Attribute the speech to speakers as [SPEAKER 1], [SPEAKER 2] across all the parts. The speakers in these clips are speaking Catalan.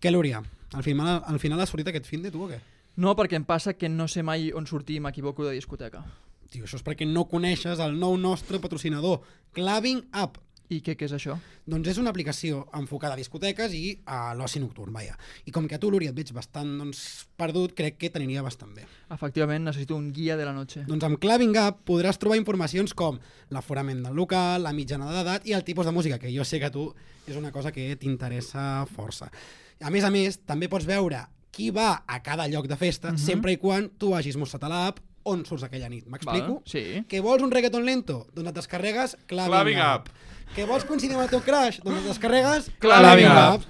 [SPEAKER 1] Què, Lúria? Al final, al final has sortit aquest finde, tu, o què?
[SPEAKER 2] No, perquè em passa que no sé mai on sortir i m'equivoco de discoteca.
[SPEAKER 1] Tio, això és perquè no coneixes el nou nostre patrocinador, Claving App.
[SPEAKER 2] I què, què és això?
[SPEAKER 1] Doncs és una aplicació enfocada a discoteques i a l'oci nocturn, vaja. I com que a tu, Lúria, et veig bastant doncs, perdut, crec que t'aniria bastant bé.
[SPEAKER 2] Efectivament, necessito un guia de la noche.
[SPEAKER 1] Doncs amb Claving App podràs trobar informacions com l'aforament del local, la mitjana d'edat i el tipus de música, que jo sé que a tu és una cosa que t'interessa força. A més a més, també pots veure qui va a cada lloc de festa, uh -huh. sempre i quan tu hagis mostrat a l'app on surts aquella nit. M'explico?
[SPEAKER 2] Val, sí.
[SPEAKER 1] Que vols un reggaeton lento? Doncs et descarregues Claving,
[SPEAKER 3] Claving App.
[SPEAKER 1] Que vols coincidir amb el teu crush? Doncs et descarregues
[SPEAKER 3] Claving App.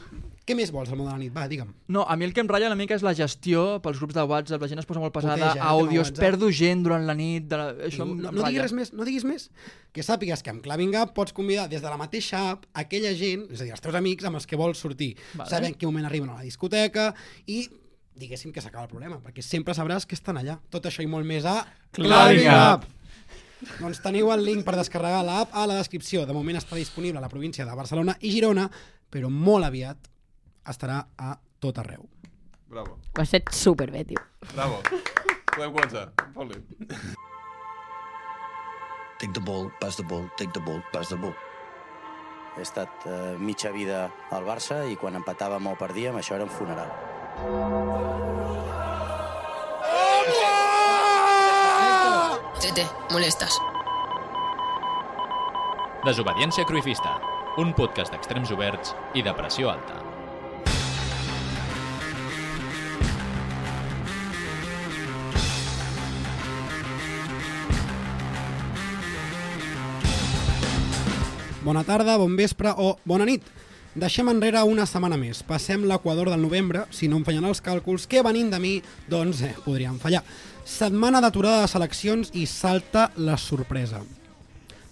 [SPEAKER 1] Què més vols al món de la nit? Va, digue'm.
[SPEAKER 2] No, a mi el que em ratlla una mica és la gestió pels grups de WhatsApp, la gent es posa molt pesada,
[SPEAKER 1] Puteja, eh,
[SPEAKER 2] àudios,
[SPEAKER 1] tema WhatsApp.
[SPEAKER 2] perdo gent durant la nit, de la... això
[SPEAKER 1] no,
[SPEAKER 2] em,
[SPEAKER 1] no,
[SPEAKER 2] em
[SPEAKER 1] no diguis
[SPEAKER 2] ratlla.
[SPEAKER 1] res més, no diguis més. Que sàpigues que amb Claving App pots convidar des de la mateixa app aquella gent, és a dir, els teus amics amb els que vols sortir.
[SPEAKER 2] Vale.
[SPEAKER 1] Vale. Saber en quin moment arriben a la discoteca i diguéssim que s'acaba el problema, perquè sempre sabràs que estan allà. Tot això i molt més a
[SPEAKER 3] Claving App.
[SPEAKER 1] Doncs teniu el link per descarregar l'app a la descripció. De moment està disponible a la província de Barcelona i Girona, però molt aviat estarà a tot arreu.
[SPEAKER 3] Bravo,
[SPEAKER 4] Ho has fet superbé, tio.
[SPEAKER 3] bravo. Podem començar. Poli.
[SPEAKER 5] Take the ball, pass the ball, take the ball, pass the ball.
[SPEAKER 6] He estat eh, mitja vida al Barça i quan empatàvem o perdíem, això era un funeral.
[SPEAKER 7] Tete, molestas.
[SPEAKER 8] Desobediència Cruifista, un podcast d'extrems oberts i de pressió alta.
[SPEAKER 1] Bona tarda, bon vespre o bona nit. Deixem enrere una setmana més. Passem l'equador del novembre. Si no em fallen els càlculs que venint de mi, doncs eh, podrien fallar. Setmana d'aturada de seleccions i salta la sorpresa.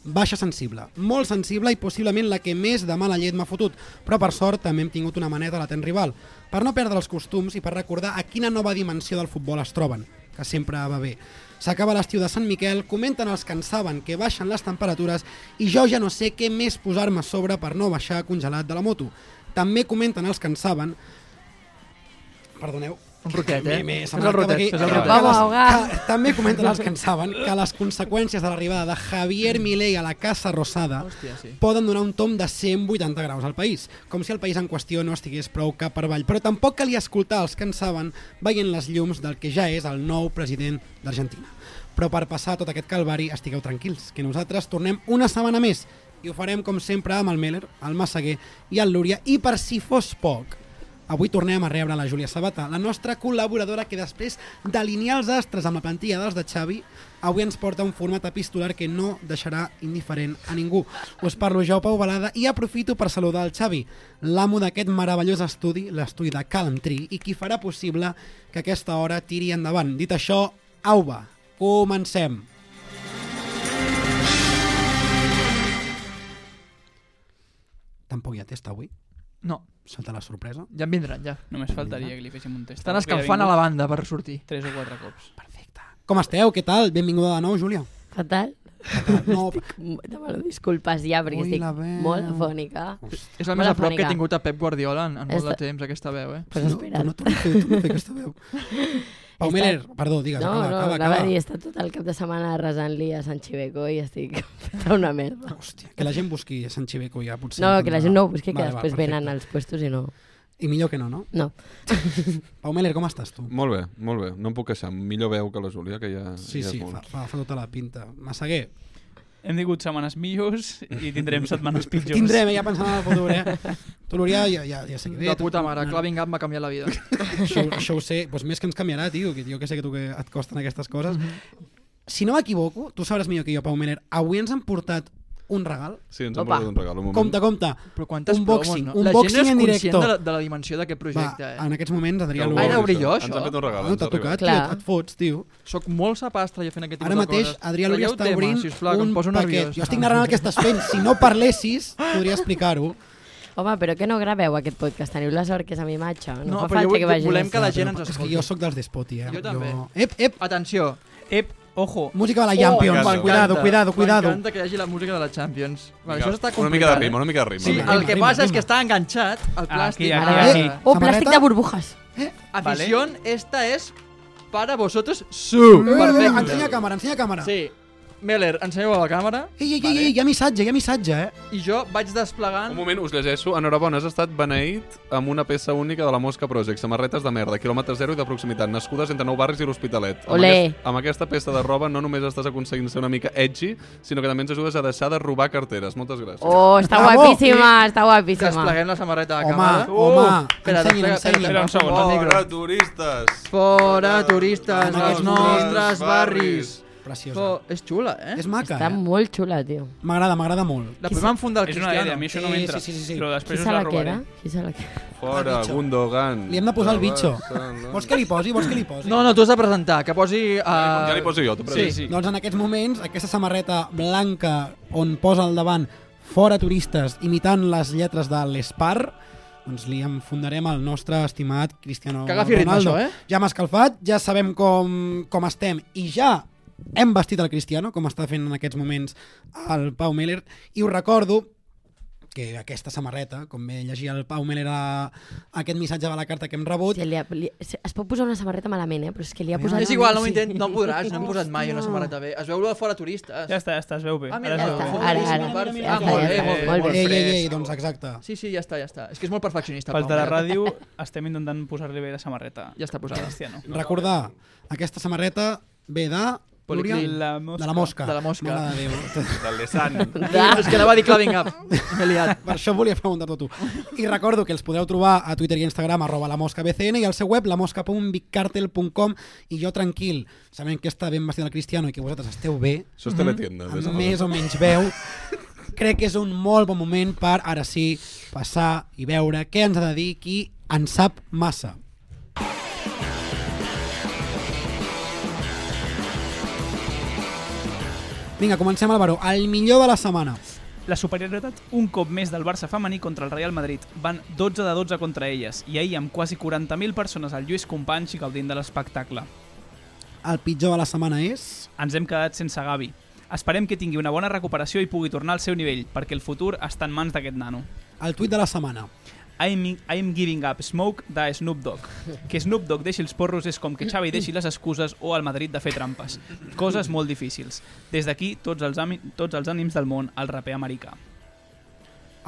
[SPEAKER 1] Baixa sensible, molt sensible i possiblement la que més de mala llet m'ha fotut, però per sort també hem tingut una maneta a la ten rival, per no perdre els costums i per recordar a quina nova dimensió del futbol es troben, que sempre va bé. S'acaba l'estiu de Sant Miquel, comenten els que en saben que baixen les temperatures i jo ja no sé què més posar-me a sobre per no baixar congelat de la moto. També comenten els que en saben... Perdoneu,
[SPEAKER 2] Un roquet, eh?
[SPEAKER 1] Bé, bé,
[SPEAKER 2] Fes
[SPEAKER 1] se
[SPEAKER 2] el
[SPEAKER 1] m'ha anat cap
[SPEAKER 2] rotet,
[SPEAKER 1] aquí.
[SPEAKER 2] fes el
[SPEAKER 1] Que
[SPEAKER 2] rotet.
[SPEAKER 4] Vamos
[SPEAKER 1] les-
[SPEAKER 4] a ahogar.
[SPEAKER 1] que També comenten els que en saben que les conseqüències de l'arribada de Javier Milei a la Casa Rosada
[SPEAKER 2] Hòstia, sí.
[SPEAKER 1] poden donar un tom de 180 graus al país, com si el país en qüestió no estigués prou cap per avall. Però tampoc calia escoltar els que en saben veient les llums del que ja és el nou president d'Argentina. Però per passar tot aquest calvari, estigueu tranquils, que nosaltres tornem una setmana més i ho farem com sempre amb el Meller, el Massaguer i el Lúria. I per si fos poc, Avui tornem a rebre la Júlia Sabata, la nostra col·laboradora que després d'alinear els astres amb la plantilla dels de Xavi, avui ens porta un format epistolar que no deixarà indiferent a ningú. Us parlo jo, Pau Balada, i aprofito per saludar el Xavi, l'amo d'aquest meravellós estudi, l'estudi de Calm Tree, i qui farà possible que aquesta hora tiri endavant. Dit això, au va, comencem! Tampoc hi ha testa avui,
[SPEAKER 2] No,
[SPEAKER 1] salta la sorpresa.
[SPEAKER 2] ja en vindran, ja.
[SPEAKER 9] Només faltaria que li féssim un test.
[SPEAKER 2] Estan escalfant a la banda per sortir.
[SPEAKER 9] Tres o quatre cops.
[SPEAKER 1] Com esteu? Què tal? Benvinguda de nou, Júlia.
[SPEAKER 4] Fatal.
[SPEAKER 1] No,
[SPEAKER 4] Demano disculpes ja, perquè
[SPEAKER 1] Ui,
[SPEAKER 4] estic
[SPEAKER 1] la veu.
[SPEAKER 4] molt afònica.
[SPEAKER 2] És la
[SPEAKER 4] Molt
[SPEAKER 2] més a prop que
[SPEAKER 4] afònica.
[SPEAKER 2] he tingut a Pep Guardiola en, en molt de
[SPEAKER 4] Esta-
[SPEAKER 2] temps, aquesta veu, eh?
[SPEAKER 4] Pues espera't.
[SPEAKER 1] No, tu no, tu no, tu no, aquesta veu. Pau
[SPEAKER 4] Està-
[SPEAKER 1] Meller, perdó, digues,
[SPEAKER 4] No,
[SPEAKER 1] acaba,
[SPEAKER 4] no,
[SPEAKER 1] acaba,
[SPEAKER 4] anava
[SPEAKER 1] acaba.
[SPEAKER 4] a dir, he estat tot el cap de setmana resant-li a Sant Xiveco i estic feta una merda.
[SPEAKER 1] Hòstia, que la gent busqui Sant Xiveco ja, potser.
[SPEAKER 4] No, que la gent no ho busqui, que
[SPEAKER 1] Vale, va,
[SPEAKER 4] després
[SPEAKER 1] perfecte.
[SPEAKER 4] venen als puestos i no.
[SPEAKER 1] I millor que no, no?
[SPEAKER 4] No.
[SPEAKER 1] Pau Meller, com estàs tu?
[SPEAKER 3] Molt bé, molt bé. No em puc queixar. Millor veu que la Júlia, que ja,
[SPEAKER 1] Sí,
[SPEAKER 3] ja
[SPEAKER 1] sí,
[SPEAKER 3] és molt.
[SPEAKER 1] fa, fa, fa tota la pinta. Massaguer,
[SPEAKER 9] Hem tingut setmanes millors i tindrem setmanes pitjors.
[SPEAKER 1] tindrem, eh, ja pensant en el futur, eh? Tu, Lúria, ja, ja, ja sé que ve.
[SPEAKER 2] De puta mare,
[SPEAKER 1] No, no,
[SPEAKER 2] Claving Up m'ha canviat la vida.
[SPEAKER 1] Això, això ho sé, doncs més que ens canviarà, tio, que jo que sé que tu que et costen aquestes coses.
[SPEAKER 2] Mhm.
[SPEAKER 1] Si no m'equivoco, tu sabràs millor que jo, Pau Meller, avui ens han portat un regal.
[SPEAKER 3] Sí, ens han
[SPEAKER 4] Opa.
[SPEAKER 3] portat un regal. Un moment.
[SPEAKER 1] Compte, compte.
[SPEAKER 2] Però quantes
[SPEAKER 1] Un
[SPEAKER 2] promos,
[SPEAKER 1] boxing,
[SPEAKER 2] no?
[SPEAKER 1] un
[SPEAKER 2] la
[SPEAKER 1] boxing
[SPEAKER 2] gent és
[SPEAKER 1] en
[SPEAKER 2] conscient
[SPEAKER 1] directe.
[SPEAKER 2] de la, de la dimensió d'aquest
[SPEAKER 1] Va,
[SPEAKER 2] projecte, eh?
[SPEAKER 1] en aquests moments, Adrià
[SPEAKER 3] Algú
[SPEAKER 1] Lugo...
[SPEAKER 2] Ah, era
[SPEAKER 3] ho ha fet,
[SPEAKER 2] obrir jo,
[SPEAKER 3] Ens
[SPEAKER 2] això?
[SPEAKER 3] han fet un regal.
[SPEAKER 1] No
[SPEAKER 3] ens
[SPEAKER 1] t'ha
[SPEAKER 3] arriba.
[SPEAKER 1] tocat, tio,
[SPEAKER 4] Clar.
[SPEAKER 1] et fots, tio.
[SPEAKER 2] Soc molt sapastre jo fent aquest tipus
[SPEAKER 1] Ara
[SPEAKER 2] de
[SPEAKER 1] mateix,
[SPEAKER 2] coses.
[SPEAKER 1] Adrià Luria
[SPEAKER 2] Traieu
[SPEAKER 1] està
[SPEAKER 2] temes,
[SPEAKER 1] obrint
[SPEAKER 2] sisplau, que
[SPEAKER 1] un
[SPEAKER 2] em poso
[SPEAKER 1] paquet.
[SPEAKER 2] nerviós.
[SPEAKER 1] Jo estic narrant el que estàs fent. Si no parlessis, podria explicar-ho.
[SPEAKER 4] Home, però que no graveu aquest podcast? Teniu la sort que és amb imatge. No,
[SPEAKER 2] No,
[SPEAKER 4] fa
[SPEAKER 2] però jo
[SPEAKER 4] falta
[SPEAKER 2] vull-
[SPEAKER 4] que vagi
[SPEAKER 2] volem
[SPEAKER 4] a
[SPEAKER 2] que la
[SPEAKER 4] l'estat.
[SPEAKER 2] gent ens
[SPEAKER 1] És que
[SPEAKER 2] escolti.
[SPEAKER 1] jo sóc dels despoti, eh?
[SPEAKER 2] Jo també.
[SPEAKER 1] Ep, ep,
[SPEAKER 2] Atenció,
[SPEAKER 9] Ep, Ojo,
[SPEAKER 1] Música de la Champions.
[SPEAKER 3] m'encanta.
[SPEAKER 1] cuidado, cuidado, cuidado.
[SPEAKER 2] Oh, M'encanta que hi hagi la música de la Champions. Vale,
[SPEAKER 3] Vinga,
[SPEAKER 2] això està complicat. eh?
[SPEAKER 3] Una mica de ritme, una mica de ritme.
[SPEAKER 2] Sí,
[SPEAKER 1] Vinga,
[SPEAKER 2] el que
[SPEAKER 1] rima,
[SPEAKER 2] passa és
[SPEAKER 1] rima.
[SPEAKER 2] que està enganxat al
[SPEAKER 9] Ah, aquí,
[SPEAKER 2] plàstic.
[SPEAKER 9] aquí,
[SPEAKER 2] Ah,
[SPEAKER 9] aquí.
[SPEAKER 2] eh.
[SPEAKER 1] Samarreta?
[SPEAKER 4] O Oh, plàstic de burbujas.
[SPEAKER 2] Afición, esta es para vosotros su.
[SPEAKER 1] Eh, eh, eh, ensenya
[SPEAKER 2] Perfecte.
[SPEAKER 1] càmera, ensenya càmera.
[SPEAKER 2] Sí. Meller, ensenyeu a la càmera
[SPEAKER 1] Ei, ei, ei, ei, hi ha missatge, hi ha missatge, eh?
[SPEAKER 2] i jo vaig
[SPEAKER 3] Un
[SPEAKER 2] desplegant...
[SPEAKER 3] moment, us llegeixo. Enhorabona, has estat beneït amb una peça única de la Mosca Project. Samarretes de merda, quilòmetre zero i de proximitat, nascudes entre nou barris i l'Hospitalet. Amb,
[SPEAKER 4] Olé.
[SPEAKER 3] amb aquesta peça de roba no només estàs aconseguint ser una mica edgy, sinó que també ens ajudes a deixar de robar carteres. Moltes gràcies.
[SPEAKER 4] Oh, està
[SPEAKER 1] Bravo.
[SPEAKER 4] guapíssima, està guapíssima.
[SPEAKER 2] Despleguem la samarreta de la
[SPEAKER 1] Home,
[SPEAKER 2] càmera.
[SPEAKER 1] home,
[SPEAKER 2] espera,
[SPEAKER 1] ensenyin,
[SPEAKER 2] desplega-
[SPEAKER 1] ensenyin.
[SPEAKER 2] espera, espera,
[SPEAKER 9] Fora,
[SPEAKER 2] el micro.
[SPEAKER 3] turistes!
[SPEAKER 2] Fora, turistes,
[SPEAKER 1] En
[SPEAKER 2] dels
[SPEAKER 1] aquests
[SPEAKER 2] nostres
[SPEAKER 3] nostres
[SPEAKER 2] barris.
[SPEAKER 1] Preciosa.
[SPEAKER 2] Fo- És xula, eh?
[SPEAKER 1] És maca,
[SPEAKER 4] Està
[SPEAKER 1] eh?
[SPEAKER 4] molt xula, tio.
[SPEAKER 1] M'agrada, m'agrada molt.
[SPEAKER 2] La podem enfundar al
[SPEAKER 9] és una idea, a
[SPEAKER 2] Cristiano.
[SPEAKER 9] mi això no
[SPEAKER 1] Sí,
[SPEAKER 9] m'entra.
[SPEAKER 1] sí, sí, sí, sí.
[SPEAKER 9] Però
[SPEAKER 4] Qui
[SPEAKER 9] després us
[SPEAKER 4] se
[SPEAKER 9] la
[SPEAKER 4] la
[SPEAKER 9] robaré.
[SPEAKER 4] queda? Qui se la queda?
[SPEAKER 1] El
[SPEAKER 3] Fora,
[SPEAKER 1] bitxo.
[SPEAKER 3] Gundogan.
[SPEAKER 1] Li hem de posar el
[SPEAKER 3] De
[SPEAKER 1] bitxo.
[SPEAKER 3] Barcelona.
[SPEAKER 1] Vols que li posi? Vols que li posi?
[SPEAKER 2] No, no, tu has de presentar, que posi... Uh...
[SPEAKER 3] Ja li poso jo, tu
[SPEAKER 9] Sí,
[SPEAKER 3] present.
[SPEAKER 9] sí.
[SPEAKER 1] Doncs en aquests moments, aquesta samarreta blanca on posa al davant fora turistes imitant les lletres de l'Espar, doncs li enfondarem al nostre estimat Cristiano
[SPEAKER 2] Que agafi ritme,
[SPEAKER 1] Ronaldo.
[SPEAKER 2] això, eh?
[SPEAKER 1] Ja m'ha escalfat, ja sabem com, com estem i ja hem vestit el Cristiano, com està fent en aquests moments el Pau Meller, i us recordo que aquesta samarreta, com bé llegia el Pau Meller a, a aquest missatge de la carta que hem rebut,
[SPEAKER 4] Se li ha, li, se, es pot posar una samarreta malament, eh? però és que li ha
[SPEAKER 1] Ah,
[SPEAKER 4] posat...
[SPEAKER 2] És igual, no
[SPEAKER 4] Sí.
[SPEAKER 2] ho intent, no podràs, no hem posat mai una
[SPEAKER 4] Hòstia.
[SPEAKER 2] samarreta bé. Es veu lo de fora turistes.
[SPEAKER 9] Ja està, ja està, es veu bé.
[SPEAKER 2] Ah, mira,
[SPEAKER 9] Ara
[SPEAKER 4] Ja
[SPEAKER 9] es veu
[SPEAKER 4] està,
[SPEAKER 9] bé.
[SPEAKER 4] ara, ara.
[SPEAKER 2] Mira, mira, mira.
[SPEAKER 4] Ja està, ja està,
[SPEAKER 2] Ah,
[SPEAKER 4] molt
[SPEAKER 1] Ei,
[SPEAKER 4] bé.
[SPEAKER 1] ei, ei, doncs exacte.
[SPEAKER 2] Sí, sí, ja està, ja està. És que és molt perfeccionista.
[SPEAKER 9] Pels
[SPEAKER 2] Pau,
[SPEAKER 9] de la
[SPEAKER 2] ja.
[SPEAKER 9] ràdio estem intentant posar-li bé la samarreta.
[SPEAKER 2] Ja està posada.
[SPEAKER 9] Cristiano.
[SPEAKER 1] Recordar, aquesta samarreta ve de...
[SPEAKER 2] Policlin.
[SPEAKER 1] Núria?
[SPEAKER 9] La
[SPEAKER 1] De
[SPEAKER 9] mosca.
[SPEAKER 1] la mosca.
[SPEAKER 2] De la mosca.
[SPEAKER 1] Mare de Déu.
[SPEAKER 3] Del Lesan.
[SPEAKER 2] Ah, És que anava a dir Claving Up. M'he liat.
[SPEAKER 1] Per això volia preguntar-t'ho a tu. I recordo que els podreu trobar a Twitter i Instagram, arroba la mosca BCN, i al seu web, lamosca.bigcartel.com, i jo tranquil, sabent que està ben vestit el Cristiano i que vosaltres esteu bé,
[SPEAKER 3] Això és teletienda. des de
[SPEAKER 1] amb
[SPEAKER 3] fa
[SPEAKER 1] més o menys veu, crec que és un molt bon moment per, ara sí, passar i veure què ens ha de dir qui en sap massa. Vinga, comencem, Álvaro. El millor de la setmana.
[SPEAKER 9] La superioritat un cop més del Barça femení contra el Real Madrid. Van 12 de 12 contra elles i ahir amb quasi 40.000 persones al Lluís Companys i gaudint de l'espectacle.
[SPEAKER 1] El pitjor de la setmana és...
[SPEAKER 9] Ens hem quedat sense Gavi. Esperem que tingui una bona recuperació i pugui tornar al seu nivell, perquè el futur està en mans d'aquest nano.
[SPEAKER 1] El tuit de la setmana.
[SPEAKER 9] I'm, I'm giving up smoke de Snoop Dogg. Que Snoop Dogg deixi els porros és com que Xavi deixi les excuses o al Madrid de fer trampes. Coses molt difícils. Des d'aquí, tots, els ami- tots els ànims del món al raper americà.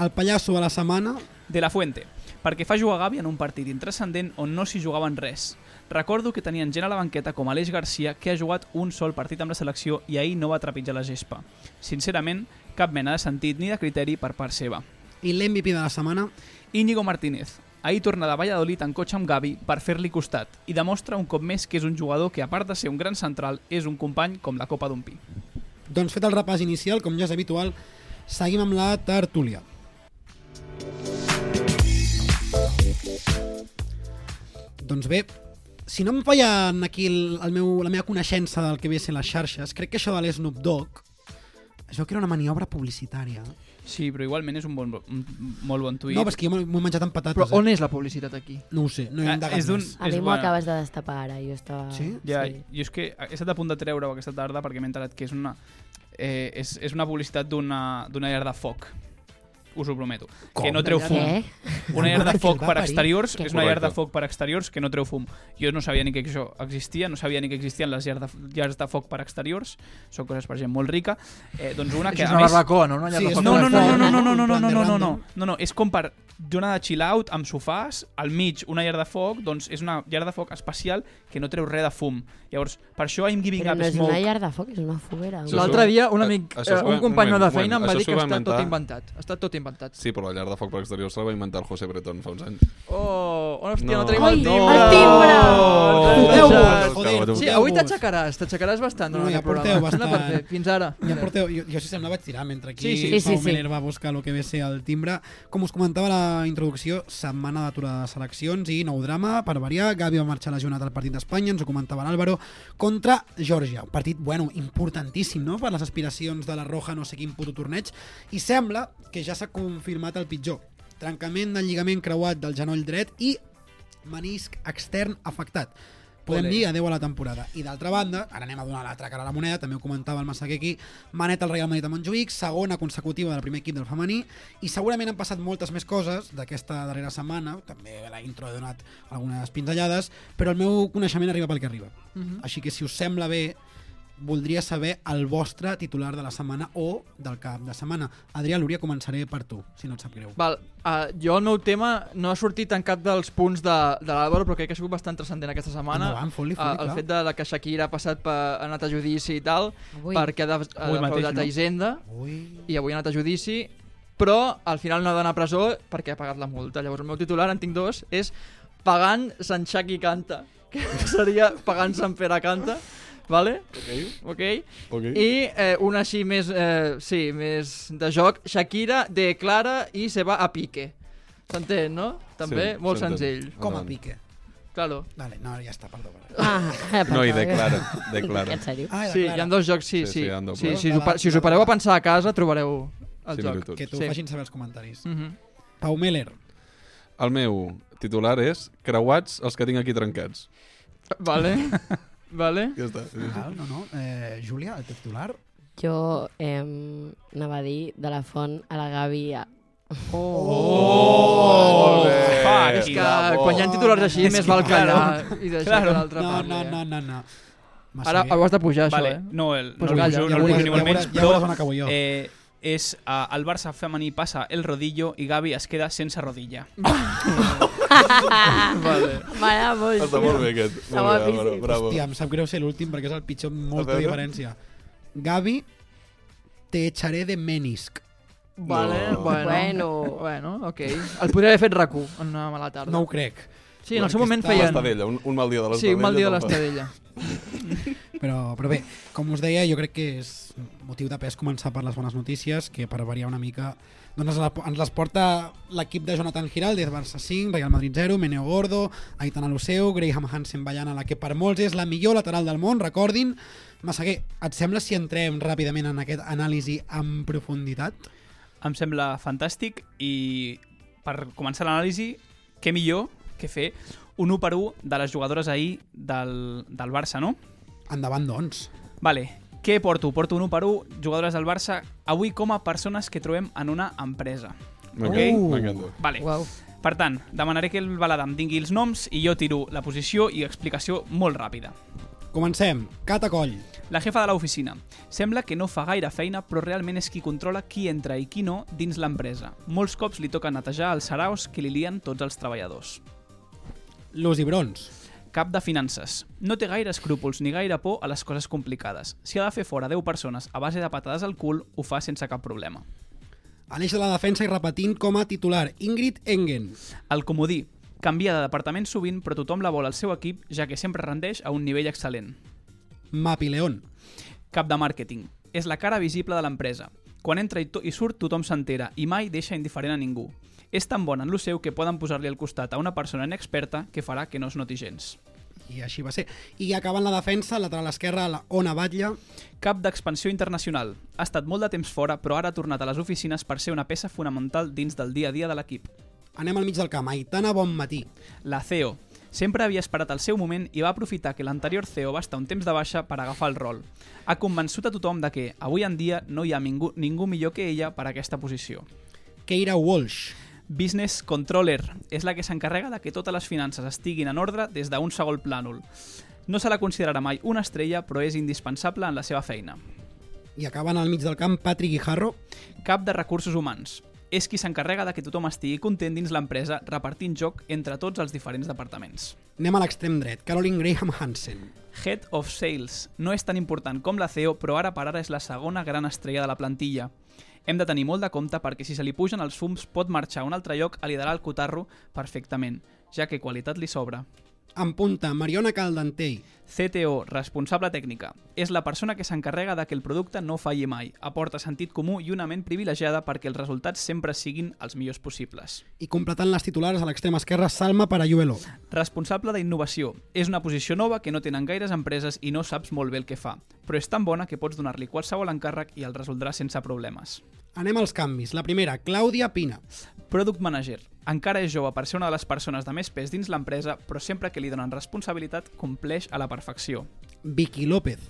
[SPEAKER 1] El pallasso de la setmana.
[SPEAKER 9] De la Fuente, perquè fa jugar Gavi en un partit intrascendent on no s'hi jugaven res. Recordo que tenien gent a la banqueta com Aleix Garcia que ha jugat un sol partit amb la selecció i ahir no va trepitjar la gespa. Sincerament, cap mena de sentit ni de criteri per part seva.
[SPEAKER 1] I l'MVP de la setmana.
[SPEAKER 9] Íñigo Martínez. Ahir torna de Valladolid en cotxe amb Gavi per fer-li costat i demostra un cop més que és un jugador que, a part de ser un gran central, és un company com la copa d'un pi.
[SPEAKER 1] Doncs fet el repàs inicial, com ja és habitual, seguim amb la tertúlia. Doncs bé, si no em fallen aquí el, el meu, la meva coneixença del que ve a ser les xarxes, crec que això de l'Snoop Dogg, això que era una maniobra publicitària.
[SPEAKER 9] Sí, però igualment és un bon, un molt bon tuit.
[SPEAKER 1] No, però és que jo m'ho m'ho he menjat amb patates.
[SPEAKER 2] Però on
[SPEAKER 1] eh?
[SPEAKER 2] és la publicitat aquí?
[SPEAKER 1] No ho sé, no he
[SPEAKER 9] Ah,
[SPEAKER 1] indagat
[SPEAKER 9] és d'un-
[SPEAKER 1] més.
[SPEAKER 4] A
[SPEAKER 9] És
[SPEAKER 4] mi m'ho
[SPEAKER 9] bona.
[SPEAKER 4] acabes de destapar ara, jo estava...
[SPEAKER 1] Sí?
[SPEAKER 9] Ja,
[SPEAKER 4] sí.
[SPEAKER 9] jo és que he estat a punt de treure aquesta tarda perquè m'he enterat que és una, eh, és, és una publicitat d'una d'una llar de foc. Us ho prometo.
[SPEAKER 1] Com?
[SPEAKER 9] Que no treu fum.
[SPEAKER 4] Eh? Què?
[SPEAKER 9] Una llar de foc per exteriors,
[SPEAKER 4] Què?
[SPEAKER 9] és una llar de
[SPEAKER 3] Correcte.
[SPEAKER 9] foc per exteriors que no treu fum. Jo no sabia ni que això existia, no sabia ni que existien les llars de, llars de foc per exteriors, són coses per gent molt rica. Eh, doncs una que,
[SPEAKER 2] És
[SPEAKER 9] a
[SPEAKER 2] una
[SPEAKER 9] més...
[SPEAKER 2] barbacoa, no? Una llar
[SPEAKER 1] Sí,
[SPEAKER 2] de
[SPEAKER 1] és
[SPEAKER 2] foc.
[SPEAKER 1] una
[SPEAKER 9] No, no, no, no,
[SPEAKER 1] En plan de
[SPEAKER 9] no, no, no, no, no, no, no, no,
[SPEAKER 1] random.
[SPEAKER 9] no, no, és com per zona de chill out amb sofàs, al mig una llar de foc, doncs és una llar de foc especial que no treu res de fum. Llavors, per això I'm giving
[SPEAKER 4] Però
[SPEAKER 9] up
[SPEAKER 4] no és una
[SPEAKER 9] smoke.
[SPEAKER 4] llar de foc, és una foguera.
[SPEAKER 3] Això
[SPEAKER 4] Una-
[SPEAKER 3] és
[SPEAKER 2] L'altre dia un
[SPEAKER 3] Eh,
[SPEAKER 2] amic,
[SPEAKER 3] això
[SPEAKER 2] eh,
[SPEAKER 3] s'ho va-
[SPEAKER 2] un company meu
[SPEAKER 3] un
[SPEAKER 2] de
[SPEAKER 3] moment,
[SPEAKER 2] feina em va
[SPEAKER 3] això
[SPEAKER 2] dir que
[SPEAKER 3] s'ho va
[SPEAKER 2] està tot
[SPEAKER 3] inventar.
[SPEAKER 2] inventat. Està tot inventat.
[SPEAKER 3] Sí, però la llar de foc per exterior se la va inventar el José Breton fa uns anys.
[SPEAKER 2] Oh, hòstia, no,
[SPEAKER 3] No.
[SPEAKER 2] no tenim
[SPEAKER 4] Ai,
[SPEAKER 2] el timbre.
[SPEAKER 4] el timbre!
[SPEAKER 2] Oh,
[SPEAKER 1] Foteu-vos,
[SPEAKER 2] enganxat.
[SPEAKER 1] joder,
[SPEAKER 2] Sí, avui
[SPEAKER 1] foteu-vos.
[SPEAKER 2] t'aixecaràs, t'aixecaràs bastant
[SPEAKER 1] No,
[SPEAKER 2] durant
[SPEAKER 1] ja
[SPEAKER 2] el programa.
[SPEAKER 1] porteu
[SPEAKER 2] Sembla
[SPEAKER 1] bastant.
[SPEAKER 2] perfecte. Fins ara.
[SPEAKER 1] Ja porteu, jo, jo si sembla vaig tirar mentre aquí
[SPEAKER 2] Sí,
[SPEAKER 1] sí,
[SPEAKER 2] sí.
[SPEAKER 1] sí,
[SPEAKER 4] Sí,
[SPEAKER 1] Pau
[SPEAKER 4] sí, sí.
[SPEAKER 1] Meller va buscar el que ve a ser el timbre. Com us comentava a la introducció, setmana d'aturada de seleccions i nou drama per variar. Gavi va marxar lesionat al partit d'Espanya, ens ho comentava l'Àlvaro, contra Georgia. Un partit, bueno, importantíssim, no?, per les aspiracions de la Roja, no sé quin puto torneig. I sembla que ja s'ha confirmat el pitjor. Trencament del lligament creuat del genoll dret i menisc extern afectat. podem
[SPEAKER 9] Ole.
[SPEAKER 1] dir adeu a la temporada. I d'altra banda, ara anem a donar l'altra cara a la moneda, també ho comentava el Massaguer aquí, manet al Real Madrid a Montjuïc, segona consecutiva del primer equip del femení, i segurament han passat moltes més coses d'aquesta darrera setmana, també a la intro he donat algunes pinzellades, però el meu coneixement arriba pel que arriba. Així que si us sembla bé, voldria saber el vostre titular de la setmana o del cap de setmana. Adrià Lúria, començaré per tu, si no et sap greu.
[SPEAKER 2] Val, uh, jo el meu tema no ha sortit en cap dels punts de, de l'Àlvaro, però crec que ha sigut bastant transcendent aquesta setmana.
[SPEAKER 1] Endavant, fot-li,
[SPEAKER 2] Ah,
[SPEAKER 1] fot-li,
[SPEAKER 2] el
[SPEAKER 1] clar.
[SPEAKER 2] fet de, de que Shakira ha passat per, ha anat a judici i tal,
[SPEAKER 4] Avui.
[SPEAKER 2] perquè ha, de, ha
[SPEAKER 9] Avui mateix,
[SPEAKER 2] defraudat
[SPEAKER 9] no?
[SPEAKER 2] a Hisenda,
[SPEAKER 1] Ui...
[SPEAKER 2] i avui ha anat a judici, però al final no ha d'anar a presó perquè ha pagat la multa. Llavors el meu titular, en tinc dos, és Pagant Sant Xaqui Canta, que seria Pagant Sant Pere Canta, vale? Ok.
[SPEAKER 3] Ok.
[SPEAKER 2] I eh, una així més, eh, sí, més de joc, Shakira declara i se va a pique. S'entén, no? També,
[SPEAKER 3] Sí,
[SPEAKER 2] molt
[SPEAKER 3] s'entén.
[SPEAKER 2] senzill.
[SPEAKER 1] Com a pique.
[SPEAKER 2] Claro.
[SPEAKER 1] Vale, no, ja està, perdó. perdó.
[SPEAKER 4] Ah,
[SPEAKER 3] No, i declara, declara.
[SPEAKER 4] En sèrio?
[SPEAKER 1] Ah, era
[SPEAKER 2] Sí,
[SPEAKER 1] clara.
[SPEAKER 2] hi ha dos jocs, sí,
[SPEAKER 3] Sí,
[SPEAKER 2] sí.
[SPEAKER 3] sí, hi ha doble.
[SPEAKER 2] sí, si, us, pa- si us ho pareu a pensar a casa, trobareu el
[SPEAKER 3] Sí,
[SPEAKER 2] joc.
[SPEAKER 3] mira-ho tot.
[SPEAKER 1] Que t'ho
[SPEAKER 2] Sí.
[SPEAKER 1] facin saber els comentaris.
[SPEAKER 2] Mhm.
[SPEAKER 1] Pau Meller.
[SPEAKER 3] El meu titular és Creuats els que tinc aquí trencats.
[SPEAKER 2] Vale. vale.
[SPEAKER 3] Ja està.
[SPEAKER 1] Ah, no, no. Eh, Júlia, el titular.
[SPEAKER 4] Jo eh, anava a dir de la font a la Gavi. a-
[SPEAKER 9] Oh! Fuck!
[SPEAKER 2] És que quan hi ha titulars així
[SPEAKER 1] És
[SPEAKER 2] més
[SPEAKER 1] que
[SPEAKER 2] val
[SPEAKER 1] claro.
[SPEAKER 2] callar i deixar
[SPEAKER 9] Claro.
[SPEAKER 2] que l'altre
[SPEAKER 1] No,
[SPEAKER 2] parli.
[SPEAKER 1] no,
[SPEAKER 2] eh?
[SPEAKER 1] no, no, no. Massa
[SPEAKER 2] Ara
[SPEAKER 1] bé.
[SPEAKER 2] ho has de pujar, això,
[SPEAKER 9] Vale,
[SPEAKER 2] eh?
[SPEAKER 9] no, el, no,
[SPEAKER 2] Pues
[SPEAKER 9] el,
[SPEAKER 2] calla,
[SPEAKER 9] pujo,
[SPEAKER 2] ja
[SPEAKER 9] no el
[SPEAKER 2] veuràs-
[SPEAKER 9] vull ni molt
[SPEAKER 1] ja
[SPEAKER 9] menys,
[SPEAKER 1] veuràs- ja
[SPEAKER 9] però
[SPEAKER 1] veuràs on acabo jo.
[SPEAKER 9] eh, és eh, el Barça femení passa el rodillo i Gavi es queda sense rodilla.
[SPEAKER 2] Vale.
[SPEAKER 4] M'agrada molt.
[SPEAKER 3] Està molt bé aquest.
[SPEAKER 4] Està
[SPEAKER 3] Molt bé,
[SPEAKER 4] guapíssim.
[SPEAKER 3] Álvaro, bravo.
[SPEAKER 1] Hòstia, em sap greu ser l'últim perquè és el pitjor amb molta
[SPEAKER 3] A veure.
[SPEAKER 1] diferència. Gavi, te echaré de menisc.
[SPEAKER 2] Vale,
[SPEAKER 3] No.
[SPEAKER 2] bueno.
[SPEAKER 4] Bueno.
[SPEAKER 2] Bueno, ok. El podria haver fet rac en una mala tarda.
[SPEAKER 1] No ho crec,
[SPEAKER 2] sí, en el seu
[SPEAKER 1] perquè
[SPEAKER 2] moment
[SPEAKER 1] estava-
[SPEAKER 2] feien...
[SPEAKER 3] L'estadella, un, un mal dia de
[SPEAKER 2] Sí,
[SPEAKER 3] l'estadella.
[SPEAKER 2] un mal dia de
[SPEAKER 3] te'n fa.
[SPEAKER 2] l'estadella.
[SPEAKER 1] però, però bé, com us deia, jo crec que és motiu de pes començar per les bones notícies, que per variar una mica doncs ens la- ens les porta l'equip de Jonathan Giraldez, Barça 5, Real Madrid 0, Meneo Gordo, Aitana Luceu, Graham Hansen ballant a la que per molts és la millor lateral del món, recordin. Massaguer, et sembla si entrem ràpidament en aquest anàlisi en profunditat?
[SPEAKER 9] Em sembla fantàstic i per començar l'anàlisi, què millor que fer un 1 per 1 de les jugadores ahir del, del Barça, no?
[SPEAKER 1] Endavant, doncs.
[SPEAKER 9] Vale, què porto? Porto un 1 per 1, jugadores del Barça, avui com a persones que trobem en una empresa.
[SPEAKER 3] M'encanta,
[SPEAKER 1] Uh.
[SPEAKER 3] m'encanta.
[SPEAKER 9] Vale.
[SPEAKER 4] Uau.
[SPEAKER 9] Per tant, demanaré que el Balada em dingui els noms i jo tiro la posició i explicació molt ràpida.
[SPEAKER 1] Comencem. Cata Coll.
[SPEAKER 9] La jefa de l'oficina. Sembla que no fa gaire feina, però realment és qui controla qui entra i qui no dins l'empresa. Molts cops li toca netejar els saraos que li lien tots els treballadors.
[SPEAKER 1] Luz i Brons.
[SPEAKER 9] Cap de finances. No té gaire escrúpols ni gaire por a les coses complicades. Si ha de fer fora 10 persones a base de patades al cul, ho fa sense cap problema.
[SPEAKER 1] Aleix de la defensa i repetint com a titular. Ingrid Engen.
[SPEAKER 9] El comodí. Canvia de departament sovint, però tothom la vol al seu equip, ja que sempre rendeix a un nivell excel·lent.
[SPEAKER 1] Mapi León.
[SPEAKER 9] Cap de màrqueting. És la cara visible de l'empresa. Quan entra i, to i surt tothom s'entera i mai deixa indiferent a ningú. És tan bona en lo seu que poden posar-li al costat a una persona inexperta que farà que no es noti gens.
[SPEAKER 1] I així va ser. I acabant la defensa, lateral esquerra, la Ona Batlle.
[SPEAKER 9] Cap d'expansió internacional. Ha estat molt de temps fora, però ara ha tornat a les oficines per ser una peça fonamental dins del dia a dia de l'equip.
[SPEAKER 1] Anem al mig del camp. Aitana, bon matí.
[SPEAKER 9] La CEO. Sempre havia esperat el seu moment i va aprofitar que l'anterior CEO va estar un temps de baixa per agafar el rol. Ha convençut a tothom de que, avui en dia, no hi ha ningú, ningú millor que ella per a aquesta posició.
[SPEAKER 1] Keira Walsh.
[SPEAKER 9] Business Controller és la que s'encarrega de que totes les finances estiguin en ordre des d'un segon plànol. No se la considerarà mai una estrella, però és indispensable en la seva feina.
[SPEAKER 1] I acabant al mig del camp, Patri Guijarro.
[SPEAKER 9] Cap de recursos humans. És qui s'encarrega de que tothom estigui content dins l'empresa repartint joc entre tots els diferents departaments.
[SPEAKER 1] Anem a l'extrem dret. Caroline Graham Hansen.
[SPEAKER 9] Head of Sales. No és tan important com la CEO, però ara per ara és la segona gran estrella de la plantilla. Hem de tenir molt de compte perquè si se li pugen els fums pot marxar a un altre lloc a liderar el cotarro perfectament, ja que qualitat li sobra.
[SPEAKER 1] En punta, Mariona Caldentei.
[SPEAKER 9] CTO, responsable tècnica, és la persona que s'encarrega de que el producte no falli mai, aporta sentit comú i una ment privilegiada perquè els resultats sempre siguin els millors possibles.
[SPEAKER 1] I completant les titulars a l'extrem esquerra, Salma Parayuelo.
[SPEAKER 9] Responsable d'innovació. És una posició nova que no tenen gaires empreses i no saps molt bé el que fa, però és tan bona que pots donar-li qualsevol encàrrec i el resoldrà sense problemes.
[SPEAKER 1] Anem als canvis. La primera, Clàudia Pina.
[SPEAKER 9] Product Manager. Encara és jove per ser una de les persones de més pes dins l'empresa, però sempre que li donen responsabilitat compleix a la perfecció.
[SPEAKER 1] Vicky López,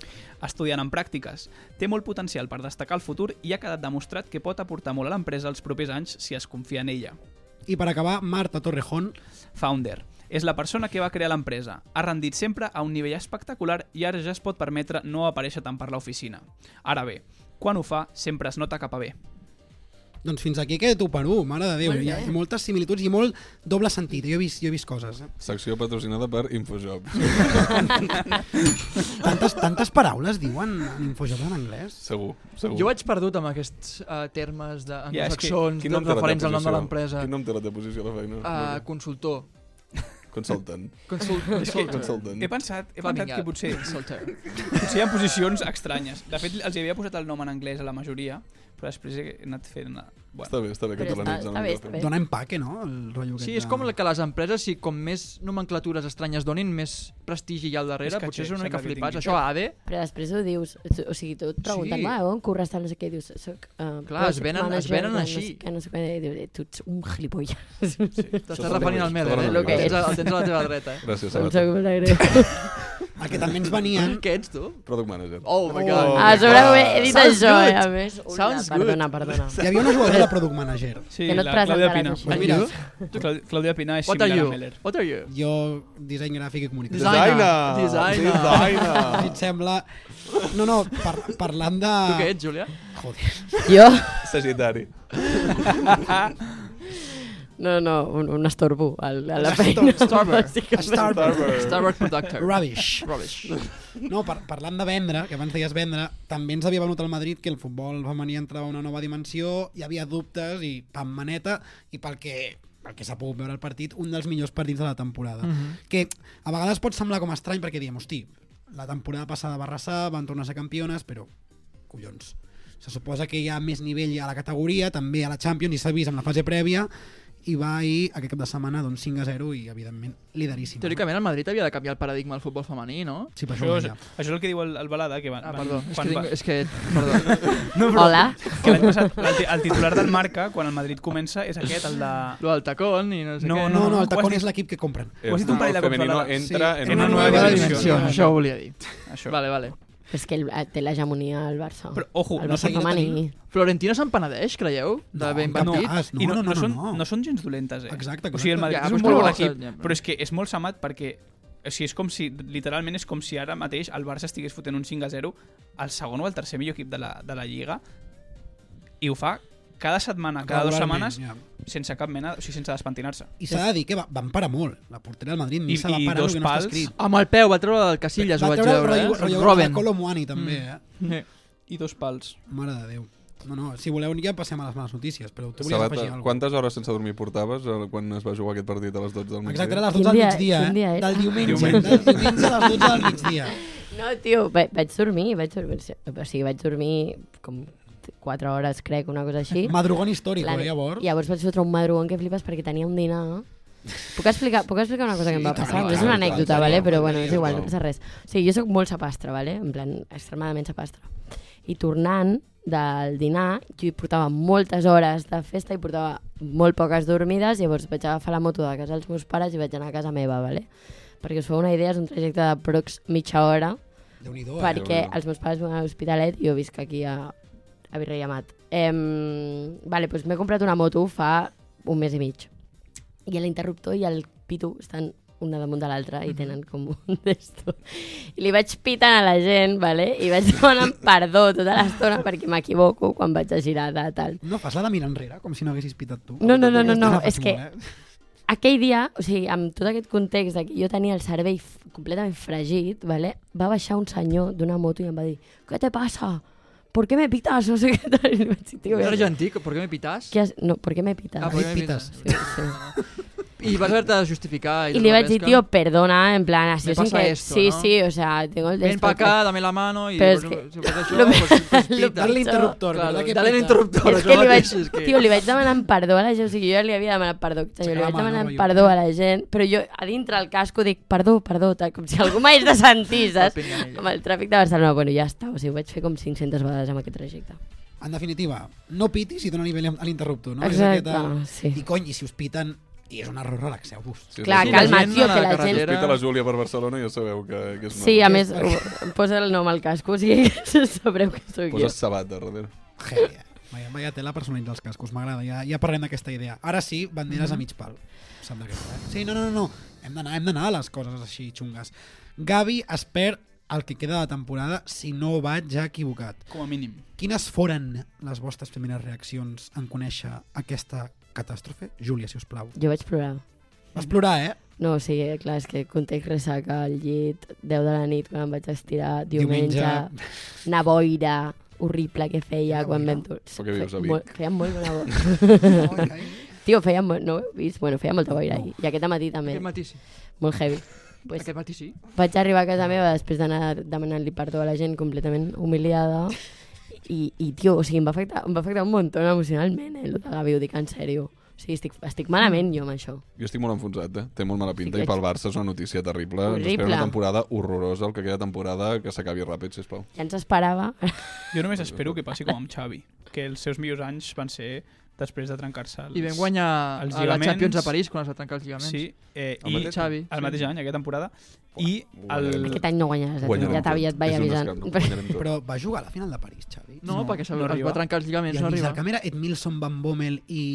[SPEAKER 9] Estudiant en pràctiques, té molt potencial per destacar el futur i ha quedat demostrat que pot aportar molt a l'empresa els propers anys si es confia en ella.
[SPEAKER 1] i per acabar, Marta Torrejón,
[SPEAKER 9] Founder. És la persona que va crear l'empresa. Ha rendit sempre a un nivell espectacular i ara ja es pot permetre no aparèixer tant per l'oficina. Ara bé, quan ho fa, sempre es nota cap a bé.
[SPEAKER 1] Doncs fins aquí aquest 1 per 1, mare de Déu.
[SPEAKER 4] Molt
[SPEAKER 1] Hi ha
[SPEAKER 4] bé.
[SPEAKER 1] hi ha moltes similituds i molt doble sentit. Jo he vist, jo he vist coses. Eh?
[SPEAKER 3] Secció patrocinada per Infojob.
[SPEAKER 1] Tantes, tantes paraules diuen en Infojob en anglès.
[SPEAKER 3] Segur, segur.
[SPEAKER 2] Jo vaig perdut amb aquests uh, termes
[SPEAKER 9] Ja, és que-
[SPEAKER 2] d'anglosaxons,
[SPEAKER 3] Quin
[SPEAKER 2] yeah,
[SPEAKER 3] nom té
[SPEAKER 2] de
[SPEAKER 3] la
[SPEAKER 2] referents
[SPEAKER 3] teva
[SPEAKER 2] al nom de
[SPEAKER 3] posició?
[SPEAKER 2] l'empresa.
[SPEAKER 3] Quin nom té la teva posició a la feina?
[SPEAKER 2] Uh,
[SPEAKER 3] Mira,
[SPEAKER 2] consultor.
[SPEAKER 3] Consultant.
[SPEAKER 2] Consult, consultor.
[SPEAKER 3] Consultant.
[SPEAKER 9] He pensat, he
[SPEAKER 2] Flamingo.
[SPEAKER 9] pensat que potser,
[SPEAKER 2] Consultor.
[SPEAKER 9] potser hi ha posicions estranyes. De fet, els hi havia posat el nom en anglès a la majoria, però després he anat fent... Bueno.
[SPEAKER 3] Està bé, està bé que
[SPEAKER 4] Però
[SPEAKER 3] tu l'analitzes.
[SPEAKER 4] està-
[SPEAKER 3] una
[SPEAKER 4] està bé,
[SPEAKER 3] mica.
[SPEAKER 4] està bé.
[SPEAKER 1] Dóna empaque, no? El rotllo
[SPEAKER 2] Sí,
[SPEAKER 1] aquest
[SPEAKER 2] és
[SPEAKER 1] de-
[SPEAKER 2] com la- que les empreses, si com més nomenclatures estranyes donin, més prestigi hi ha al
[SPEAKER 9] És
[SPEAKER 2] darrere,
[SPEAKER 9] que
[SPEAKER 2] potser és
[SPEAKER 9] sí,
[SPEAKER 2] una mica
[SPEAKER 9] sembla que
[SPEAKER 2] flipats.
[SPEAKER 9] tingui.
[SPEAKER 2] Això a ADE,
[SPEAKER 4] Però després ho dius, o sigui, tu et pregunten,
[SPEAKER 2] Sí.
[SPEAKER 4] sí. on curres tal, no sé què, i dius, soc uh,
[SPEAKER 2] Clar, es venen- es venen
[SPEAKER 4] No
[SPEAKER 2] així.
[SPEAKER 4] sé, què, no sé què, i dius, tu ets un gilipolles.
[SPEAKER 3] Això
[SPEAKER 2] t'estàs
[SPEAKER 3] és
[SPEAKER 2] referint al
[SPEAKER 3] el
[SPEAKER 2] merda, eh?
[SPEAKER 3] que
[SPEAKER 2] El
[SPEAKER 4] és.
[SPEAKER 2] tens, a- el tens a la teva dreta. Eh?
[SPEAKER 3] Gràcies,
[SPEAKER 4] Em
[SPEAKER 3] Sabat.
[SPEAKER 4] sap molt greu.
[SPEAKER 1] El que també ens venien...
[SPEAKER 2] Què ets, tu?
[SPEAKER 3] Product Manager.
[SPEAKER 2] Oh, my
[SPEAKER 3] Oh.
[SPEAKER 2] God.
[SPEAKER 4] Ah, a sobre ho he, he dit
[SPEAKER 2] Sounds
[SPEAKER 4] això,
[SPEAKER 2] good.
[SPEAKER 4] eh, a més. Ui,
[SPEAKER 2] Sounds good.
[SPEAKER 4] perdona, perdona.
[SPEAKER 1] Hi havia una jugadora de Product Manager.
[SPEAKER 9] Sí,
[SPEAKER 4] Que no et
[SPEAKER 9] la Clàudia
[SPEAKER 4] presentaràs
[SPEAKER 9] Pina.
[SPEAKER 4] així.
[SPEAKER 1] Doncs mira,
[SPEAKER 9] Clau- Clàudia Pina és
[SPEAKER 2] What are
[SPEAKER 9] similar a
[SPEAKER 2] you?
[SPEAKER 9] Meller.
[SPEAKER 2] What are you?
[SPEAKER 1] jo disseny gràfic i comunicació.
[SPEAKER 2] Designer. Designer.
[SPEAKER 1] Si et sembla... No, no, par parlant de...
[SPEAKER 2] Tu què ets, Julià?
[SPEAKER 1] Joder.
[SPEAKER 4] Jo?
[SPEAKER 3] Sagitari.
[SPEAKER 4] No, no, un, un estorbo a, a la feina.
[SPEAKER 2] Stormer.
[SPEAKER 4] bàsicament.
[SPEAKER 1] Starburst.
[SPEAKER 2] Starbuck Productor.
[SPEAKER 1] Rubbish.
[SPEAKER 2] Rubbish.
[SPEAKER 1] No, par parlant de vendre, que abans deies vendre, també ens havia venut al Madrid que el futbol femení entrava a una nova dimensió, hi havia dubtes i pam maneta, i pel que pel que s'ha pogut veure el partit, un dels millors partits de la temporada. Mm -hmm. Que a vegades pot semblar com estrany perquè diem, hosti, la temporada passada va arrasar, van tornar a ser campiones, però collons. Se suposa que hi ha més nivell a la categoria, també a la Champions, i s'ha vist en la fase prèvia, i va ahir, aquest cap de setmana, doncs 5 a 0 i, evidentment, lideríssim.
[SPEAKER 2] Teòricament, el Madrid havia de canviar el paradigma del futbol femení, no?
[SPEAKER 1] Sí, per això,
[SPEAKER 9] Això,
[SPEAKER 1] ho
[SPEAKER 9] és,
[SPEAKER 1] deia.
[SPEAKER 9] això és el que diu el, el Balada, que van,
[SPEAKER 2] Ah, perdó.
[SPEAKER 9] van,
[SPEAKER 2] És que,
[SPEAKER 9] quan,
[SPEAKER 2] tinc,
[SPEAKER 9] va,
[SPEAKER 2] és que perdó.
[SPEAKER 4] Hola.
[SPEAKER 9] Que l'any passat, el, ti- el titular del Marca, quan el Madrid comença, és aquest, el de...
[SPEAKER 2] Lo del tacón i no sé
[SPEAKER 9] No,
[SPEAKER 2] què.
[SPEAKER 1] No, no,
[SPEAKER 9] ho
[SPEAKER 1] el
[SPEAKER 9] has
[SPEAKER 1] tacón
[SPEAKER 9] dit.
[SPEAKER 1] és l'equip que compren.
[SPEAKER 9] Ho has dit un parell de cops,
[SPEAKER 3] Femenino
[SPEAKER 9] Balada.
[SPEAKER 3] entra
[SPEAKER 1] Sí.
[SPEAKER 3] en
[SPEAKER 9] En
[SPEAKER 3] una
[SPEAKER 9] una
[SPEAKER 3] nueva
[SPEAKER 9] nueva
[SPEAKER 3] dimensión.
[SPEAKER 9] dimensión.
[SPEAKER 2] Això ho volia dir.
[SPEAKER 9] Això.
[SPEAKER 2] Vale, vale.
[SPEAKER 4] És que el, eh, té l'hegemonia al Barça.
[SPEAKER 9] Però, ojo,
[SPEAKER 4] el
[SPEAKER 9] no
[SPEAKER 4] Barça
[SPEAKER 9] seguirà
[SPEAKER 4] femení.
[SPEAKER 2] Florentina se'n penedeix, creieu? De ben
[SPEAKER 1] cap
[SPEAKER 2] partit?
[SPEAKER 1] cas,
[SPEAKER 9] I Ah, no, no, no, no, són, no. són gens dolentes, eh?
[SPEAKER 1] Exacte,
[SPEAKER 9] O sigui, el Madrid
[SPEAKER 2] correcte.
[SPEAKER 9] és
[SPEAKER 2] Ja,
[SPEAKER 9] un
[SPEAKER 2] però
[SPEAKER 9] molt
[SPEAKER 2] és
[SPEAKER 9] bon
[SPEAKER 2] que-
[SPEAKER 9] equip,
[SPEAKER 2] ja, però-
[SPEAKER 9] però és que és molt samat perquè... O sigui, és com si, literalment, és com si ara mateix el Barça estigués fotent un 5 a 0 al segon o al tercer millor equip de la, de la Lliga i ho fa cada setmana, cada dues
[SPEAKER 1] Regularment,
[SPEAKER 9] setmanes,
[SPEAKER 1] ja.
[SPEAKER 9] sense cap mena, o sigui, sense despentinar-se.
[SPEAKER 1] I s'ha de dir que va, van parar molt. La portera del Madrid ni
[SPEAKER 9] I-
[SPEAKER 1] se va
[SPEAKER 9] i
[SPEAKER 1] parar el
[SPEAKER 9] dos
[SPEAKER 1] que no està
[SPEAKER 9] pals.
[SPEAKER 1] escrit.
[SPEAKER 2] Amb el peu, va treure del Casillas, ho
[SPEAKER 1] va
[SPEAKER 2] vaig
[SPEAKER 1] treure
[SPEAKER 2] veure,
[SPEAKER 1] el
[SPEAKER 2] eh?
[SPEAKER 1] rotllo, rotllo de
[SPEAKER 2] Robben.
[SPEAKER 1] Colomwani, també, eh?
[SPEAKER 2] Sí.
[SPEAKER 9] I dos pals.
[SPEAKER 1] Mare de Déu. No, no, si voleu ja passem a les males notícies, però tu volies afegir
[SPEAKER 3] Sabata,
[SPEAKER 1] alguna
[SPEAKER 3] quantes hores sense dormir portaves eh, quan es va jugar aquest partit a les 12 del
[SPEAKER 1] cosa.
[SPEAKER 3] migdia?
[SPEAKER 1] Exacte, era a les
[SPEAKER 4] Quin
[SPEAKER 1] 12 del
[SPEAKER 4] dia-
[SPEAKER 1] migdia,
[SPEAKER 4] quin dia
[SPEAKER 1] eh?
[SPEAKER 4] és? Ah.
[SPEAKER 1] Del diumenge.
[SPEAKER 3] Diumenge.
[SPEAKER 1] Del diumenge a les 12 del migdia.
[SPEAKER 4] No, tio, va, vaig dormir, vaig dormir, o sigui, vaig dormir com 4 hores, crec, una cosa així.
[SPEAKER 1] Madrugón històric,
[SPEAKER 4] La
[SPEAKER 1] eh,
[SPEAKER 4] nit-
[SPEAKER 1] llavors.
[SPEAKER 4] Llavors vaig fotre un madrugón que flipes perquè tenia un dinar. Puc explicar, puc explicar una cosa que em va
[SPEAKER 1] Sí, tant,
[SPEAKER 4] passar? No és
[SPEAKER 1] tant,
[SPEAKER 4] una
[SPEAKER 1] tant,
[SPEAKER 4] anècdota,
[SPEAKER 1] tant,
[SPEAKER 4] vale?
[SPEAKER 1] tant,
[SPEAKER 4] però
[SPEAKER 1] tant,
[SPEAKER 4] bueno, és
[SPEAKER 1] tant,
[SPEAKER 4] igual,
[SPEAKER 3] tant.
[SPEAKER 4] no passa res. O sigui, jo sóc molt sapastre, vale? en plan, extremadament sapastre. I tornant del dinar, jo hi portava moltes hores de festa i portava molt poques dormides, llavors vaig agafar la moto de casa dels meus pares i vaig anar a casa meva, vale? perquè us feu una idea, és un trajecte de prox mitja hora,
[SPEAKER 1] Déu-n'hi-do, eh?
[SPEAKER 4] perquè
[SPEAKER 3] Déu-n'hi-do.
[SPEAKER 4] els meus pares viuen a l'Hospitalet i jo visc aquí a, a Virrei Amat. Em, vale, doncs m'he comprat una moto fa un mes i mig. I l'interruptor i el pitu estan una damunt de l'altra i tenen com un d'esto. I li vaig pitant a la gent, vale? i vaig demanant perdó tota l'estona perquè m'equivoco quan vaig a girar de tal.
[SPEAKER 1] No, fas la de mirar enrere, com si no haguessis pitat tu.
[SPEAKER 4] No, no, no, no, no,
[SPEAKER 1] Aquesta la fas
[SPEAKER 4] és que-
[SPEAKER 1] molt, eh?
[SPEAKER 4] Aquell dia, o sigui, amb tot aquest context de que jo tenia el cervell f- completament fregit, vale? va baixar un senyor d'una moto i em va dir «Què te passa? ¿Por qué me pitas?» No sé què tal. I li vaig dir, tio,
[SPEAKER 2] No eres gentí, ¿por qué me pitas?
[SPEAKER 4] ¿qué has... No, ¿por qué me pitas?
[SPEAKER 2] Ah, ¿por qué me
[SPEAKER 1] pitas.
[SPEAKER 4] Sí, sí.
[SPEAKER 2] I vas haver-te de justificar. tota
[SPEAKER 4] I li vaig dir, tio, perdona, en plan, así
[SPEAKER 2] Me
[SPEAKER 4] es sin
[SPEAKER 2] pasa
[SPEAKER 4] que...
[SPEAKER 2] esto,
[SPEAKER 4] sí,
[SPEAKER 2] ¿no?
[SPEAKER 4] sí, o sea, tengo el de
[SPEAKER 2] Ven
[SPEAKER 4] esto
[SPEAKER 2] pa acá, dame la mano i...
[SPEAKER 4] Però és
[SPEAKER 2] pues,
[SPEAKER 4] que-
[SPEAKER 2] Si fas això,
[SPEAKER 4] lo-
[SPEAKER 2] pues, pues,
[SPEAKER 4] lo-
[SPEAKER 2] pita.
[SPEAKER 1] Dale l'interruptor,
[SPEAKER 2] Claro,
[SPEAKER 1] ¿verdad que
[SPEAKER 2] dale
[SPEAKER 1] pita?
[SPEAKER 2] l'interruptor.
[SPEAKER 4] És
[SPEAKER 2] això
[SPEAKER 4] que li vaig,
[SPEAKER 2] mateix, és que-
[SPEAKER 4] tio, li vaig demanant perdó a la gent, o sigui, jo ja li havia demanat perdó, o sigui,
[SPEAKER 1] Aixecar
[SPEAKER 4] li
[SPEAKER 1] la
[SPEAKER 4] vaig
[SPEAKER 1] mà, no,
[SPEAKER 4] demanant
[SPEAKER 1] rotllo.
[SPEAKER 4] perdó a la gent, però jo a dintre el casco dic perdó, perdó, tal, com si algú m'hagués de sentir, saps?
[SPEAKER 2] El pinganillo.
[SPEAKER 4] Amb el tràfic de Barcelona, bueno, ja està, o sigui, ho vaig fer com 500 vegades amb aquest trajecte.
[SPEAKER 1] En definitiva, no pitis i dona nivell a l'interruptor, no? És
[SPEAKER 4] Exacte,
[SPEAKER 1] aquest el-
[SPEAKER 4] sí.
[SPEAKER 1] I cony, i si us piten, I és un error, relaxeu-vos.
[SPEAKER 3] Sí,
[SPEAKER 4] Clar,
[SPEAKER 3] sí,
[SPEAKER 2] la
[SPEAKER 4] calma,
[SPEAKER 2] gent
[SPEAKER 4] tio,
[SPEAKER 2] a
[SPEAKER 4] que
[SPEAKER 2] la
[SPEAKER 4] la
[SPEAKER 3] He
[SPEAKER 4] gent...
[SPEAKER 2] carretera.
[SPEAKER 3] escrit a la Júlia per Barcelona i ja sabeu que, que és una...
[SPEAKER 4] Sí, a més, ho- posa el nom al casco, o sigui que sabreu que sóc jo.
[SPEAKER 3] Poses sabat de darrere.
[SPEAKER 1] Heavy, eh? Vaya, vaya tela personalitzar els cascos, m'agrada, ja, ja parlem d'aquesta idea. Ara sí, banderes
[SPEAKER 4] Mhm.
[SPEAKER 1] a mig pal. Em Sembla que és, eh? Sí, no, no, no, no. Hem d'anar hem d'anar a les coses així xungues. Gavi es perd el que queda de temporada si no vaig ja equivocat.
[SPEAKER 9] Com a mínim.
[SPEAKER 1] Quines foren les vostres primeres reaccions en conèixer aquesta catàstrofe? Júlia, si us plau.
[SPEAKER 4] Jo vaig plorar.
[SPEAKER 1] Vas plorar, eh?
[SPEAKER 4] No, o sigui, clar, és que context ressaca al llit, 10 de la nit, quan em vaig estirar,
[SPEAKER 1] Diumenge.
[SPEAKER 4] diumenge, una boira horrible que
[SPEAKER 1] Quina
[SPEAKER 4] feia quan
[SPEAKER 1] boira?
[SPEAKER 4] vam... dur-
[SPEAKER 3] Però què vius a Vic?
[SPEAKER 4] Molt, feia molt bona boira. Tio, feia, mo- no ho heu vist? Bueno, feia molta boira ahir. I aquest matí també,
[SPEAKER 2] Aquest matí sí.
[SPEAKER 4] molt heavy. Pues,
[SPEAKER 2] Aquest matí sí.
[SPEAKER 4] vaig arribar a casa meva després d'anar demanant-li perdó a la gent completament humiliada i, i tio, o sigui, em va afectar, em va afectar un muntó emocionalment, eh, el de Gavi, ho dic en sèrio. O sigui, estic, estic malament jo amb això.
[SPEAKER 3] Jo estic molt enfonsat, eh? Té molt mala pinta
[SPEAKER 4] Sí,
[SPEAKER 3] i pel Barça és una notícia terrible. Ens
[SPEAKER 4] Horrible.
[SPEAKER 3] espera una temporada horrorosa, el que queda de temporada, que s'acabi ràpid, sisplau.
[SPEAKER 4] Ja ens esperava.
[SPEAKER 9] Jo només espero que passi com amb Xavi, que els seus millors anys van ser després de trencar-se els...
[SPEAKER 2] I vam guanyar
[SPEAKER 9] els
[SPEAKER 2] a la
[SPEAKER 9] lligaments-
[SPEAKER 2] Champions a París quan es va trencar els lligaments.
[SPEAKER 9] Sí, eh,
[SPEAKER 3] El
[SPEAKER 9] i
[SPEAKER 3] mateix
[SPEAKER 2] Xavi.
[SPEAKER 9] el mateix any, aquesta temporada. I el...
[SPEAKER 3] guanyarem.
[SPEAKER 4] Aquest any no guanyaràs, eh, tio,
[SPEAKER 3] Guanyarem
[SPEAKER 4] ja t'havia, et
[SPEAKER 3] tot.
[SPEAKER 4] vaig
[SPEAKER 3] És un
[SPEAKER 4] avisant.
[SPEAKER 3] escàndol,
[SPEAKER 4] Però,
[SPEAKER 3] guanyarem tot.
[SPEAKER 1] Però va jugar a la final de París, Xavi?
[SPEAKER 2] No,
[SPEAKER 9] No,
[SPEAKER 2] perquè se-
[SPEAKER 9] no
[SPEAKER 2] es
[SPEAKER 9] arriba.
[SPEAKER 2] va trencar els
[SPEAKER 1] I
[SPEAKER 2] lligaments,
[SPEAKER 1] el
[SPEAKER 2] no
[SPEAKER 1] mig
[SPEAKER 2] arriba.
[SPEAKER 1] del camp era Edmilson, Van Bommel i...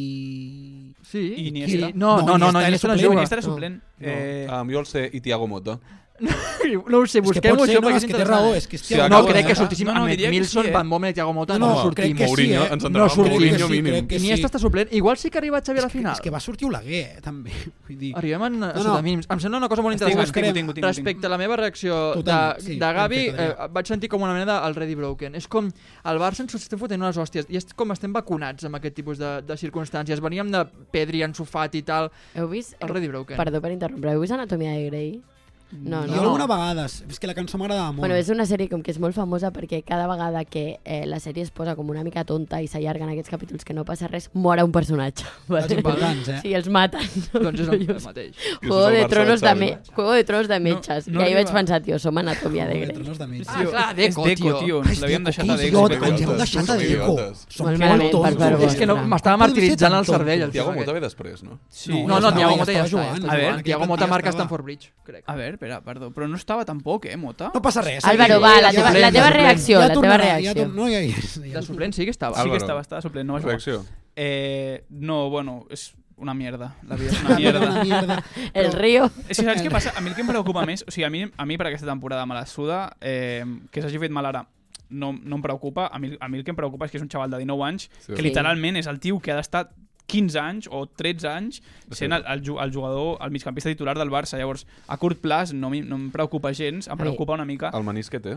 [SPEAKER 2] Sí.
[SPEAKER 9] I Iniesta.
[SPEAKER 2] I- No, no, no, no,
[SPEAKER 1] Iniesta era
[SPEAKER 2] Iniesta no
[SPEAKER 1] suplent.
[SPEAKER 2] juga.
[SPEAKER 9] Iniesta era suplent.
[SPEAKER 1] No.
[SPEAKER 9] Eh,
[SPEAKER 3] Ah, amb jo el sé i Tiago Mota.
[SPEAKER 2] No ho sé,
[SPEAKER 1] És que pot
[SPEAKER 2] busquem-ho,
[SPEAKER 1] ser,
[SPEAKER 2] això
[SPEAKER 1] no,
[SPEAKER 2] perquè
[SPEAKER 1] és
[SPEAKER 2] és
[SPEAKER 1] que té raó, és
[SPEAKER 2] interessant.
[SPEAKER 1] que
[SPEAKER 3] Sí,
[SPEAKER 1] hòstia,
[SPEAKER 3] acabo
[SPEAKER 2] No,
[SPEAKER 3] de
[SPEAKER 2] crec que
[SPEAKER 9] veure.
[SPEAKER 2] sortíssim
[SPEAKER 9] No, no,
[SPEAKER 2] amb
[SPEAKER 9] diria que
[SPEAKER 2] Edmilson,
[SPEAKER 9] sí, eh?
[SPEAKER 2] Van Bommel i Thiago Mota.
[SPEAKER 1] No,
[SPEAKER 2] No,
[SPEAKER 1] no, crec que sí,
[SPEAKER 3] Mourinho,
[SPEAKER 1] eh?
[SPEAKER 3] ens
[SPEAKER 1] No,
[SPEAKER 3] entrarà
[SPEAKER 1] crec que
[SPEAKER 3] Mourinho
[SPEAKER 1] sí,
[SPEAKER 3] mínim.
[SPEAKER 1] crec que sí.
[SPEAKER 2] Iniesta està suplent. Igual sí que ha arribat Xavi a la final.
[SPEAKER 1] És que va sortir Oleguer, eh, també. Vull dir,
[SPEAKER 2] Arribem en, no,
[SPEAKER 1] no.
[SPEAKER 2] no. mínims. Em sembla una cosa molt
[SPEAKER 9] tinc,
[SPEAKER 2] interessant.
[SPEAKER 1] buscant.
[SPEAKER 9] tinc, tinc, tinc,
[SPEAKER 2] Respecte a la meva reacció
[SPEAKER 1] Totalment,
[SPEAKER 2] de,
[SPEAKER 1] sí,
[SPEAKER 2] de Gavi,
[SPEAKER 1] perfecte,
[SPEAKER 2] eh,
[SPEAKER 1] Adrià.
[SPEAKER 2] vaig sentir com una mena del Ready Broken. És com el Barça ens estem fotent unes hòsties i est, com estem vacunats amb aquest tipus de, de circumstàncies. Veníem de Pedri, Ansu Fati i tal,
[SPEAKER 4] heu vist...
[SPEAKER 2] el Ready
[SPEAKER 3] eh?
[SPEAKER 2] Broken.
[SPEAKER 4] Perdó per interrompre, heu vist Anatomia de Grey? No,
[SPEAKER 1] jo
[SPEAKER 4] no.
[SPEAKER 1] alguna vegada, és que la cançó m'agradava molt.
[SPEAKER 4] Bueno, és una sèrie com que és molt famosa perquè cada vegada que eh, la sèrie es posa com una mica tonta i s'allarguen aquests capítols que no passa res, mora un personatge.
[SPEAKER 1] Els importants, eh?
[SPEAKER 4] Sí, els maten.
[SPEAKER 2] Doncs és el, el mateix.
[SPEAKER 3] I
[SPEAKER 4] Juego
[SPEAKER 3] això és el
[SPEAKER 4] de
[SPEAKER 3] Barça
[SPEAKER 4] Tronos de,
[SPEAKER 3] Xavi.
[SPEAKER 4] me... Juego de Tronos de metges.
[SPEAKER 9] no
[SPEAKER 4] No, no I ahir
[SPEAKER 9] arriba.
[SPEAKER 4] vaig pensar, tio, som anatomia de
[SPEAKER 1] Joder,
[SPEAKER 4] Grey.
[SPEAKER 1] Tros de mig.
[SPEAKER 2] Ah, clar,
[SPEAKER 9] és
[SPEAKER 2] Deco,
[SPEAKER 9] Deco,
[SPEAKER 2] tio.
[SPEAKER 9] tio. Ens l'havíem deixat a
[SPEAKER 1] Que
[SPEAKER 9] Deco.
[SPEAKER 1] idiota,
[SPEAKER 3] Deco.
[SPEAKER 1] ens heu deixat a
[SPEAKER 3] Som
[SPEAKER 1] Deco.
[SPEAKER 3] idiotes.
[SPEAKER 1] Som molt
[SPEAKER 4] Molt malament per
[SPEAKER 1] tontos.
[SPEAKER 4] Barbosa.
[SPEAKER 2] És que no, m'estava
[SPEAKER 1] Com podem ser
[SPEAKER 2] martiritzant
[SPEAKER 1] tan
[SPEAKER 2] el cervell. El
[SPEAKER 1] tontos?
[SPEAKER 3] Tiago
[SPEAKER 2] tio,
[SPEAKER 3] Mota
[SPEAKER 2] aquest.
[SPEAKER 3] ve després, no?
[SPEAKER 9] Sí.
[SPEAKER 1] No,
[SPEAKER 2] No, no,
[SPEAKER 1] estava,
[SPEAKER 2] Tiago
[SPEAKER 1] ja
[SPEAKER 2] Mota ja
[SPEAKER 1] estava
[SPEAKER 2] està. eh.
[SPEAKER 1] jugant.
[SPEAKER 2] està
[SPEAKER 9] A veure,
[SPEAKER 2] jugant. Tiago
[SPEAKER 1] aquest
[SPEAKER 2] Mota
[SPEAKER 1] ja
[SPEAKER 2] marca
[SPEAKER 1] estava.
[SPEAKER 2] Stanford Bridge, crec.
[SPEAKER 9] A veure, espera, perdó, però no estava tampoc, eh, Mota?
[SPEAKER 1] No passa res.
[SPEAKER 4] Álvaro,
[SPEAKER 1] seguim.
[SPEAKER 4] va, la
[SPEAKER 1] Ja
[SPEAKER 4] teva,
[SPEAKER 1] tornarà,
[SPEAKER 4] la teva
[SPEAKER 2] suplent.
[SPEAKER 4] reacció,
[SPEAKER 1] ja
[SPEAKER 4] la teva
[SPEAKER 1] tornarà, ja
[SPEAKER 4] reacció.
[SPEAKER 1] tor- No, ja, ja, ja
[SPEAKER 2] De suplent sí que estava.
[SPEAKER 9] Sí
[SPEAKER 3] Álvaro.
[SPEAKER 9] que estava, estava suplent, no va jugar.
[SPEAKER 3] Reacció.
[SPEAKER 9] Eh, no, bueno, és una mierda. La vida és
[SPEAKER 1] Una
[SPEAKER 9] una mierda.
[SPEAKER 1] mierda.
[SPEAKER 4] El Rio,
[SPEAKER 9] És que saps què passa? A mi el que em preocupa més... O sigui, a mi, a mi per aquesta temporada me la suda, eh, que s'hagi fet mal ara no, no em preocupa. A mi, a mi el que em preocupa és que és un xaval de 19 anys
[SPEAKER 3] Sí.
[SPEAKER 9] que literalment és el tio que ha d'estar 15 anys o 13 anys sent el, el, ju- el jugador, el migcampista titular del Barça. Llavors, a curt plaç no, mi- no em preocupa gens, em
[SPEAKER 4] Ai.
[SPEAKER 9] preocupa una mica.
[SPEAKER 3] El eh? menís que té.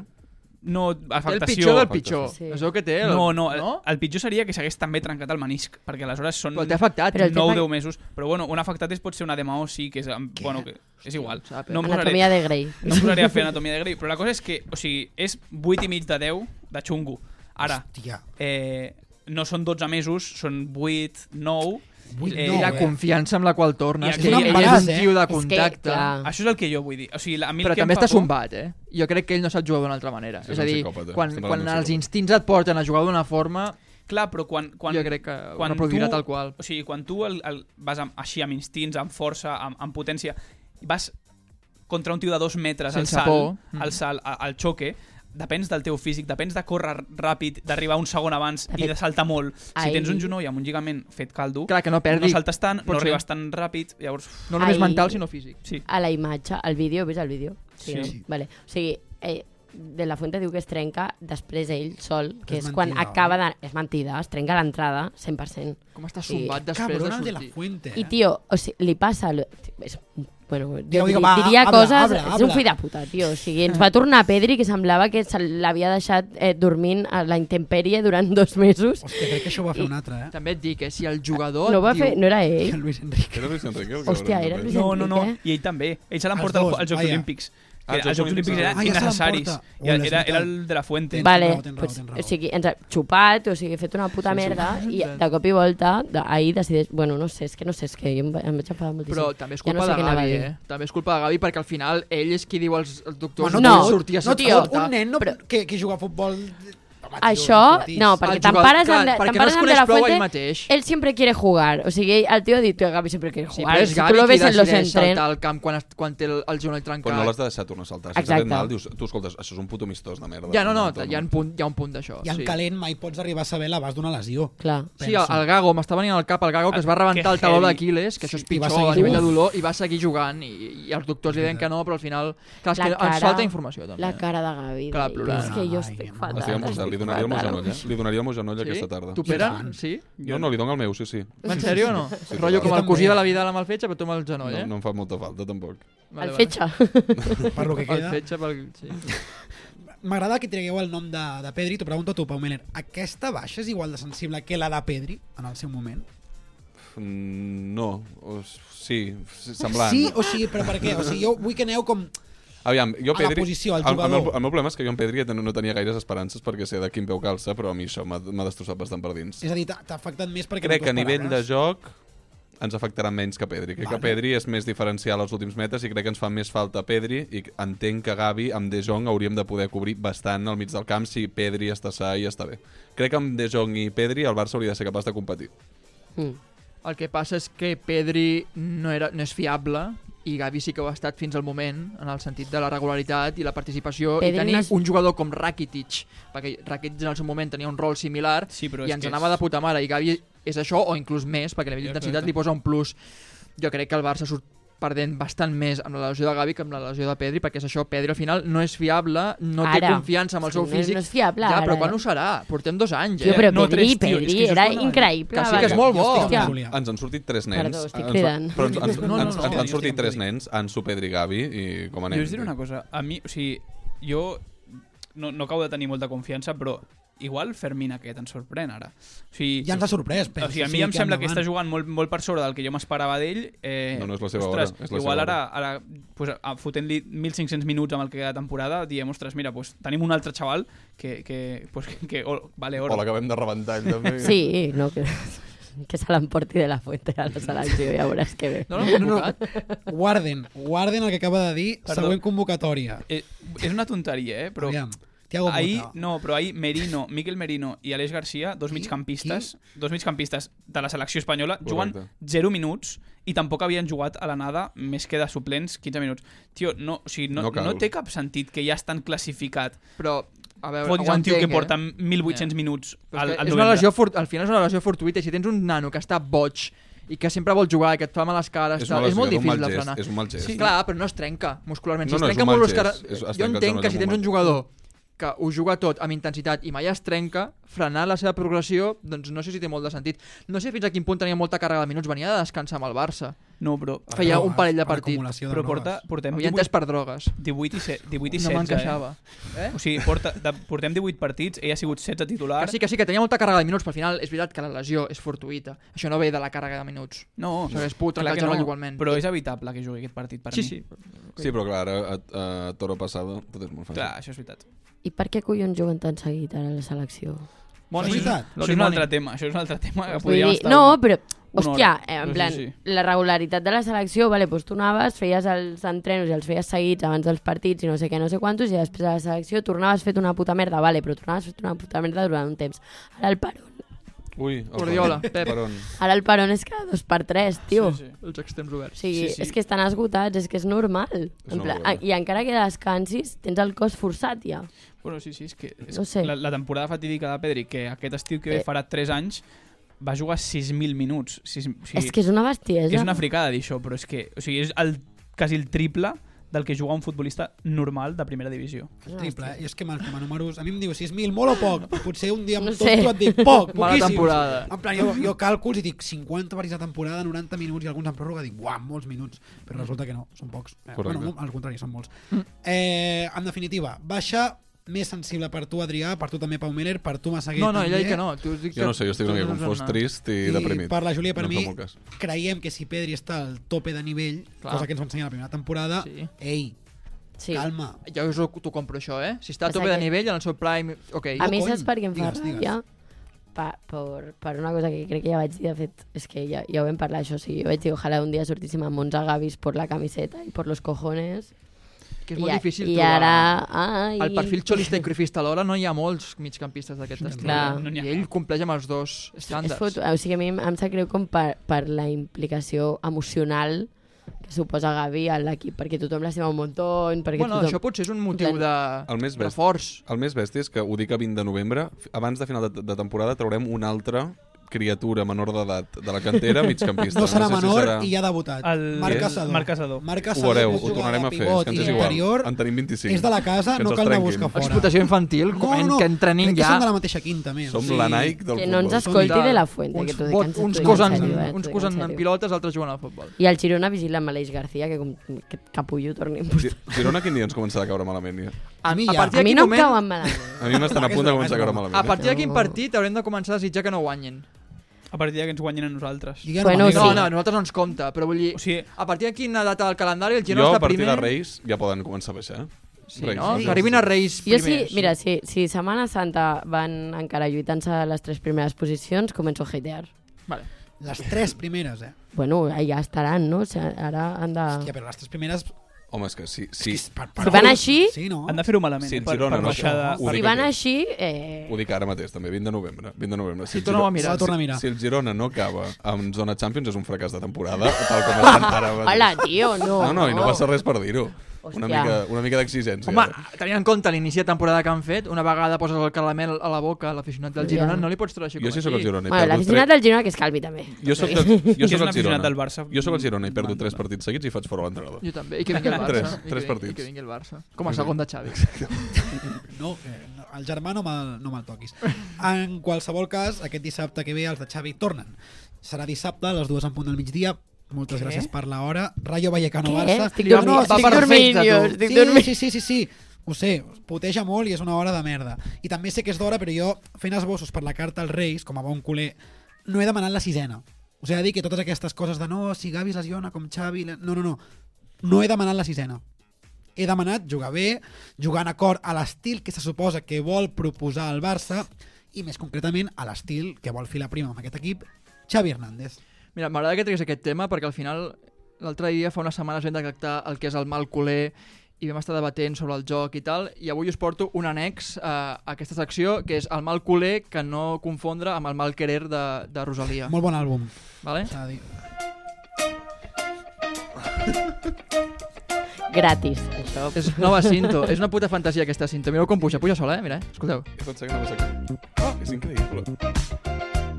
[SPEAKER 9] No,
[SPEAKER 2] El
[SPEAKER 9] afectació...
[SPEAKER 2] pitjor del pitjor.
[SPEAKER 4] Sí.
[SPEAKER 2] És el que té. El...
[SPEAKER 9] No, no, eh, el,
[SPEAKER 2] no?
[SPEAKER 9] el pitjor seria que s'hagués també trencat el menisc, perquè aleshores són
[SPEAKER 2] Però t'ha afectat.
[SPEAKER 4] Però el
[SPEAKER 9] 9
[SPEAKER 4] tema-
[SPEAKER 9] 10 mesos, però bueno, un afectat és pot ser una demà o sí, que és, amb- bueno, que és igual.
[SPEAKER 2] Hòstia,
[SPEAKER 9] No em
[SPEAKER 4] anatomia
[SPEAKER 9] posaré,
[SPEAKER 4] de Grey.
[SPEAKER 9] no em posaré a fer anatomia de Grey, però la cosa és que, o sigui, és 8 i mig de 10 de xungo. Ara,
[SPEAKER 1] Hòstia.
[SPEAKER 9] eh, no són 12 mesos, són 8, 9...
[SPEAKER 1] Vuit,
[SPEAKER 9] eh,
[SPEAKER 2] I
[SPEAKER 1] no,
[SPEAKER 2] la
[SPEAKER 1] eh?
[SPEAKER 2] confiança amb la qual
[SPEAKER 9] I
[SPEAKER 2] tornes,
[SPEAKER 9] és
[SPEAKER 2] que
[SPEAKER 9] un
[SPEAKER 2] ell, ell és
[SPEAKER 1] embaràs,
[SPEAKER 2] un
[SPEAKER 1] eh?
[SPEAKER 2] tio de
[SPEAKER 4] És que,
[SPEAKER 2] contacte.
[SPEAKER 4] clar,
[SPEAKER 9] Això és el que jo vull dir. O sigui, la- a mi el
[SPEAKER 2] Però
[SPEAKER 9] que em
[SPEAKER 2] també
[SPEAKER 9] fa
[SPEAKER 2] està
[SPEAKER 9] por-
[SPEAKER 2] sombat, eh? Jo crec que ell no sap jugar d'una altra manera.
[SPEAKER 3] Sí,
[SPEAKER 2] és
[SPEAKER 3] és
[SPEAKER 2] a
[SPEAKER 3] un
[SPEAKER 2] dir,
[SPEAKER 3] psicòpata.
[SPEAKER 2] quan,
[SPEAKER 3] Estem
[SPEAKER 2] quan
[SPEAKER 3] parlant d'un
[SPEAKER 2] els
[SPEAKER 3] psicòpata.
[SPEAKER 2] instints et porten a jugar d'una forma,
[SPEAKER 9] Clar, però quan... quan
[SPEAKER 2] jo crec que ho
[SPEAKER 9] quan
[SPEAKER 2] reproduirà
[SPEAKER 9] tu-
[SPEAKER 2] tal qual.
[SPEAKER 9] O sigui, quan tu el, el vas amb, així amb instints, amb força, amb, amb potència, vas contra un tio de dos metres al
[SPEAKER 2] Sense
[SPEAKER 9] salt,
[SPEAKER 2] por. Mm.
[SPEAKER 9] al salt, a- al xoque, depens del teu físic, depens de córrer ràpid, d'arribar un segon abans
[SPEAKER 4] De
[SPEAKER 9] i
[SPEAKER 4] fet,
[SPEAKER 9] de saltar molt. Si
[SPEAKER 4] ahir-
[SPEAKER 9] tens un genoll amb un lligament fet caldo,
[SPEAKER 2] Clar, que no perdi.
[SPEAKER 9] no saltes tant,
[SPEAKER 2] Pot
[SPEAKER 9] no
[SPEAKER 2] ser.
[SPEAKER 9] arribes tan ràpid, llavors... uf,
[SPEAKER 2] No només
[SPEAKER 4] Ai.
[SPEAKER 2] mental, sinó físic.
[SPEAKER 9] Sí.
[SPEAKER 4] a la imatge, al vídeo, heu vist el vídeo? Sí.
[SPEAKER 9] Sí.
[SPEAKER 4] no?
[SPEAKER 1] Sí.
[SPEAKER 4] Vale. O sigui, eh, de la Fuente diu que es trenca després ell sol, que
[SPEAKER 1] És
[SPEAKER 4] és, quan
[SPEAKER 1] mentida,
[SPEAKER 4] acaba de... És mentida, es trenca l'entrada, 100%.
[SPEAKER 2] Com està
[SPEAKER 4] Sí.
[SPEAKER 2] sombat després de
[SPEAKER 1] Cabrona de la
[SPEAKER 2] sortir.
[SPEAKER 1] fuente. eh?
[SPEAKER 4] I tio, o sigui, li passa... Lo... És, bueno,
[SPEAKER 1] Digue, digue,
[SPEAKER 4] jo diria,
[SPEAKER 1] va,
[SPEAKER 4] diria
[SPEAKER 1] habla,
[SPEAKER 4] coses...
[SPEAKER 1] habla,
[SPEAKER 4] és un
[SPEAKER 1] habla.
[SPEAKER 4] fill de puta, tio. O sigui, ens va tornar a Pedri, que semblava que se l'havia deixat eh, dormint a la intempèrie durant dos mesos.
[SPEAKER 1] Hòstia, crec que això ho va fer un altre, eh?
[SPEAKER 2] També et dic, eh? Si el jugador
[SPEAKER 4] Ah, No, va
[SPEAKER 2] diu...
[SPEAKER 4] fer, no era ell.
[SPEAKER 1] El Luis Enrique.
[SPEAKER 3] Era Luis Enrique? el que
[SPEAKER 4] Hòstia,
[SPEAKER 3] veurem
[SPEAKER 4] era
[SPEAKER 3] després?
[SPEAKER 4] Luis
[SPEAKER 9] No, no, no,
[SPEAKER 4] Enrique.
[SPEAKER 9] i ell també. Ell se l'emporta
[SPEAKER 1] Els dos,
[SPEAKER 9] al- als Jocs
[SPEAKER 1] vaja.
[SPEAKER 9] Olímpics.
[SPEAKER 3] Ah,
[SPEAKER 9] Els Jocs Olímpics eren
[SPEAKER 1] Ah, ja se
[SPEAKER 9] innecessaris.
[SPEAKER 1] l'emporta. Ui,
[SPEAKER 9] Era,
[SPEAKER 1] és
[SPEAKER 9] era, era
[SPEAKER 1] veritat.
[SPEAKER 9] el de la Fuente.
[SPEAKER 1] Tens
[SPEAKER 4] Vale,
[SPEAKER 1] raó, tens raó,
[SPEAKER 4] pues,
[SPEAKER 1] tens raó.
[SPEAKER 4] o sigui, ens ha xupat, o sigui, fet una puta
[SPEAKER 2] Sí, sí.
[SPEAKER 4] merda
[SPEAKER 2] És
[SPEAKER 4] i
[SPEAKER 2] veritat.
[SPEAKER 4] de cop i volta, de, ahir decideix... Bueno, no sé, és que no sé, és que jo em, va- em vaig enfadar moltíssim.
[SPEAKER 2] Però també és
[SPEAKER 4] Ja no
[SPEAKER 2] culpa de
[SPEAKER 4] sé què anava a
[SPEAKER 2] Gavi,
[SPEAKER 4] dir.
[SPEAKER 2] eh? També és culpa de Gavi perquè al final ell és qui diu als als doctors
[SPEAKER 4] Bueno, no,
[SPEAKER 2] sortir a
[SPEAKER 1] no,
[SPEAKER 2] sentar.
[SPEAKER 1] tio, un
[SPEAKER 2] nen...
[SPEAKER 1] nen no,
[SPEAKER 4] Però-
[SPEAKER 1] que, que juga a futbol... Home, tio,
[SPEAKER 4] Això,
[SPEAKER 1] fotis.
[SPEAKER 4] no, perquè
[SPEAKER 2] El
[SPEAKER 4] t'empares
[SPEAKER 2] jugador- clar,
[SPEAKER 4] amb, la-
[SPEAKER 2] perquè no
[SPEAKER 4] t'empares
[SPEAKER 2] es
[SPEAKER 4] amb
[SPEAKER 2] coneix
[SPEAKER 4] De La
[SPEAKER 2] prou a ell
[SPEAKER 4] Fuente,
[SPEAKER 2] mateix.
[SPEAKER 4] Él siempre quiere jugar. O sigui, el tío ha dit, "Tío, Gavi sempre quiere
[SPEAKER 2] Sí,
[SPEAKER 4] jugar.
[SPEAKER 2] però és
[SPEAKER 4] si
[SPEAKER 2] Gavi
[SPEAKER 4] tú lo
[SPEAKER 2] qui
[SPEAKER 4] ves en los
[SPEAKER 2] decideix
[SPEAKER 4] entrenos.
[SPEAKER 2] saltar al camp quan, es- quan té el, el genoll trencat.
[SPEAKER 3] Quan no l'has de deixar tornar a saltar. Si s'ha
[SPEAKER 4] Exacte.
[SPEAKER 3] fet mal, dius, tu escoltes, això és un puto amistós de merda.
[SPEAKER 2] Ja, no, no,
[SPEAKER 3] tu
[SPEAKER 2] hi ha un punt, hi ha un punt d'això.
[SPEAKER 1] I en
[SPEAKER 2] sí.
[SPEAKER 1] calent mai pots arribar a saber l'abast d'una lesió.
[SPEAKER 4] Clar.
[SPEAKER 2] Sí, el, el Gago, m'està venint al cap el Gago que es va rebentar el
[SPEAKER 9] Que
[SPEAKER 2] taló
[SPEAKER 9] heavy.
[SPEAKER 2] d'Aquiles, que això és
[SPEAKER 1] I va
[SPEAKER 2] pitjor a
[SPEAKER 1] seguir
[SPEAKER 2] nivell de
[SPEAKER 1] jugant.
[SPEAKER 2] dolor, i va seguir jugant, i, i els doctors li deien que no, però al final... Clar, és
[SPEAKER 4] La
[SPEAKER 2] que
[SPEAKER 4] cara-
[SPEAKER 2] ens falta informació, també.
[SPEAKER 4] La cara de Gavi.
[SPEAKER 2] Clar,
[SPEAKER 4] de-
[SPEAKER 2] plorant.
[SPEAKER 4] És que jo
[SPEAKER 1] Ai,
[SPEAKER 4] estic
[SPEAKER 1] home.
[SPEAKER 4] fatal.
[SPEAKER 3] Estic enfonsat, li donaria el meu
[SPEAKER 4] estic fatal.
[SPEAKER 3] genoll, eh? Li donaria el meu genoll aquesta tarda.
[SPEAKER 2] T'opera?
[SPEAKER 1] I tant.
[SPEAKER 2] Sí?
[SPEAKER 3] Jo no, li dono el meu, sí, sí.
[SPEAKER 2] En sèrio o no? Sí,
[SPEAKER 3] sí,
[SPEAKER 2] Rotllo
[SPEAKER 3] clar.
[SPEAKER 2] com
[SPEAKER 1] Jo
[SPEAKER 2] el
[SPEAKER 1] també.
[SPEAKER 2] cosí de la vida de la mal fetge, però tu amb el genoll, eh?
[SPEAKER 3] No, no em fa molta falta, tampoc.
[SPEAKER 2] Vale,
[SPEAKER 4] El
[SPEAKER 2] vale.
[SPEAKER 4] fetge.
[SPEAKER 1] Per lo que
[SPEAKER 2] El
[SPEAKER 1] queda.
[SPEAKER 2] fetge pel... Sí.
[SPEAKER 1] M'agrada que tregueu el nom de, de Pedri. T'ho pregunto a tu, Pau Mener. Aquesta baixa és igual de sensible que la de Pedri en el seu moment?
[SPEAKER 3] Mm, No, o, s- sí, s- semblant.
[SPEAKER 1] Sí, o sigui, però per què? O sigui, jo vull que aneu com...
[SPEAKER 3] Aviam, jo
[SPEAKER 1] A la
[SPEAKER 3] Pedri...
[SPEAKER 1] posició, al
[SPEAKER 3] el, el, meu,
[SPEAKER 1] jugador.
[SPEAKER 3] el meu problema és que jo en Pedri no, no tenia gaires esperances perquè sé de quin peu calça, però a mi això m'ha m'ha destrossat bastant per dins.
[SPEAKER 1] És a dir, t'ha t'ha afectat més perquè...
[SPEAKER 3] Crec
[SPEAKER 1] no
[SPEAKER 3] que a
[SPEAKER 1] t'ho
[SPEAKER 3] nivell de
[SPEAKER 1] esperaves.
[SPEAKER 3] joc ens afectarà menys que Pedri. Crec
[SPEAKER 1] Vale.
[SPEAKER 3] que Pedri és més diferencial als últims metres i crec que ens fa més falta Pedri i entenc que Gavi amb De Jong hauríem de poder cobrir bastant al mig del camp si Pedri està sa i està bé. Crec que amb De Jong i Pedri el Barça hauria de ser capaç de competir.
[SPEAKER 4] Mm.
[SPEAKER 2] El que passa és que Pedri no, era, no és fiable i Gavi sí que ho ha estat fins al moment en el sentit de la regularitat i la participació
[SPEAKER 4] Pedri
[SPEAKER 2] i tenir
[SPEAKER 4] no
[SPEAKER 2] és...
[SPEAKER 4] és-
[SPEAKER 2] un jugador com Rakitic perquè Rakitic en el seu moment tenia un rol similar
[SPEAKER 9] Sí, però
[SPEAKER 2] i
[SPEAKER 9] és
[SPEAKER 2] ens
[SPEAKER 9] que
[SPEAKER 2] anava
[SPEAKER 9] és-
[SPEAKER 2] de puta mare i Gavi és això o inclús més perquè a nivell
[SPEAKER 9] Ja,
[SPEAKER 2] d'intensitat
[SPEAKER 9] correcte.
[SPEAKER 2] li posa un plus jo crec que el Barça surt perdent bastant més amb la lesió de Gavi que amb la lesió de Pedri perquè és això, Pedri al final no és fiable no té
[SPEAKER 4] Ara.
[SPEAKER 2] confiança amb el
[SPEAKER 4] Sí,
[SPEAKER 2] seu
[SPEAKER 4] no-
[SPEAKER 2] físic
[SPEAKER 4] no és fiable
[SPEAKER 2] ja,
[SPEAKER 4] ara,
[SPEAKER 2] però
[SPEAKER 4] eh?
[SPEAKER 2] quan ho serà? Portem dos anys
[SPEAKER 4] Tio,
[SPEAKER 2] eh?
[SPEAKER 4] però
[SPEAKER 9] no,
[SPEAKER 4] Pedri,
[SPEAKER 9] tres, tio, és que
[SPEAKER 4] Pedri,
[SPEAKER 9] just
[SPEAKER 4] era
[SPEAKER 9] anava a dir.
[SPEAKER 4] increïble.
[SPEAKER 2] Que sí, que és molt bo.
[SPEAKER 1] Jo estic
[SPEAKER 4] Hòstia.
[SPEAKER 1] amb Julià.
[SPEAKER 3] Ens han sortit tres nens.
[SPEAKER 4] Perdó, estic
[SPEAKER 3] Ens-
[SPEAKER 4] cridant.
[SPEAKER 3] Però ens, ens,
[SPEAKER 2] No, no,
[SPEAKER 3] ens,
[SPEAKER 2] no.
[SPEAKER 3] ens han sortit
[SPEAKER 1] Estic
[SPEAKER 3] tres
[SPEAKER 1] amb
[SPEAKER 3] nens, Ansu, Pedri, Gavi i com anem?
[SPEAKER 9] Jo us diré una cosa, a mi, o sigui, jo no, no acabo de tenir molta confiança, però igual Fermín aquest ens sorprèn ara. O sigui,
[SPEAKER 1] Ja ens ha sorprès,
[SPEAKER 9] o
[SPEAKER 1] Pedri.
[SPEAKER 9] sigui, a mi em
[SPEAKER 1] que
[SPEAKER 9] sembla que
[SPEAKER 1] endavant.
[SPEAKER 9] està jugant molt, molt per sobre del que jo m'esperava d'ell. Eh,
[SPEAKER 3] No, no, és la seva
[SPEAKER 9] ostres,
[SPEAKER 3] hora, és la
[SPEAKER 9] igual
[SPEAKER 3] seva
[SPEAKER 9] ara, ara pues, a- fotent-li 1.500 minuts amb el que queda de temporada, diem, ostres, mira, pues, tenim un altre xaval que... que, pues, que, que oh, vale,
[SPEAKER 3] O
[SPEAKER 9] hora.
[SPEAKER 3] l'acabem de rebentar, ell, també.
[SPEAKER 4] Sí, no, que, que se l'emporti de la fuente a la selecció, ja veuràs que bé.
[SPEAKER 2] no l'han convocat?
[SPEAKER 1] Guarden, guarden el que acaba de dir.
[SPEAKER 9] Perdó.
[SPEAKER 1] Següent convocatòria.
[SPEAKER 9] Eh, és una tonteria, eh? Però
[SPEAKER 1] Aviam. Tiago Mota.
[SPEAKER 9] Ahir, no, però ahir Merino, Miquel Merino i Aleix Garcia, dos
[SPEAKER 1] Qui?
[SPEAKER 9] migcampistes, dos migcampistes de la selecció espanyola,
[SPEAKER 3] Correcte.
[SPEAKER 9] juguen 0 minuts i tampoc havien jugat a l'anada més que de suplents 15 minuts. Tio, no, o sigui, no,
[SPEAKER 3] No
[SPEAKER 9] no,
[SPEAKER 3] cal.
[SPEAKER 9] té cap sentit que ja estan classificat.
[SPEAKER 2] Però, a veure,
[SPEAKER 9] Fots
[SPEAKER 2] ho
[SPEAKER 9] un tio
[SPEAKER 2] entenc,
[SPEAKER 9] que
[SPEAKER 2] eh?
[SPEAKER 9] porta 1.800
[SPEAKER 2] Ja.
[SPEAKER 9] minuts
[SPEAKER 2] Però és
[SPEAKER 9] al,
[SPEAKER 2] que
[SPEAKER 9] al
[SPEAKER 2] és una
[SPEAKER 9] novembre.
[SPEAKER 2] lesió fort, al final és una lesió fortuita i si tens un nano que està boig i que sempre vol jugar, que et fa males cares
[SPEAKER 3] És
[SPEAKER 2] tal,
[SPEAKER 3] una
[SPEAKER 2] és molt
[SPEAKER 3] lesió, és
[SPEAKER 2] difícil
[SPEAKER 3] un mal
[SPEAKER 2] de
[SPEAKER 3] gest,
[SPEAKER 2] frenar
[SPEAKER 3] és un mal gest.
[SPEAKER 2] sí. clar, però no es trenca muscularment si
[SPEAKER 3] No,
[SPEAKER 2] es
[SPEAKER 3] no, és
[SPEAKER 2] trenca
[SPEAKER 3] un mal
[SPEAKER 2] molt les
[SPEAKER 3] gest,
[SPEAKER 2] cares
[SPEAKER 3] és-
[SPEAKER 2] jo
[SPEAKER 3] es trenca el genoll
[SPEAKER 2] entenc que si
[SPEAKER 3] amb un
[SPEAKER 2] tens un
[SPEAKER 3] mal-
[SPEAKER 2] jugador que ho juga tot amb intensitat i mai es trenca, frenar la seva progressió doncs no sé si té molt de sentit no sé fins a quin punt tenia molta càrrega de minuts venia de descansar amb el Barça
[SPEAKER 9] No, però,
[SPEAKER 2] feia
[SPEAKER 1] Noves,
[SPEAKER 2] un parell de
[SPEAKER 1] una
[SPEAKER 2] partits.
[SPEAKER 1] acumulació de
[SPEAKER 9] però porta,
[SPEAKER 1] noves.
[SPEAKER 9] portem
[SPEAKER 2] havia entès
[SPEAKER 9] 18,
[SPEAKER 2] per drogues
[SPEAKER 9] 18 i, se, 18 i
[SPEAKER 2] no
[SPEAKER 9] 16.
[SPEAKER 2] m'encaixava eh?
[SPEAKER 9] Eh? O sigui, porta, de, portem 18 partits, ell ha sigut 16 titular.
[SPEAKER 2] Que sí, que sí, que tenia molta càrrega de minuts, però al final és veritat que la lesió és fortuïta. Això no ve de la càrrega de minuts.
[SPEAKER 9] No,
[SPEAKER 2] S'hagués pogut
[SPEAKER 9] clar
[SPEAKER 2] trencar el
[SPEAKER 9] que
[SPEAKER 2] genoll igualment.
[SPEAKER 9] Però és evitable que jugui aquest partit per
[SPEAKER 2] sí,
[SPEAKER 9] mi.
[SPEAKER 2] sí.
[SPEAKER 3] Sí, però clar, ara a, a Toro Passado tot és molt fàcil.
[SPEAKER 9] Clar, això és veritat.
[SPEAKER 4] I per què collons juguen tan seguit ara a la selecció?
[SPEAKER 9] Moni,
[SPEAKER 1] És veritat.
[SPEAKER 9] Això és un altre tema, això és un altre tema que
[SPEAKER 4] Vull
[SPEAKER 9] podríem
[SPEAKER 4] dir,
[SPEAKER 9] estar...
[SPEAKER 4] no, però,
[SPEAKER 9] una
[SPEAKER 4] hòstia,
[SPEAKER 9] hora.
[SPEAKER 4] eh,
[SPEAKER 9] Sí,
[SPEAKER 4] en plan,
[SPEAKER 9] sí,
[SPEAKER 4] sí,
[SPEAKER 9] sí.
[SPEAKER 4] sí. la regularitat de la selecció, vale, doncs tu anaves, feies els entrenos i els feies seguits abans dels partits i no sé què, no sé quantos, i després a la selecció tornaves fet una puta merda, vale, però tornaves fet una puta merda durant un temps. Ara el parón,
[SPEAKER 3] Ui, el
[SPEAKER 2] Guardiola,
[SPEAKER 3] Baron.
[SPEAKER 2] Pep.
[SPEAKER 3] Baron.
[SPEAKER 4] ara el parón és cada dos per tres, tio.
[SPEAKER 9] Sí, sí.
[SPEAKER 2] Els extrems oberts.
[SPEAKER 4] O sigui,
[SPEAKER 9] Sí,
[SPEAKER 4] sí,
[SPEAKER 9] sí.
[SPEAKER 4] sí. és que estan esgotats, és que és normal.
[SPEAKER 3] És
[SPEAKER 4] en
[SPEAKER 3] una
[SPEAKER 4] plan,
[SPEAKER 3] merda.
[SPEAKER 4] I encara que descansis, tens el cos forçat ja.
[SPEAKER 9] Bueno, sí, sí, és que és
[SPEAKER 4] No sé.
[SPEAKER 9] la, la temporada fatídica de Pedri, que aquest estiu que ve
[SPEAKER 4] Eh.
[SPEAKER 9] farà 3 anys, va jugar 6.000 minuts. 6, o
[SPEAKER 4] Sí.
[SPEAKER 9] sigui,
[SPEAKER 4] És que és una bestiesa.
[SPEAKER 9] és una fricada dir això, però és que o sigui, és el, quasi el triple del que juga un futbolista normal de primera divisió.
[SPEAKER 4] És una
[SPEAKER 1] Triple, eh? I és que mal, com a números... A mi em diu 6.000, molt o poc? Potser un dia amb
[SPEAKER 4] No
[SPEAKER 1] no tot
[SPEAKER 4] sé.
[SPEAKER 1] tu et dic poc,
[SPEAKER 2] Mala
[SPEAKER 1] poquíssim.
[SPEAKER 2] temporada.
[SPEAKER 1] En plan, jo, jo càlculs i dic 50 partits de temporada, 90 minuts i alguns en pròrroga, dic, uah, molts minuts. Però resulta que no, són pocs. Eh,
[SPEAKER 3] Correcte.
[SPEAKER 1] bueno, no, al contrari, són molts. Eh, en definitiva, baixa més sensible per tu, Adrià, per tu també, Pau Miller, per tu, Massaguer.
[SPEAKER 2] No, no, ell
[SPEAKER 1] també,
[SPEAKER 2] ha dit que no. Tu has dit
[SPEAKER 3] Jo no sé, jo estic una
[SPEAKER 2] tu
[SPEAKER 3] mica
[SPEAKER 2] no has
[SPEAKER 3] confós,
[SPEAKER 2] anat.
[SPEAKER 3] trist i,
[SPEAKER 1] I
[SPEAKER 3] deprimit.
[SPEAKER 1] per la Júlia i per
[SPEAKER 3] no em
[SPEAKER 1] mi,
[SPEAKER 3] fa molt cas.
[SPEAKER 1] Creiem que si Pedri està al tope de nivell,
[SPEAKER 2] Clar.
[SPEAKER 1] cosa que ens va ensenyar la primera temporada,
[SPEAKER 2] Sí.
[SPEAKER 1] ei,
[SPEAKER 4] Sí.
[SPEAKER 1] calma.
[SPEAKER 2] Jo us ho, t'ho compro això, eh? Si està a
[SPEAKER 4] Passa
[SPEAKER 2] tope de
[SPEAKER 4] que- Ah,
[SPEAKER 2] nivell, en el seu prime... Ok,
[SPEAKER 4] A
[SPEAKER 1] No,
[SPEAKER 4] mi
[SPEAKER 1] cony,
[SPEAKER 4] saps per què em fa
[SPEAKER 1] digues, digues.
[SPEAKER 4] ràbia? Pa, per, per una cosa que crec que ja vaig dir, de fet, és que ja, ja ho vam parlar, això, o sigui, jo vaig dir, ojalà un dia sortíssim amb 11 gavis per la camiseta i per los cojones
[SPEAKER 2] que és molt
[SPEAKER 4] I, a-
[SPEAKER 2] difícil
[SPEAKER 4] i
[SPEAKER 2] trobar.
[SPEAKER 4] ara... Ai,
[SPEAKER 2] El perfil xolista i crufista alhora no hi ha molts migcampistes d'aquest estil. eh?
[SPEAKER 4] clar.
[SPEAKER 9] No n'hi ha
[SPEAKER 2] I ell compleix amb els dos
[SPEAKER 4] és
[SPEAKER 2] estàndards.
[SPEAKER 4] fot... O sigui, a mi em- em sap greu com per, per la implicació emocional que suposa Gavi a l'equip, perquè tothom l'estima un muntó, perquè
[SPEAKER 2] Bueno,
[SPEAKER 4] tothom...
[SPEAKER 2] això potser és un motiu de
[SPEAKER 3] El més best.
[SPEAKER 2] reforç.
[SPEAKER 3] El més bèstia és que ho dic a 20 de novembre, f- abans de final de, de temporada traurem una altra criatura menor d'edat de la cantera, migcampista.
[SPEAKER 1] No serà
[SPEAKER 3] sé si
[SPEAKER 1] menor
[SPEAKER 3] serà-
[SPEAKER 1] i ja ha debutat.
[SPEAKER 9] El...
[SPEAKER 1] Marc
[SPEAKER 3] Yes.
[SPEAKER 1] Casador.
[SPEAKER 9] Marc Casador.
[SPEAKER 1] Marc
[SPEAKER 3] Ho
[SPEAKER 1] Casador
[SPEAKER 3] veurem,
[SPEAKER 1] és
[SPEAKER 3] ho
[SPEAKER 1] jugador
[SPEAKER 3] tornarem a
[SPEAKER 1] de
[SPEAKER 3] fer, és
[SPEAKER 1] pivot
[SPEAKER 3] que ens és
[SPEAKER 1] interior,
[SPEAKER 3] igual. En tenim 25.
[SPEAKER 1] és de la casa,
[SPEAKER 3] Que ens
[SPEAKER 1] no
[SPEAKER 3] els
[SPEAKER 1] cal anar a
[SPEAKER 3] trenquin.
[SPEAKER 1] buscar fora.
[SPEAKER 2] Explotació infantil, com no, no, que entrenin
[SPEAKER 1] crec que
[SPEAKER 2] ja...
[SPEAKER 1] són de la mateixa quinta, més.
[SPEAKER 3] Som
[SPEAKER 1] O sigui,
[SPEAKER 3] la Nike del
[SPEAKER 4] Que no ens
[SPEAKER 3] futbol.
[SPEAKER 1] escolti
[SPEAKER 4] escolti
[SPEAKER 2] de-
[SPEAKER 4] de, la fuente, que t'ho dic
[SPEAKER 2] bot-
[SPEAKER 4] ens- t'ho
[SPEAKER 2] uns
[SPEAKER 4] dic en
[SPEAKER 2] cosen,
[SPEAKER 4] sèrio, eh, t'ho
[SPEAKER 2] uns
[SPEAKER 4] dic en
[SPEAKER 2] cosen en
[SPEAKER 4] sèrio.
[SPEAKER 2] pilotes, altres juguen al futbol.
[SPEAKER 4] I el Girona vigila amb Aleix García, que, com, que capullo torni a
[SPEAKER 3] Gi-
[SPEAKER 4] impostar.
[SPEAKER 3] Girona quin dia ens començarà a caure malament? Ja?
[SPEAKER 1] A mi
[SPEAKER 2] a
[SPEAKER 1] ja.
[SPEAKER 2] partir
[SPEAKER 4] A mi
[SPEAKER 2] d'aquí
[SPEAKER 4] no em
[SPEAKER 2] moment-
[SPEAKER 4] cauen malament.
[SPEAKER 3] A mi m'estan a punt de començar a caure malament. eh.
[SPEAKER 2] A partir de quin
[SPEAKER 4] No.
[SPEAKER 2] partit haurem de començar a desitjar que no guanyin.
[SPEAKER 9] A partir d'aquí que ens guanyen a nosaltres.
[SPEAKER 1] Jo ja
[SPEAKER 4] Bueno,
[SPEAKER 1] no
[SPEAKER 4] Sí.
[SPEAKER 2] No,
[SPEAKER 1] m'alegro.
[SPEAKER 2] no, a nosaltres no ens compta, però vull dir...
[SPEAKER 9] O sigui,
[SPEAKER 2] A partir de quina data del calendari el Girona
[SPEAKER 3] Jo, a
[SPEAKER 2] està
[SPEAKER 3] partir
[SPEAKER 2] primer...
[SPEAKER 3] de Reis, ja poden començar a baixar. eh.
[SPEAKER 2] Sí,
[SPEAKER 3] Reis,
[SPEAKER 2] no?
[SPEAKER 3] sí,
[SPEAKER 2] Que arribin
[SPEAKER 3] sí.
[SPEAKER 2] a Reis
[SPEAKER 4] Jo
[SPEAKER 2] primers.
[SPEAKER 4] sí, mira, si, si Setmana Santa van encara lluitant-se a les tres primeres posicions, començo a hatear.
[SPEAKER 2] Vale.
[SPEAKER 1] Les tres primeres, eh?
[SPEAKER 4] Bueno, ja estaran, no? O sigui, ara han de...
[SPEAKER 1] Hòstia, però les tres primeres...
[SPEAKER 3] Home, és que sí, sí.
[SPEAKER 1] Per,
[SPEAKER 4] Ah. Si van així-
[SPEAKER 1] Sí, no?
[SPEAKER 9] han de fer-ho malament.
[SPEAKER 3] Sí,
[SPEAKER 9] eh,
[SPEAKER 3] en
[SPEAKER 9] per,
[SPEAKER 3] Girona,
[SPEAKER 9] per
[SPEAKER 3] no,
[SPEAKER 9] baixar
[SPEAKER 3] això.
[SPEAKER 9] de...
[SPEAKER 3] Ho
[SPEAKER 4] Si
[SPEAKER 3] dic
[SPEAKER 4] van
[SPEAKER 3] aquí.
[SPEAKER 4] així... Eh...
[SPEAKER 3] Ho dic ara mateix, també, 20 de novembre. 20 de novembre.
[SPEAKER 2] Sí,
[SPEAKER 3] el
[SPEAKER 2] torna-ho a
[SPEAKER 3] Giro-
[SPEAKER 2] mirar.
[SPEAKER 1] S'ha de tornar a mirar.
[SPEAKER 3] Si el Girona no acaba amb zona Champions és un fracàs de temporada, tal com estan ara. mateix.
[SPEAKER 4] Hola, tio, no.
[SPEAKER 3] No, no, i no passa res per dir-ho. Una
[SPEAKER 4] Hòstia.
[SPEAKER 3] mica, una mica d'exigència.
[SPEAKER 2] Home, tenint en compte l'inici de temporada que han fet, una vegada poses el caramel a la boca a l'aficionat del Girona,
[SPEAKER 4] Ja.
[SPEAKER 2] no li pots treure així
[SPEAKER 3] Jo
[SPEAKER 2] com
[SPEAKER 3] sí sóc el
[SPEAKER 2] aquí.
[SPEAKER 3] Girona. i
[SPEAKER 4] Bueno,
[SPEAKER 3] perdo
[SPEAKER 4] l'aficionat
[SPEAKER 3] tres-
[SPEAKER 4] del Girona que es calvi també.
[SPEAKER 3] Jo sóc el, jo
[SPEAKER 9] Que és
[SPEAKER 3] sóc
[SPEAKER 9] un
[SPEAKER 3] el
[SPEAKER 9] aficionat
[SPEAKER 3] Girona.
[SPEAKER 9] del Barça.
[SPEAKER 3] Jo sóc el Girona i perdo tres partits seguits i faig fora l'entrenador.
[SPEAKER 2] Jo també, i que vingui el Barça.
[SPEAKER 3] Tres-
[SPEAKER 2] i que
[SPEAKER 3] tres
[SPEAKER 2] vingui-
[SPEAKER 3] partits.
[SPEAKER 2] I que vingui el Barça. Com a segon de Xavi.
[SPEAKER 1] No, eh, no, el germà no me'l no me'l toquis. En qualsevol cas, aquest dissabte que ve els de Xavi tornen. Serà dissabte a les dues en punt del migdia. Moltes
[SPEAKER 2] Què?
[SPEAKER 1] gràcies per l'hora. Rayo Vallecano
[SPEAKER 4] Què?
[SPEAKER 1] Barça.
[SPEAKER 4] Estic
[SPEAKER 2] No, no,
[SPEAKER 4] dormint,
[SPEAKER 2] va
[SPEAKER 4] estic
[SPEAKER 2] perfecte,
[SPEAKER 4] dormint,
[SPEAKER 2] tu.
[SPEAKER 4] jo, estic
[SPEAKER 1] sí,
[SPEAKER 4] dormint.
[SPEAKER 1] Sí, sí, sí, sí. Ho sé, puteja molt i és una hora de merda. I també sé que és d'hora, però jo, fent esbossos per la carta als Reis, com a bon culer, no he demanat la sisena. Us he de dir que totes aquestes coses de no, si Gavi es lesiona com Xavi... la-" No, no, no. No he demanat la sisena. He demanat jugar bé, jugar en acord a l'estil que se suposa que vol proposar el Barça i més concretament a l'estil que vol filar prima amb aquest equip, Xavi Hernández.
[SPEAKER 2] Mira, m'agrada que treguis aquest tema perquè al final l'altre dia fa unes setmanes vam detectar el que és el mal culer i vam estar debatent sobre el joc i tal i avui us porto un annex eh, a aquesta secció que és el mal culer que no confondre amb el mal querer de, de Rosalia
[SPEAKER 1] Molt bon àlbum,
[SPEAKER 2] vale?
[SPEAKER 1] s'ha de dir.
[SPEAKER 4] Gratis, això.
[SPEAKER 2] és nova cinto, és una puta fantasia aquesta cinto mireu com puja, puja sola eh, mira, eh? escolteu
[SPEAKER 3] He pensat que no aquí.
[SPEAKER 9] Ah.
[SPEAKER 3] Oh, és increïble.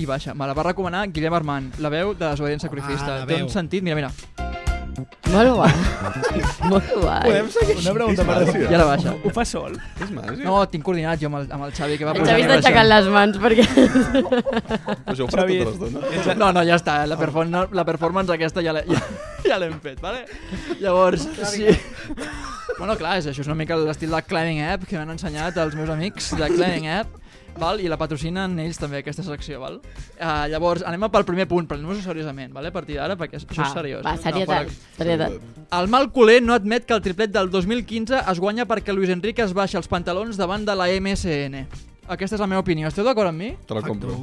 [SPEAKER 2] i baixa, me la va recomanar Guillem Armand la veu de desobedient sacrifista
[SPEAKER 1] Ah, la
[SPEAKER 2] té
[SPEAKER 1] veu.
[SPEAKER 2] un sentit, mira, mira,
[SPEAKER 4] Molt guai. Molt guai.
[SPEAKER 9] Una pregunta per...
[SPEAKER 2] ja la baixa
[SPEAKER 9] Ho fa sol?
[SPEAKER 3] És màgic.
[SPEAKER 2] no, tinc coordinat jo amb el, amb el Xavi que va
[SPEAKER 4] El
[SPEAKER 2] posar
[SPEAKER 4] Xavi està aixecant les mans perquè...
[SPEAKER 3] Però això ho farà
[SPEAKER 9] Xavi,
[SPEAKER 3] tota
[SPEAKER 9] ets,
[SPEAKER 3] l'estona.
[SPEAKER 9] ets,
[SPEAKER 2] No, no, ja està, eh? la, perform la performance aquesta ja l'he- ja, ja l'hem fet, vale? Llavors, sí. Bueno, clar, és, això és una mica l'estil de Climbing App que m'han ensenyat els meus amics de Climbing App, val? i la patrocinen ells també, aquesta secció. Val? Uh, llavors, anem a pel primer punt, prenem-nos seriosament, vale? a partir d'ara, perquè això és seriós.
[SPEAKER 3] eh?
[SPEAKER 4] Ah, Va,
[SPEAKER 2] fora-
[SPEAKER 4] serietat. serietat.
[SPEAKER 2] el mal culer no admet que el triplet del 2015 es guanya perquè Luis Enrique es baixa els pantalons davant de la MSN. Aquesta és la meva opinió. Esteu d'acord amb mi?
[SPEAKER 3] Te la compro.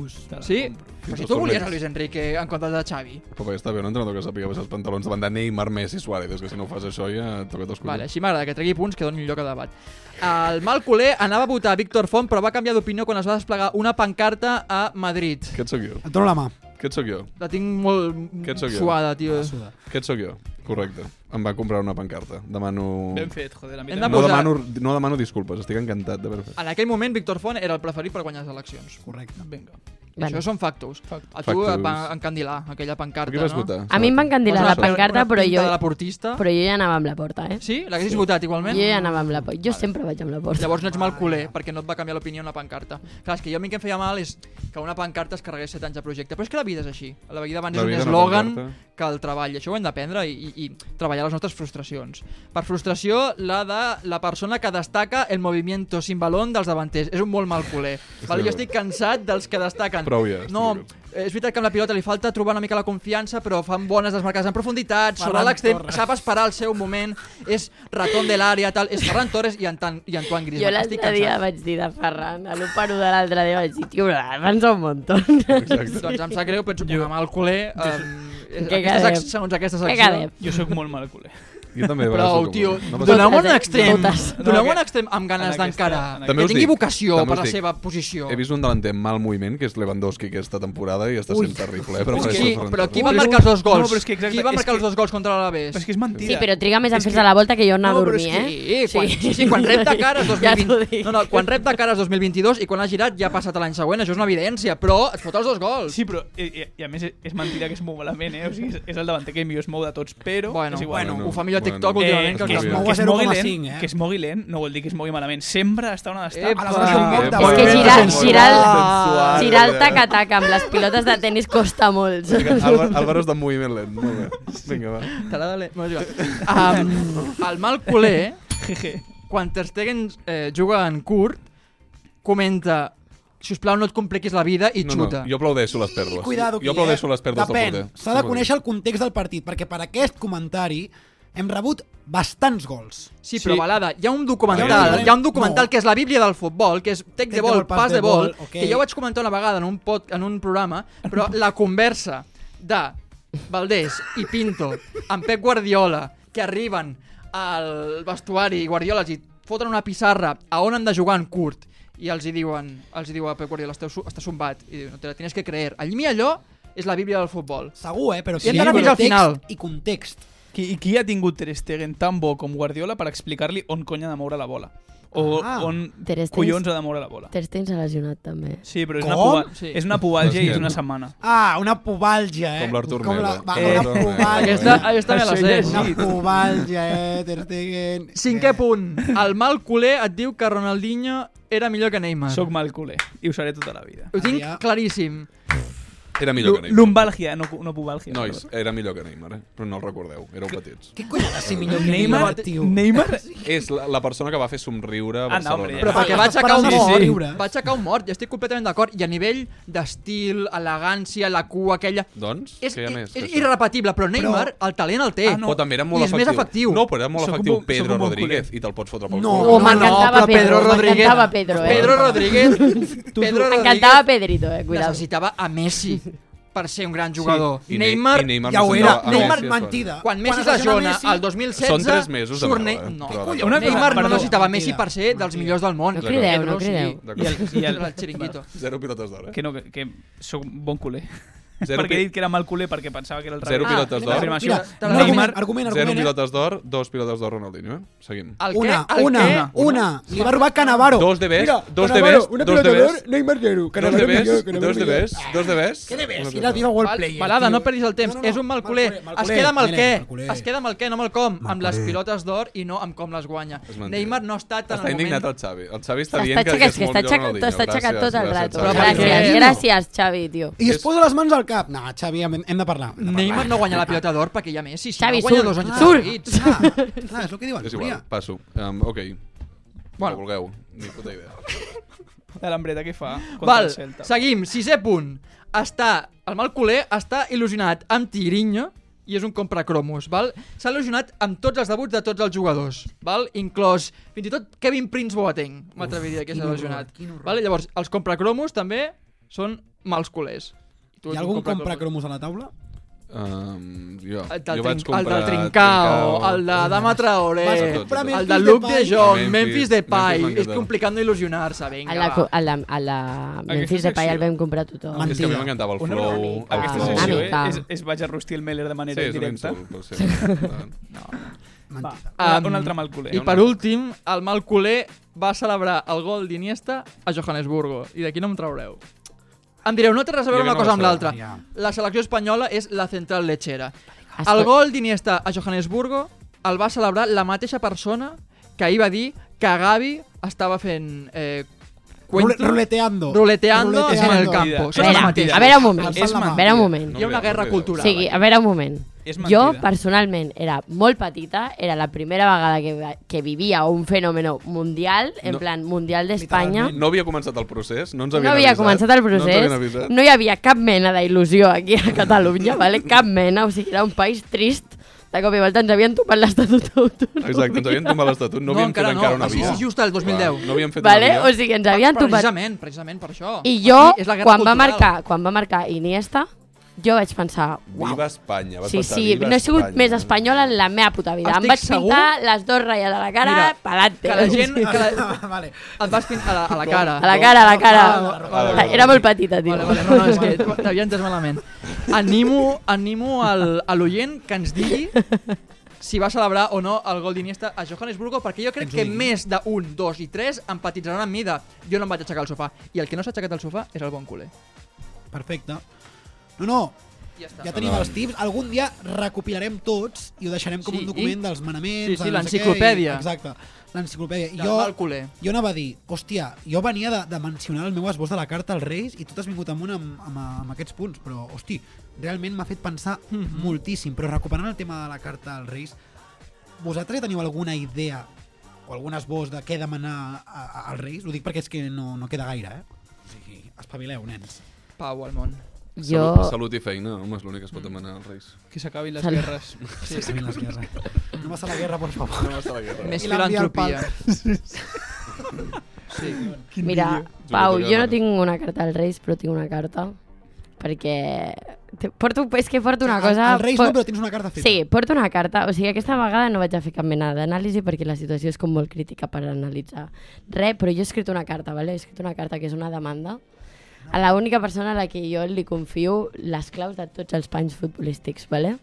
[SPEAKER 2] Sí? Però si tu
[SPEAKER 3] Fins
[SPEAKER 2] volies
[SPEAKER 3] als
[SPEAKER 2] a Luis Enrique en comptes de Xavi.
[SPEAKER 3] Però perquè està bé un entrenador que sàpiga baixar els pantalons davant de Neymar, Messi, Suárez. És que si no ho fas això ja et toca els
[SPEAKER 2] Vale,
[SPEAKER 3] collons.
[SPEAKER 2] així m'agrada que tregui punts que donin lloc a debat. El mal culer anava a votar Víctor Font però va canviar d'opinió quan es va desplegar una pancarta a Madrid.
[SPEAKER 3] Què et sóc jo?
[SPEAKER 1] Et dono la mà.
[SPEAKER 3] Què et sóc jo?
[SPEAKER 2] La tinc molt
[SPEAKER 3] Que et sóc jo.
[SPEAKER 2] suada,
[SPEAKER 4] Ah,
[SPEAKER 2] tio.
[SPEAKER 1] Suda.
[SPEAKER 3] Què et sóc jo? Correcte. Em va comprar una pancarta. Demano...
[SPEAKER 9] Ben fet, joder, a mi
[SPEAKER 2] Hem
[SPEAKER 9] també.
[SPEAKER 3] No
[SPEAKER 2] Posar-
[SPEAKER 3] demano, no demano disculpes, estic encantat d'haver-ho fet.
[SPEAKER 2] En aquell moment, Víctor Font era el preferit per guanyar les eleccions.
[SPEAKER 1] Correcte.
[SPEAKER 9] Vinga.
[SPEAKER 2] Vale. Això són factos.
[SPEAKER 9] Factos.
[SPEAKER 2] A tu et va
[SPEAKER 3] Factos.
[SPEAKER 2] encandilar aquella pancarta,
[SPEAKER 3] Per què vas
[SPEAKER 2] Ah, no?
[SPEAKER 3] votar?
[SPEAKER 4] A mi em va encandilar
[SPEAKER 2] Poses
[SPEAKER 4] la
[SPEAKER 2] una-
[SPEAKER 4] pancarta,
[SPEAKER 2] una
[SPEAKER 4] però
[SPEAKER 2] pinta
[SPEAKER 4] jo,
[SPEAKER 2] de laportista.
[SPEAKER 4] però jo ja anava amb la porta, eh?
[SPEAKER 2] Sí? L'haguessis votat igualment?
[SPEAKER 4] Jo ja anava amb la porta. Jo sempre vaig amb la porta.
[SPEAKER 2] Llavors no ets mal culer, perquè no et va canviar l'opinió una pancarta. Clar, és que jo a mi el que em feia mal és que una pancarta es carregués 7 anys de projecte. Però és que la vida és així. La vida abans
[SPEAKER 3] La
[SPEAKER 2] és
[SPEAKER 3] vida
[SPEAKER 2] un
[SPEAKER 3] és una
[SPEAKER 2] eslògan
[SPEAKER 3] pancarta.
[SPEAKER 2] que el treball. I Això ho hem d'aprendre i, i, i treballar les nostres frustracions. Per frustració, la de la persona que destaca el moviment sin balón dels davanters. És un molt mal culer. Val? Jo estic cansat dels que destaquen.
[SPEAKER 3] Prou ja, estic
[SPEAKER 2] No,
[SPEAKER 3] d'acord.
[SPEAKER 2] és veritat que amb la pilota li falta trobar una mica la confiança, però fan bones desmarcades en profunditat, sobre l'extrem, sap esperar el seu moment, és ratón de l'àrea, tal, és Ferran Torres i, Antan, i Antoine Griezmann.
[SPEAKER 4] Jo
[SPEAKER 2] Estic
[SPEAKER 4] l'altre
[SPEAKER 2] cansat.
[SPEAKER 4] dia vaig dir de Ferran, a l'1 de l'altre dia vaig dir, tio, avança un muntó.
[SPEAKER 3] Exacte.
[SPEAKER 2] Doncs em sap greu, però ets un mal culer. Um,
[SPEAKER 4] Què
[SPEAKER 2] aquesta,
[SPEAKER 4] quedem?
[SPEAKER 2] sec- segons aquesta
[SPEAKER 4] Què
[SPEAKER 2] secció...
[SPEAKER 4] quedem?
[SPEAKER 9] Jo sóc molt mal culer.
[SPEAKER 3] Jo també de vegades
[SPEAKER 2] Prou,
[SPEAKER 3] sóc
[SPEAKER 2] tio.
[SPEAKER 3] avorrit. No passa
[SPEAKER 2] Doneu-me un
[SPEAKER 4] res.
[SPEAKER 2] extrem.
[SPEAKER 4] Totes.
[SPEAKER 2] Doneu-me
[SPEAKER 9] No,
[SPEAKER 2] un extrem amb
[SPEAKER 9] en
[SPEAKER 2] ganes
[SPEAKER 9] aquesta-
[SPEAKER 2] d'encarar.
[SPEAKER 9] en
[SPEAKER 2] Que
[SPEAKER 3] També us
[SPEAKER 2] tingui
[SPEAKER 3] dic-
[SPEAKER 2] vocació
[SPEAKER 3] també
[SPEAKER 2] per
[SPEAKER 3] us
[SPEAKER 2] la
[SPEAKER 3] dic,
[SPEAKER 2] seva posició.
[SPEAKER 3] He vist un delanter amb mal moviment, que és Lewandowski aquesta temporada, i està sent terrible. eh, per
[SPEAKER 2] Però,
[SPEAKER 3] Francesc
[SPEAKER 2] qui,
[SPEAKER 3] Fernández.
[SPEAKER 2] però qui va
[SPEAKER 9] Ui,
[SPEAKER 2] marcar els dos
[SPEAKER 9] no,
[SPEAKER 2] gols?
[SPEAKER 9] però és que exacte-
[SPEAKER 2] qui va
[SPEAKER 9] és
[SPEAKER 2] marcar els
[SPEAKER 9] que-
[SPEAKER 2] dos gols contra l'Alavés?
[SPEAKER 9] Però és que és mentida.
[SPEAKER 4] Sí, però triga més a
[SPEAKER 9] És
[SPEAKER 4] fer-se
[SPEAKER 9] que-
[SPEAKER 4] la volta que jo anar a dormir,
[SPEAKER 2] però és
[SPEAKER 4] eh?
[SPEAKER 2] que, eh? Quan, sí. sí, quan rep de cares
[SPEAKER 4] Ja t'ho
[SPEAKER 2] 2020,
[SPEAKER 4] dic.
[SPEAKER 2] no, no, quan rep de cares 2022 i quan ha girat ja ha passat a l'any següent, això és una evidència, però et fot els dos gols.
[SPEAKER 9] Sí, però, i, i, a més, és- és mentida que es mou malament, eh? O sigui, és, és el davanter que millor es mou de tots, però
[SPEAKER 2] Bueno,
[SPEAKER 9] és igual.
[SPEAKER 2] bueno,
[SPEAKER 3] Bueno,
[SPEAKER 2] ho fa millor a TikTok
[SPEAKER 3] bueno.
[SPEAKER 9] Eh,
[SPEAKER 2] últimament
[SPEAKER 9] que,
[SPEAKER 2] que
[SPEAKER 9] es,
[SPEAKER 2] el
[SPEAKER 3] mou
[SPEAKER 9] que,
[SPEAKER 1] a
[SPEAKER 9] es mogui
[SPEAKER 1] 0,5,
[SPEAKER 9] lent,
[SPEAKER 1] eh?
[SPEAKER 9] que es mogui lent no vol dir que es mogui malament. Sempre està on ha d'estar.
[SPEAKER 2] Epa!
[SPEAKER 9] A les dues del món,
[SPEAKER 3] Epa!
[SPEAKER 9] davant.
[SPEAKER 4] És que
[SPEAKER 3] Molt
[SPEAKER 4] girar,
[SPEAKER 3] sensual,
[SPEAKER 4] girar,
[SPEAKER 3] sensual.
[SPEAKER 4] el, girar el taca-taca amb les pilotes de tennis costa molt.
[SPEAKER 3] Álvaro, Álvaro està en moviment lent. Molt bé. Vinga, va.
[SPEAKER 2] Taradale. Bueno, és igual. um, el mal culer, quan Ter Stegen eh, juga en curt, comenta si us plau no et compliquis la vida i
[SPEAKER 3] No, no,
[SPEAKER 2] xuta.
[SPEAKER 3] jo aplaudeixo les perles.
[SPEAKER 1] Cuidado aquí,
[SPEAKER 3] jo aplaudeixo
[SPEAKER 1] eh?
[SPEAKER 3] les perles
[SPEAKER 1] Depèn.
[SPEAKER 3] del porter.
[SPEAKER 1] S'ha de conèixer el context del partit, perquè per aquest comentari hem rebut bastants gols.
[SPEAKER 2] Sí, però
[SPEAKER 9] Sí.
[SPEAKER 2] Balada, hi ha un documental,
[SPEAKER 3] No,
[SPEAKER 2] hi ha un documental
[SPEAKER 1] no.
[SPEAKER 2] que és la bíblia del futbol, que és Tec de Vol, Pas de Vol,
[SPEAKER 1] ok.
[SPEAKER 2] que ja ho vaig comentar una vegada en un, pot, en un programa, però la conversa de Valdés i Pinto amb Pep Guardiola, que arriben al vestuari i Guardiola els hi foten una pissarra a on han de jugar en curt i els hi diuen, els hi diu a Pep Guardiola esteu, su- està sombat, i diu, no te la tienes que creer. Allí allò és la bíblia del futbol.
[SPEAKER 1] Segur, eh? Però
[SPEAKER 2] Sí,
[SPEAKER 1] que hi ha
[SPEAKER 2] però- fins al
[SPEAKER 1] context
[SPEAKER 2] final.
[SPEAKER 1] I context.
[SPEAKER 9] Qui, I qui ha tingut Ter Stegen tan bo com Guardiola per explicar-li on conya ha de moure la bola? O
[SPEAKER 1] Ah.
[SPEAKER 9] on
[SPEAKER 4] Ter Stegen-
[SPEAKER 9] collons ha de moure la bola?
[SPEAKER 4] Ter Stegen s'ha lesionat, també.
[SPEAKER 9] Sí, però és una,
[SPEAKER 1] Com?
[SPEAKER 9] puba,
[SPEAKER 2] Sí.
[SPEAKER 9] és una pubalgia i és una
[SPEAKER 3] Hòstia.
[SPEAKER 9] setmana.
[SPEAKER 1] Ah, una pobàlgia, eh?
[SPEAKER 3] Com l'Artur
[SPEAKER 1] Com la,
[SPEAKER 3] Mena.
[SPEAKER 1] va,
[SPEAKER 3] Eh,
[SPEAKER 1] una
[SPEAKER 3] Artur Mena.
[SPEAKER 1] pobàlgia.
[SPEAKER 2] Aquesta, aquesta me la
[SPEAKER 9] Això
[SPEAKER 2] sé.
[SPEAKER 9] ja és
[SPEAKER 1] Una
[SPEAKER 9] Sí.
[SPEAKER 1] pobàlgia, eh? Ter Stegen.
[SPEAKER 2] Cinquè
[SPEAKER 1] Eh,
[SPEAKER 2] punt. El mal culer et diu que Ronaldinho era millor que Neymar.
[SPEAKER 9] Soc mal culer i ho seré tota la vida.
[SPEAKER 2] Ho tinc
[SPEAKER 1] Adrià.
[SPEAKER 2] claríssim.
[SPEAKER 3] Era millor que
[SPEAKER 9] Lu-
[SPEAKER 3] Neymar.
[SPEAKER 9] Lumbàlgia, no, cu- no pubàlgia.
[SPEAKER 3] Nois, era millor que Neymar, eh? però no el recordeu, éreu petits.
[SPEAKER 1] Què cony ha de ser millor que
[SPEAKER 9] Neymar,
[SPEAKER 1] Neymar, tio?
[SPEAKER 9] Neymar
[SPEAKER 3] És la, la persona que va fer somriure a
[SPEAKER 9] Ah, no,
[SPEAKER 3] Barcelona.
[SPEAKER 9] hombre,
[SPEAKER 2] Però
[SPEAKER 9] Ah,
[SPEAKER 2] perquè
[SPEAKER 1] les
[SPEAKER 2] va aixecar un
[SPEAKER 1] paraules
[SPEAKER 2] mort.
[SPEAKER 1] lliures.
[SPEAKER 2] Va aixecar un mort. I estic completament d'acord. I a nivell d'estil, elegància, la cua aquella...
[SPEAKER 3] Doncs,
[SPEAKER 2] És,
[SPEAKER 3] què hi ha
[SPEAKER 2] és,
[SPEAKER 3] més?
[SPEAKER 2] és irrepetible, però Neymar el talent el té.
[SPEAKER 9] Ah, no.
[SPEAKER 3] No, també era molt
[SPEAKER 2] I és més efectiu.
[SPEAKER 3] No, però era molt
[SPEAKER 9] Sóc un
[SPEAKER 3] efectiu
[SPEAKER 9] bon- sóc
[SPEAKER 3] Pedro
[SPEAKER 9] un bon
[SPEAKER 3] Rodríguez i te'l pots fotre pel
[SPEAKER 1] No.
[SPEAKER 3] cul.
[SPEAKER 1] Oh,
[SPEAKER 4] Oh, m'encantava
[SPEAKER 2] però
[SPEAKER 4] Pedro,
[SPEAKER 2] Rodríguez-
[SPEAKER 4] m'encantava Pedro, eh?
[SPEAKER 2] Pedro Rodríguez. Pedro Rodríguez
[SPEAKER 4] M'encantava Pedrito, eh? Cuidado.
[SPEAKER 2] necessitava a Messi per ser un gran jugador.
[SPEAKER 3] I Ne-
[SPEAKER 2] Neymar,
[SPEAKER 3] i Neymar
[SPEAKER 1] Ja ho
[SPEAKER 3] no
[SPEAKER 1] era.
[SPEAKER 3] s'anava a
[SPEAKER 1] Neymar,
[SPEAKER 3] Grècia,
[SPEAKER 1] mentida.
[SPEAKER 2] Ah, quan Messi es
[SPEAKER 1] es lesiona
[SPEAKER 2] lesiona
[SPEAKER 1] Messi-
[SPEAKER 2] al 2016...
[SPEAKER 3] Són tres mesos de
[SPEAKER 2] surt
[SPEAKER 3] merda,
[SPEAKER 2] Ne-
[SPEAKER 3] eh?
[SPEAKER 2] No,
[SPEAKER 3] Però-
[SPEAKER 2] Collons,
[SPEAKER 9] Una cosa,
[SPEAKER 2] Neymar no
[SPEAKER 9] perdó.
[SPEAKER 2] necessitava Messi
[SPEAKER 1] Mentida.
[SPEAKER 2] per ser dels millors del món.
[SPEAKER 4] No crideu, no
[SPEAKER 2] Pedro, sí.
[SPEAKER 4] crideu.
[SPEAKER 3] D'acord.
[SPEAKER 9] i el, i el,
[SPEAKER 2] El xiringuito.
[SPEAKER 3] Zero pilotes d'or, eh?
[SPEAKER 9] que no, que, que sóc un bon culer.
[SPEAKER 3] Zero
[SPEAKER 9] perquè he
[SPEAKER 3] pi-
[SPEAKER 9] dit que era mal culer perquè pensava que era el
[SPEAKER 3] Zero
[SPEAKER 9] revés.
[SPEAKER 3] pilotes
[SPEAKER 9] Ah,
[SPEAKER 3] d'or.
[SPEAKER 9] afirmació.
[SPEAKER 1] Mira,
[SPEAKER 2] Te
[SPEAKER 1] un
[SPEAKER 2] la-
[SPEAKER 1] argument,
[SPEAKER 9] Neymar,
[SPEAKER 1] argument,
[SPEAKER 3] Zero
[SPEAKER 1] argument. eh?
[SPEAKER 3] pilotes d'or, dos pilotes d'or Ronaldinho, eh? Seguim.
[SPEAKER 2] El que,
[SPEAKER 1] Una,
[SPEAKER 2] el
[SPEAKER 1] una,
[SPEAKER 2] que,
[SPEAKER 1] una. Li va robar Canavaro.
[SPEAKER 3] Dos de best,
[SPEAKER 1] Mira,
[SPEAKER 3] dos de
[SPEAKER 1] Canavaro,
[SPEAKER 3] best,
[SPEAKER 1] una
[SPEAKER 3] dos de
[SPEAKER 1] pilota d'or,
[SPEAKER 3] best.
[SPEAKER 1] Neymar zero.
[SPEAKER 3] Dos
[SPEAKER 1] Canavaro
[SPEAKER 3] de
[SPEAKER 1] millor,
[SPEAKER 3] best,
[SPEAKER 1] Canavaro
[SPEAKER 3] dos de
[SPEAKER 1] millor.
[SPEAKER 3] best, dos de best.
[SPEAKER 1] Què de best?
[SPEAKER 3] Una
[SPEAKER 1] Era
[SPEAKER 3] pilota.
[SPEAKER 1] viva World
[SPEAKER 2] Val-
[SPEAKER 1] Player.
[SPEAKER 2] Balada,
[SPEAKER 1] tio.
[SPEAKER 2] no perdis el temps.
[SPEAKER 1] No, no,
[SPEAKER 2] No,
[SPEAKER 1] no.
[SPEAKER 2] És un mal
[SPEAKER 1] Mal
[SPEAKER 2] culer.
[SPEAKER 1] culer, mal
[SPEAKER 2] Es
[SPEAKER 1] culer,
[SPEAKER 2] queda amb el
[SPEAKER 1] Milen,
[SPEAKER 2] què.
[SPEAKER 1] mal culer.
[SPEAKER 2] Es queda amb el què, no amb el com. amb les pilotes d'or i no amb com les guanya.
[SPEAKER 3] És mentida.
[SPEAKER 2] Neymar no ha estat en
[SPEAKER 3] Està
[SPEAKER 2] el
[SPEAKER 3] indignat
[SPEAKER 2] moment...
[SPEAKER 3] el Xavi. El Xavi està
[SPEAKER 4] Està
[SPEAKER 3] dient que,
[SPEAKER 4] aixecat,
[SPEAKER 3] és
[SPEAKER 4] que
[SPEAKER 3] molt
[SPEAKER 4] està
[SPEAKER 3] millor
[SPEAKER 4] aixecat,
[SPEAKER 3] Ronaldinho.
[SPEAKER 4] tot, està aixecat
[SPEAKER 3] Gràcies,
[SPEAKER 4] tot el
[SPEAKER 3] gràcies,
[SPEAKER 4] rato.
[SPEAKER 3] Xavi.
[SPEAKER 2] Però per
[SPEAKER 4] Gràcies,
[SPEAKER 2] què?
[SPEAKER 4] gràcies, Xavi, tio.
[SPEAKER 1] I es posa les mans al cap. No, Xavi, hem, hem de parlar. Hem de parlar.
[SPEAKER 2] Neymar no guanya la pilota d'or perquè hi ha Messi. Si
[SPEAKER 4] Xavi,
[SPEAKER 2] no guanya
[SPEAKER 4] surt.
[SPEAKER 2] dos anys
[SPEAKER 4] Surt.
[SPEAKER 2] seguits.
[SPEAKER 1] Ah, clar, és el que diuen.
[SPEAKER 3] És igual,
[SPEAKER 1] Julià.
[SPEAKER 3] passo. Um, ok.
[SPEAKER 2] Bueno.
[SPEAKER 3] Bueno. No vulgueu, ni puta idea.
[SPEAKER 9] De l'Ambreta què fa contra
[SPEAKER 2] Val,
[SPEAKER 9] el Celta.
[SPEAKER 2] seguim. Sisè punt. Està, el mal culer està il·lusionat amb Tirinho i és un compra cromos, val? S'ha il·lusionat amb tots els debuts de tots els jugadors, val? Inclòs, fins i tot Kevin Prince Boateng, m'atreviria que
[SPEAKER 1] quin
[SPEAKER 2] s'ha
[SPEAKER 1] horror,
[SPEAKER 2] il·lusionat.
[SPEAKER 1] quin horror.
[SPEAKER 2] Val? Llavors, els compra cromos també són mals culers. Tu
[SPEAKER 1] Hi
[SPEAKER 2] ets
[SPEAKER 1] ha
[SPEAKER 2] un
[SPEAKER 1] algun
[SPEAKER 2] compracromos.
[SPEAKER 1] compra cromos a la taula?
[SPEAKER 3] Um, jo,
[SPEAKER 2] El del,
[SPEAKER 3] jo vaig
[SPEAKER 2] trin, el
[SPEAKER 3] comprar...
[SPEAKER 2] del Trincao,
[SPEAKER 3] Trincao.
[SPEAKER 2] el de Dama
[SPEAKER 1] Vas
[SPEAKER 2] Traoré,
[SPEAKER 3] comprar
[SPEAKER 2] el
[SPEAKER 1] Memphis
[SPEAKER 2] de Luke
[SPEAKER 1] Depay.
[SPEAKER 2] de Jong,
[SPEAKER 3] Memphis,
[SPEAKER 2] Memphis Depay.
[SPEAKER 3] Memphis
[SPEAKER 2] És
[SPEAKER 3] m'encanta.
[SPEAKER 2] complicat no il·lusionar-se, vinga,
[SPEAKER 4] A la,
[SPEAKER 2] va.
[SPEAKER 4] co- a la, a la Memphis
[SPEAKER 9] secció-
[SPEAKER 4] Depay el vam comprar tothom.
[SPEAKER 1] Man-
[SPEAKER 3] És que a mi m'encantava el
[SPEAKER 9] Una
[SPEAKER 3] flow.
[SPEAKER 4] mica.
[SPEAKER 3] El
[SPEAKER 4] Ah,
[SPEAKER 9] Aquesta
[SPEAKER 3] flow.
[SPEAKER 9] sessió
[SPEAKER 4] una
[SPEAKER 9] eh,
[SPEAKER 4] mica.
[SPEAKER 9] és, és vaig a Rusty el Meller de
[SPEAKER 3] Sí,
[SPEAKER 9] manera
[SPEAKER 3] és un
[SPEAKER 9] indirecta.
[SPEAKER 3] insult, però sí.
[SPEAKER 9] Va,
[SPEAKER 1] Mentida.
[SPEAKER 9] una-
[SPEAKER 2] Um,
[SPEAKER 9] un altre mal culer.
[SPEAKER 2] I per últim, el mal culer va celebrar el gol d'Iniesta a Johannesburgo. I d'aquí no em traureu. Em direu, no té res a veure
[SPEAKER 3] Jo que
[SPEAKER 2] una
[SPEAKER 3] no
[SPEAKER 2] cosa
[SPEAKER 3] la
[SPEAKER 2] amb
[SPEAKER 3] sé.
[SPEAKER 2] l'altra.
[SPEAKER 1] Ja.
[SPEAKER 2] La selecció espanyola és la central lechera. El
[SPEAKER 4] Escol-
[SPEAKER 2] gol d'Iniesta a Johannesburgo el va celebrar la mateixa persona que ahir va dir que Gavi estava fent... Eh,
[SPEAKER 1] Rule-
[SPEAKER 2] cuento-
[SPEAKER 1] Ruleteando.
[SPEAKER 2] ruleteando en el
[SPEAKER 1] Ruleteando.
[SPEAKER 2] campo. Són
[SPEAKER 4] A
[SPEAKER 3] eh,
[SPEAKER 4] veure,
[SPEAKER 2] els
[SPEAKER 4] a
[SPEAKER 2] mateixos.
[SPEAKER 4] veure un
[SPEAKER 1] És
[SPEAKER 4] moment, a veure
[SPEAKER 1] mentida.
[SPEAKER 4] un moment.
[SPEAKER 2] Hi ha una guerra
[SPEAKER 4] O
[SPEAKER 2] cultural.
[SPEAKER 4] sigui, a veure un moment.
[SPEAKER 9] És
[SPEAKER 4] Jo,
[SPEAKER 9] mentida.
[SPEAKER 4] personalment, era molt petita, era la primera vegada que, que vivia un fenomen mundial, en
[SPEAKER 3] No.
[SPEAKER 4] plan, mundial d'Espanya.
[SPEAKER 3] No havia començat el procés, no ens
[SPEAKER 4] No
[SPEAKER 3] havien
[SPEAKER 4] havia
[SPEAKER 3] avisat.
[SPEAKER 4] començat el
[SPEAKER 3] No ens
[SPEAKER 4] procés,
[SPEAKER 3] havien avisat.
[SPEAKER 4] no hi havia cap mena d'il·lusió aquí a Catalunya, vale? cap mena, o sigui, era un país trist. De cop i volta ens havien topat l'estatut d'autonomia.
[SPEAKER 3] Exacte, ens havien tomat l'estatut, no, havíem fet encara una
[SPEAKER 2] Sí,
[SPEAKER 3] via.
[SPEAKER 2] sí, just el 2010.
[SPEAKER 3] Clar, No havíem fet
[SPEAKER 4] Vale?
[SPEAKER 3] una
[SPEAKER 4] O
[SPEAKER 3] via.
[SPEAKER 4] sigui, ens havien topat.
[SPEAKER 2] Precisament, precisament per això.
[SPEAKER 4] I jo,
[SPEAKER 2] Aquí és la guerra
[SPEAKER 4] quan va,
[SPEAKER 2] cultural.
[SPEAKER 4] marcar, quan va marcar Iniesta, jo vaig pensar, uau.
[SPEAKER 3] Viva Espanya. Vas
[SPEAKER 4] Sí,
[SPEAKER 3] pensar,
[SPEAKER 4] sí,
[SPEAKER 3] "Viva
[SPEAKER 4] no he sigut
[SPEAKER 3] Espanya".
[SPEAKER 4] més espanyola en la meva puta vida.
[SPEAKER 2] Estic
[SPEAKER 4] em vaig
[SPEAKER 2] segur-
[SPEAKER 4] pintar les dues ratlles de la cara,
[SPEAKER 2] Mira,
[SPEAKER 4] pelante.
[SPEAKER 2] Que la gent... Ah, Que la,
[SPEAKER 1] vale.
[SPEAKER 2] et vas pintar a la, a la cara.
[SPEAKER 4] A la cara, a la cara.
[SPEAKER 3] vale, vale.
[SPEAKER 4] Era molt petita, tio.
[SPEAKER 2] Vale, vale, no, no, és que t'havia entès malament. Animo, animo al, a l'oient que ens digui si va celebrar o no el gol d'Iniesta a Johannesburgo, perquè jo crec
[SPEAKER 1] Ens ho
[SPEAKER 2] que
[SPEAKER 1] digui.
[SPEAKER 2] més d'un, dos i tres empatitzaran en mida. Jo no em vaig aixecar al sofà. I el que no s'ha aixecat al sofà és el bon culer.
[SPEAKER 1] Perfecte. No, no,
[SPEAKER 2] Ja està.
[SPEAKER 1] ja tenim els tips. Algun dia recopilarem tots i ho deixarem com
[SPEAKER 2] Sí,
[SPEAKER 1] un document
[SPEAKER 2] i-
[SPEAKER 1] dels manaments.
[SPEAKER 2] Sí,
[SPEAKER 1] de no
[SPEAKER 2] sí,
[SPEAKER 1] sé què, i-
[SPEAKER 2] l'enciclopèdia.
[SPEAKER 1] Exacte, l'enciclopèdia. I
[SPEAKER 2] Del mal
[SPEAKER 1] jo,
[SPEAKER 2] culer.
[SPEAKER 1] jo anava a dir, hòstia, jo venia de, de mencionar el meu esbós de la carta als Reis i tu t'has vingut amunt amb, amb, amb aquests punts, però, hosti, realment m'ha fet pensar moltíssim. Però recuperant el tema de la carta als Reis, vosaltres ja teniu alguna idea o algun esbós de què demanar a- a- als Reis? Ho dic perquè és que no, no queda gaire, eh? O sigui, espavileu, nens.
[SPEAKER 2] Pau al món.
[SPEAKER 3] Salut,
[SPEAKER 4] Jo...
[SPEAKER 3] salut i feina, home, és l'únic que es pot demanar als Reis.
[SPEAKER 9] Que s'acabin les
[SPEAKER 4] Sal-
[SPEAKER 9] guerres.
[SPEAKER 1] Sí, sí, la guerra. No vas a la guerra, por favor.
[SPEAKER 3] No m'està la guerra.
[SPEAKER 2] Més
[SPEAKER 1] I l'envia al
[SPEAKER 2] filantropia. Sí.
[SPEAKER 4] Mira,
[SPEAKER 3] vídeo.
[SPEAKER 4] Pau,
[SPEAKER 3] Jugueu
[SPEAKER 4] jo no
[SPEAKER 3] de-
[SPEAKER 4] tinc una carta als Reis, però tinc una carta. Perquè... te- Porto, és que porto una cosa...
[SPEAKER 1] El, el Reis
[SPEAKER 4] por-
[SPEAKER 1] no, però tens una carta feta.
[SPEAKER 4] Sí, porto una carta. O sigui, aquesta vegada no vaig a fer cap mena d'anàlisi perquè la situació és com molt crítica per analitzar res, però jo he escrit una carta, ¿vale? he escrit una carta que és una demanda a la única persona a la que jo li confio les claus de tots els panys futbolístics, ¿vale?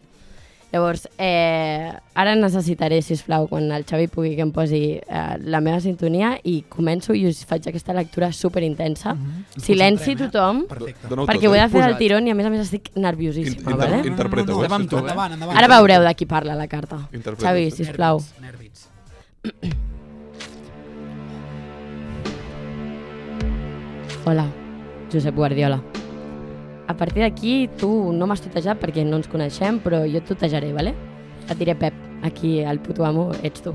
[SPEAKER 4] Llavors, eh, ara necessitaré, si plau, quan el Xavi pugui que em posi eh, la meva sintonia i començo i us faig aquesta lectura super intensa. Silenci
[SPEAKER 1] Concentrem, eh?
[SPEAKER 4] tothom,
[SPEAKER 1] Perfecte.
[SPEAKER 3] Dóna-ho
[SPEAKER 4] perquè ho
[SPEAKER 3] tot, eh?
[SPEAKER 4] he de fer del
[SPEAKER 2] Posat.
[SPEAKER 4] tirón i a més a més estic nerviosíssima,
[SPEAKER 3] Inter-
[SPEAKER 4] ¿vale?
[SPEAKER 3] Interpreta,
[SPEAKER 1] no,
[SPEAKER 3] ho
[SPEAKER 1] no,
[SPEAKER 2] Endavant,
[SPEAKER 1] no,
[SPEAKER 2] tu, eh?
[SPEAKER 1] Endavant, endavant.
[SPEAKER 4] Ara veureu de qui parla la carta.
[SPEAKER 3] Interpreta.
[SPEAKER 4] Xavi, sisplau.
[SPEAKER 1] Nervis, Nervis.
[SPEAKER 4] Hola, Josep Guardiola. A partir d'aquí, tu no m'has tutejat perquè no ens coneixem, però jo et tutejaré, vale? Et diré Pep, aquí el puto amo ets tu.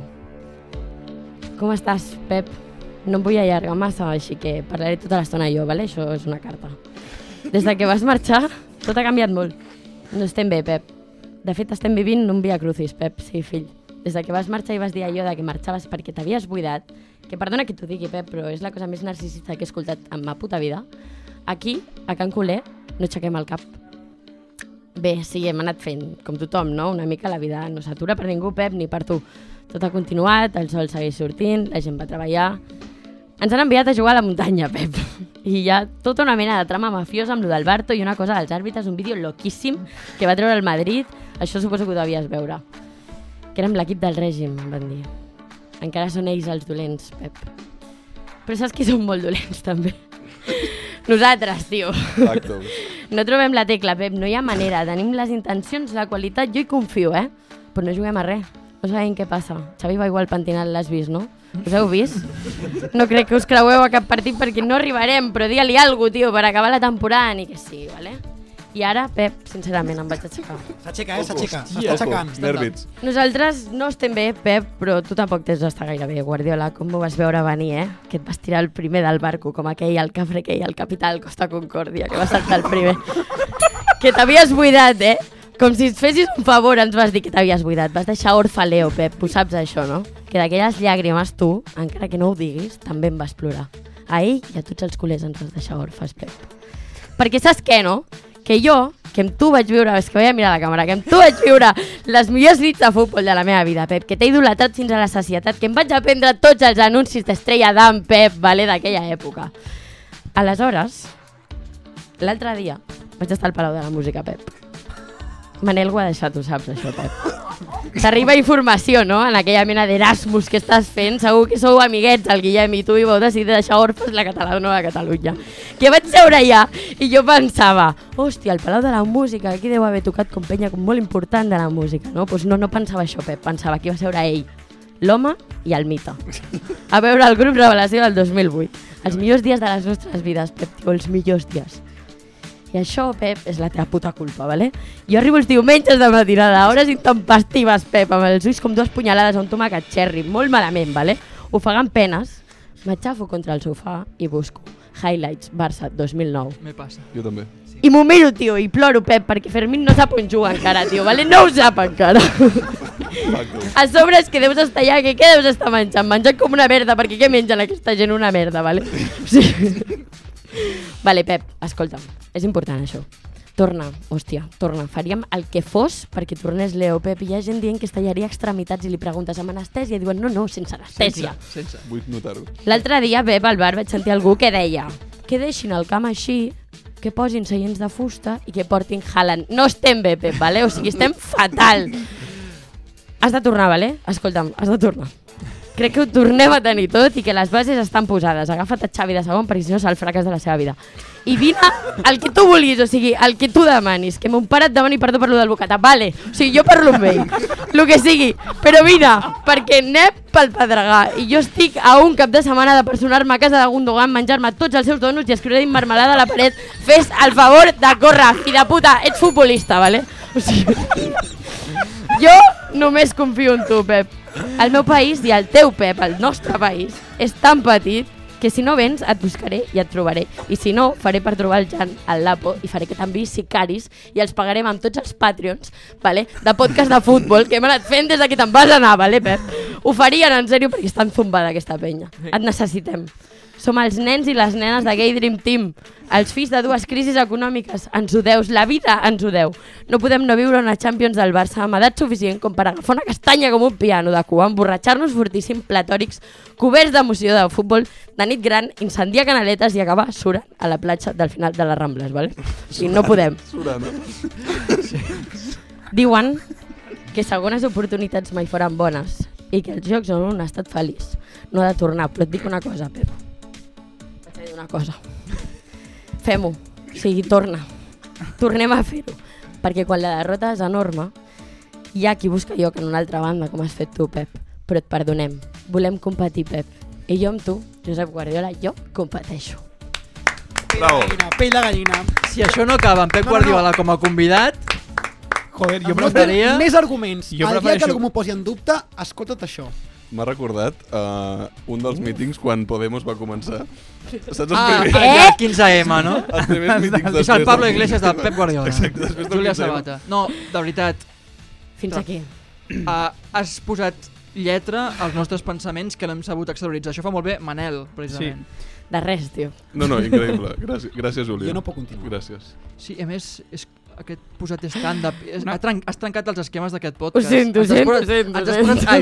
[SPEAKER 4] Com estàs, Pep? No em vull allargar massa, així que parlaré tota l'estona jo, vale? Això és una carta. Des de que vas marxar, tot ha canviat molt. No estem bé, Pep. De fet, estem vivint un via crucis, Pep, sí, fill. Des de que vas marxar i vas dir allò de que marxaves perquè t'havies buidat, que perdona que t'ho digui, Pep, però és la cosa més narcisista que he escoltat en ma puta vida, aquí, a Can Culer, no aixequem el cap. Bé, sí, hem anat fent, com tothom, no? Una mica la vida no s'atura per ningú, Pep, ni per tu. Tot ha continuat, el sol segueix sortint, la gent va treballar... Ens han enviat a jugar a la muntanya, Pep. I hi ha tota una mena de trama mafiosa amb lo del Barto i una cosa dels àrbitres, un vídeo loquíssim que va treure el Madrid. Això suposo que ho devies veure. Que érem l'equip del règim, em van dir. Encara són ells els dolents, Pep. Però saps qui són molt dolents, també? Nosaltres, tio.
[SPEAKER 3] Exacte.
[SPEAKER 4] No trobem la tecla, Pep, no hi ha manera. Tenim les intencions, la qualitat, jo hi confio, eh? Però no juguem a res. No sabem què passa. Xavi va igual pentinat, l'has vist, no? Us heu vist? No crec que us creueu a cap partit perquè no arribarem, però digue-li alguna cosa, tio, per acabar la temporada, ni que sigui, vale? I ara, Pep, sincerament, em vaig aixecar.
[SPEAKER 1] S'aixeca, eh? S'aixeca.
[SPEAKER 3] Ojo,
[SPEAKER 1] S'està aixecant.
[SPEAKER 3] Nervis.
[SPEAKER 4] Nosaltres no estem bé, Pep, però tu tampoc tens d'estar gaire bé, Guardiola. Com ho vas veure venir, eh? Que et vas tirar el primer del barco, com aquell, el cafre que hi ha al Capital Costa Concòrdia, que va saltar el primer. que t'havies buidat, eh? Com si et fessis un favor, ens vas dir que t'havies buidat. Vas deixar orfa Leo, Pep, ho saps això, no? Que d'aquelles llàgrimes tu, encara que no ho diguis, també en vas plorar. A ell i a tots els culers ens vas deixar orfes, Pep. Perquè saps què, no? Que jo, que amb tu vaig viure, és que vaig a mirar la càmera, que amb tu vaig viure les millors nits de futbol de la meva vida, Pep, que t'he idolatrat fins a la societat, que em vaig aprendre tots els anuncis d'Estrella d'en Pep, valer d'aquella època. Aleshores, l'altre dia vaig estar al Palau de la Música, Pep. Manel ho ha deixat, ho saps, això, Pep. T'arriba informació, no?, en aquella mena d'Erasmus que estàs fent. Segur que sou amiguets, el Guillem i tu, i vau decidir deixar orfes la catalana de Catalunya. Que vaig seure allà i jo pensava, hòstia, el Palau de la Música, aquí deu haver tocat com penya com molt important de la música, no? Doncs pues no, no pensava això, Pep, pensava que hi va seure ell, l'home i el mite. A veure el grup Revelació del 2008. Els millors dies de les nostres vides, Pep, tio, els millors dies. I això, Pep, és la teva puta culpa, vale? Jo arribo els diumenges de matinada, a hores intempestives, Pep, amb els ulls com dues punyalades a un tomàquet xerri, molt malament, vale? Ofegant penes, m'aixafo contra el sofà i busco Highlights Barça 2009.
[SPEAKER 2] Me passa.
[SPEAKER 3] Jo també.
[SPEAKER 4] I m'ho miro, tio, i ploro, Pep, perquè Fermín no sap on juga encara, tio, vale? No ho sap encara.
[SPEAKER 3] Exacte.
[SPEAKER 4] A sobre és que deus estar allà, que què deus estar menjant? Menjant com una merda, perquè què mengen aquesta gent una merda, vale? Sí. Vale, Pep, escolta'm, és important això. Torna, hòstia, torna. Faríem el que fos perquè tornés Leo Pep. Hi ha gent dient que es tallaria extremitats i li preguntes amb anestèsia i diuen no, no, sense anestèsia.
[SPEAKER 2] Sense.
[SPEAKER 3] Vull notar-ho.
[SPEAKER 4] L'altre dia, Pep, al bar vaig sentir algú que deia que deixin el camp així, que posin seients de fusta i que portin Haaland. No estem bé, Pep, vale? o sigui, estem fatal. Has de tornar, vale? Escolta'm, has de tornar. Crec que ho tornem a tenir tot i que les bases estan posades. Agafa't a Xavi de segon perquè si no és el fracàs de la seva vida. I vine el que tu vulguis, o sigui, el que tu demanis. Que mon pare et demani perdó per lo del bocata, vale. O sigui, jo parlo amb ell, el que sigui. Però vine, perquè anem pel pedregar. I jo estic a un cap de setmana de personar-me a casa de Gundogan, menjar-me tots els seus donuts i escriure ell marmelada a la paret. Fes el favor de córrer, fi de puta, ets futbolista, vale? O sigui, jo només confio en tu, Pep. El meu país i el teu, Pep, el nostre país, és tan petit que si no vens et buscaré i et trobaré. I si no, faré per trobar el Jan, el Lapo, i faré que t'enviï sicaris i els pagarem amb tots els Patreons vale, de podcast de futbol que hem anat fent des de que te'n vas anar, vale, Pep? Ho farien en sèrio perquè estan zumbada aquesta penya. Et necessitem. Som els nens i les nenes de Gay Dream Team, els fills de dues crisis econòmiques. Ens ho deus, la vida ens ho deu. No podem no viure una Champions del Barça amb edat suficient com per agafar una castanya com un piano de cua, emborratxar-nos fortíssim, platòrics, coberts d'emoció de futbol, de nit gran, incendiar canaletes i acabar surant a la platja del final de les Rambles, vale? O sigui, no podem.
[SPEAKER 3] Surana.
[SPEAKER 4] Diuen que segones oportunitats mai foren bones i que els jocs on un ha estat feliç no ha de tornar, però et dic una cosa, Pep. Et diré una cosa. Fem-ho. O sigui, torna. Tornem a fer-ho. Perquè quan la derrota és enorme, hi ha qui busca lloc en una altra banda, com has fet tu, Pep. Però et perdonem. Volem competir, Pep. I jo amb tu, Josep Guardiola, jo competeixo.
[SPEAKER 3] Bravo.
[SPEAKER 1] Pell de gallina.
[SPEAKER 2] Si això no acaba amb Pep
[SPEAKER 1] No, no, no.
[SPEAKER 2] Guardiola com a convidat,
[SPEAKER 9] Joder,
[SPEAKER 1] Jo
[SPEAKER 9] jo
[SPEAKER 1] no
[SPEAKER 9] preferia...
[SPEAKER 2] preferia-
[SPEAKER 1] tenen més arguments.
[SPEAKER 9] Jo
[SPEAKER 1] Jo el dia
[SPEAKER 9] prefereixo-
[SPEAKER 1] que algú m'ho posi en dubte, escolta't això.
[SPEAKER 3] M'ha recordat uh, un dels mítings quan Podemos va començar. Saps els,
[SPEAKER 2] ah,
[SPEAKER 3] primers,
[SPEAKER 2] eh? el 15M, no?
[SPEAKER 3] els primers mítings
[SPEAKER 2] És el Pablo Iglesias del Pep Guardiola.
[SPEAKER 3] Exacte, després del
[SPEAKER 2] Julia
[SPEAKER 3] 15M.
[SPEAKER 2] Sabata. No, de veritat,
[SPEAKER 4] Fins
[SPEAKER 2] Clar.
[SPEAKER 4] aquí.
[SPEAKER 2] uh, has posat lletra als nostres pensaments que no hem sabut exterioritzar. Això fa molt bé Manel, precisament.
[SPEAKER 4] De res, tio.
[SPEAKER 3] No, no, increïble. Gràcies, gràcies Júlia.
[SPEAKER 1] Jo no puc continuar.
[SPEAKER 3] Gràcies.
[SPEAKER 2] Sí, a més, és aquest posat stand-up. Una... Trenc, has trencat els esquemes d'aquest
[SPEAKER 4] Ho
[SPEAKER 2] podcast.
[SPEAKER 4] sento, ho
[SPEAKER 2] ens has
[SPEAKER 4] sento, ho
[SPEAKER 2] posat-
[SPEAKER 4] sento.
[SPEAKER 2] Ens has
[SPEAKER 4] ho
[SPEAKER 2] posat
[SPEAKER 4] sento.
[SPEAKER 2] a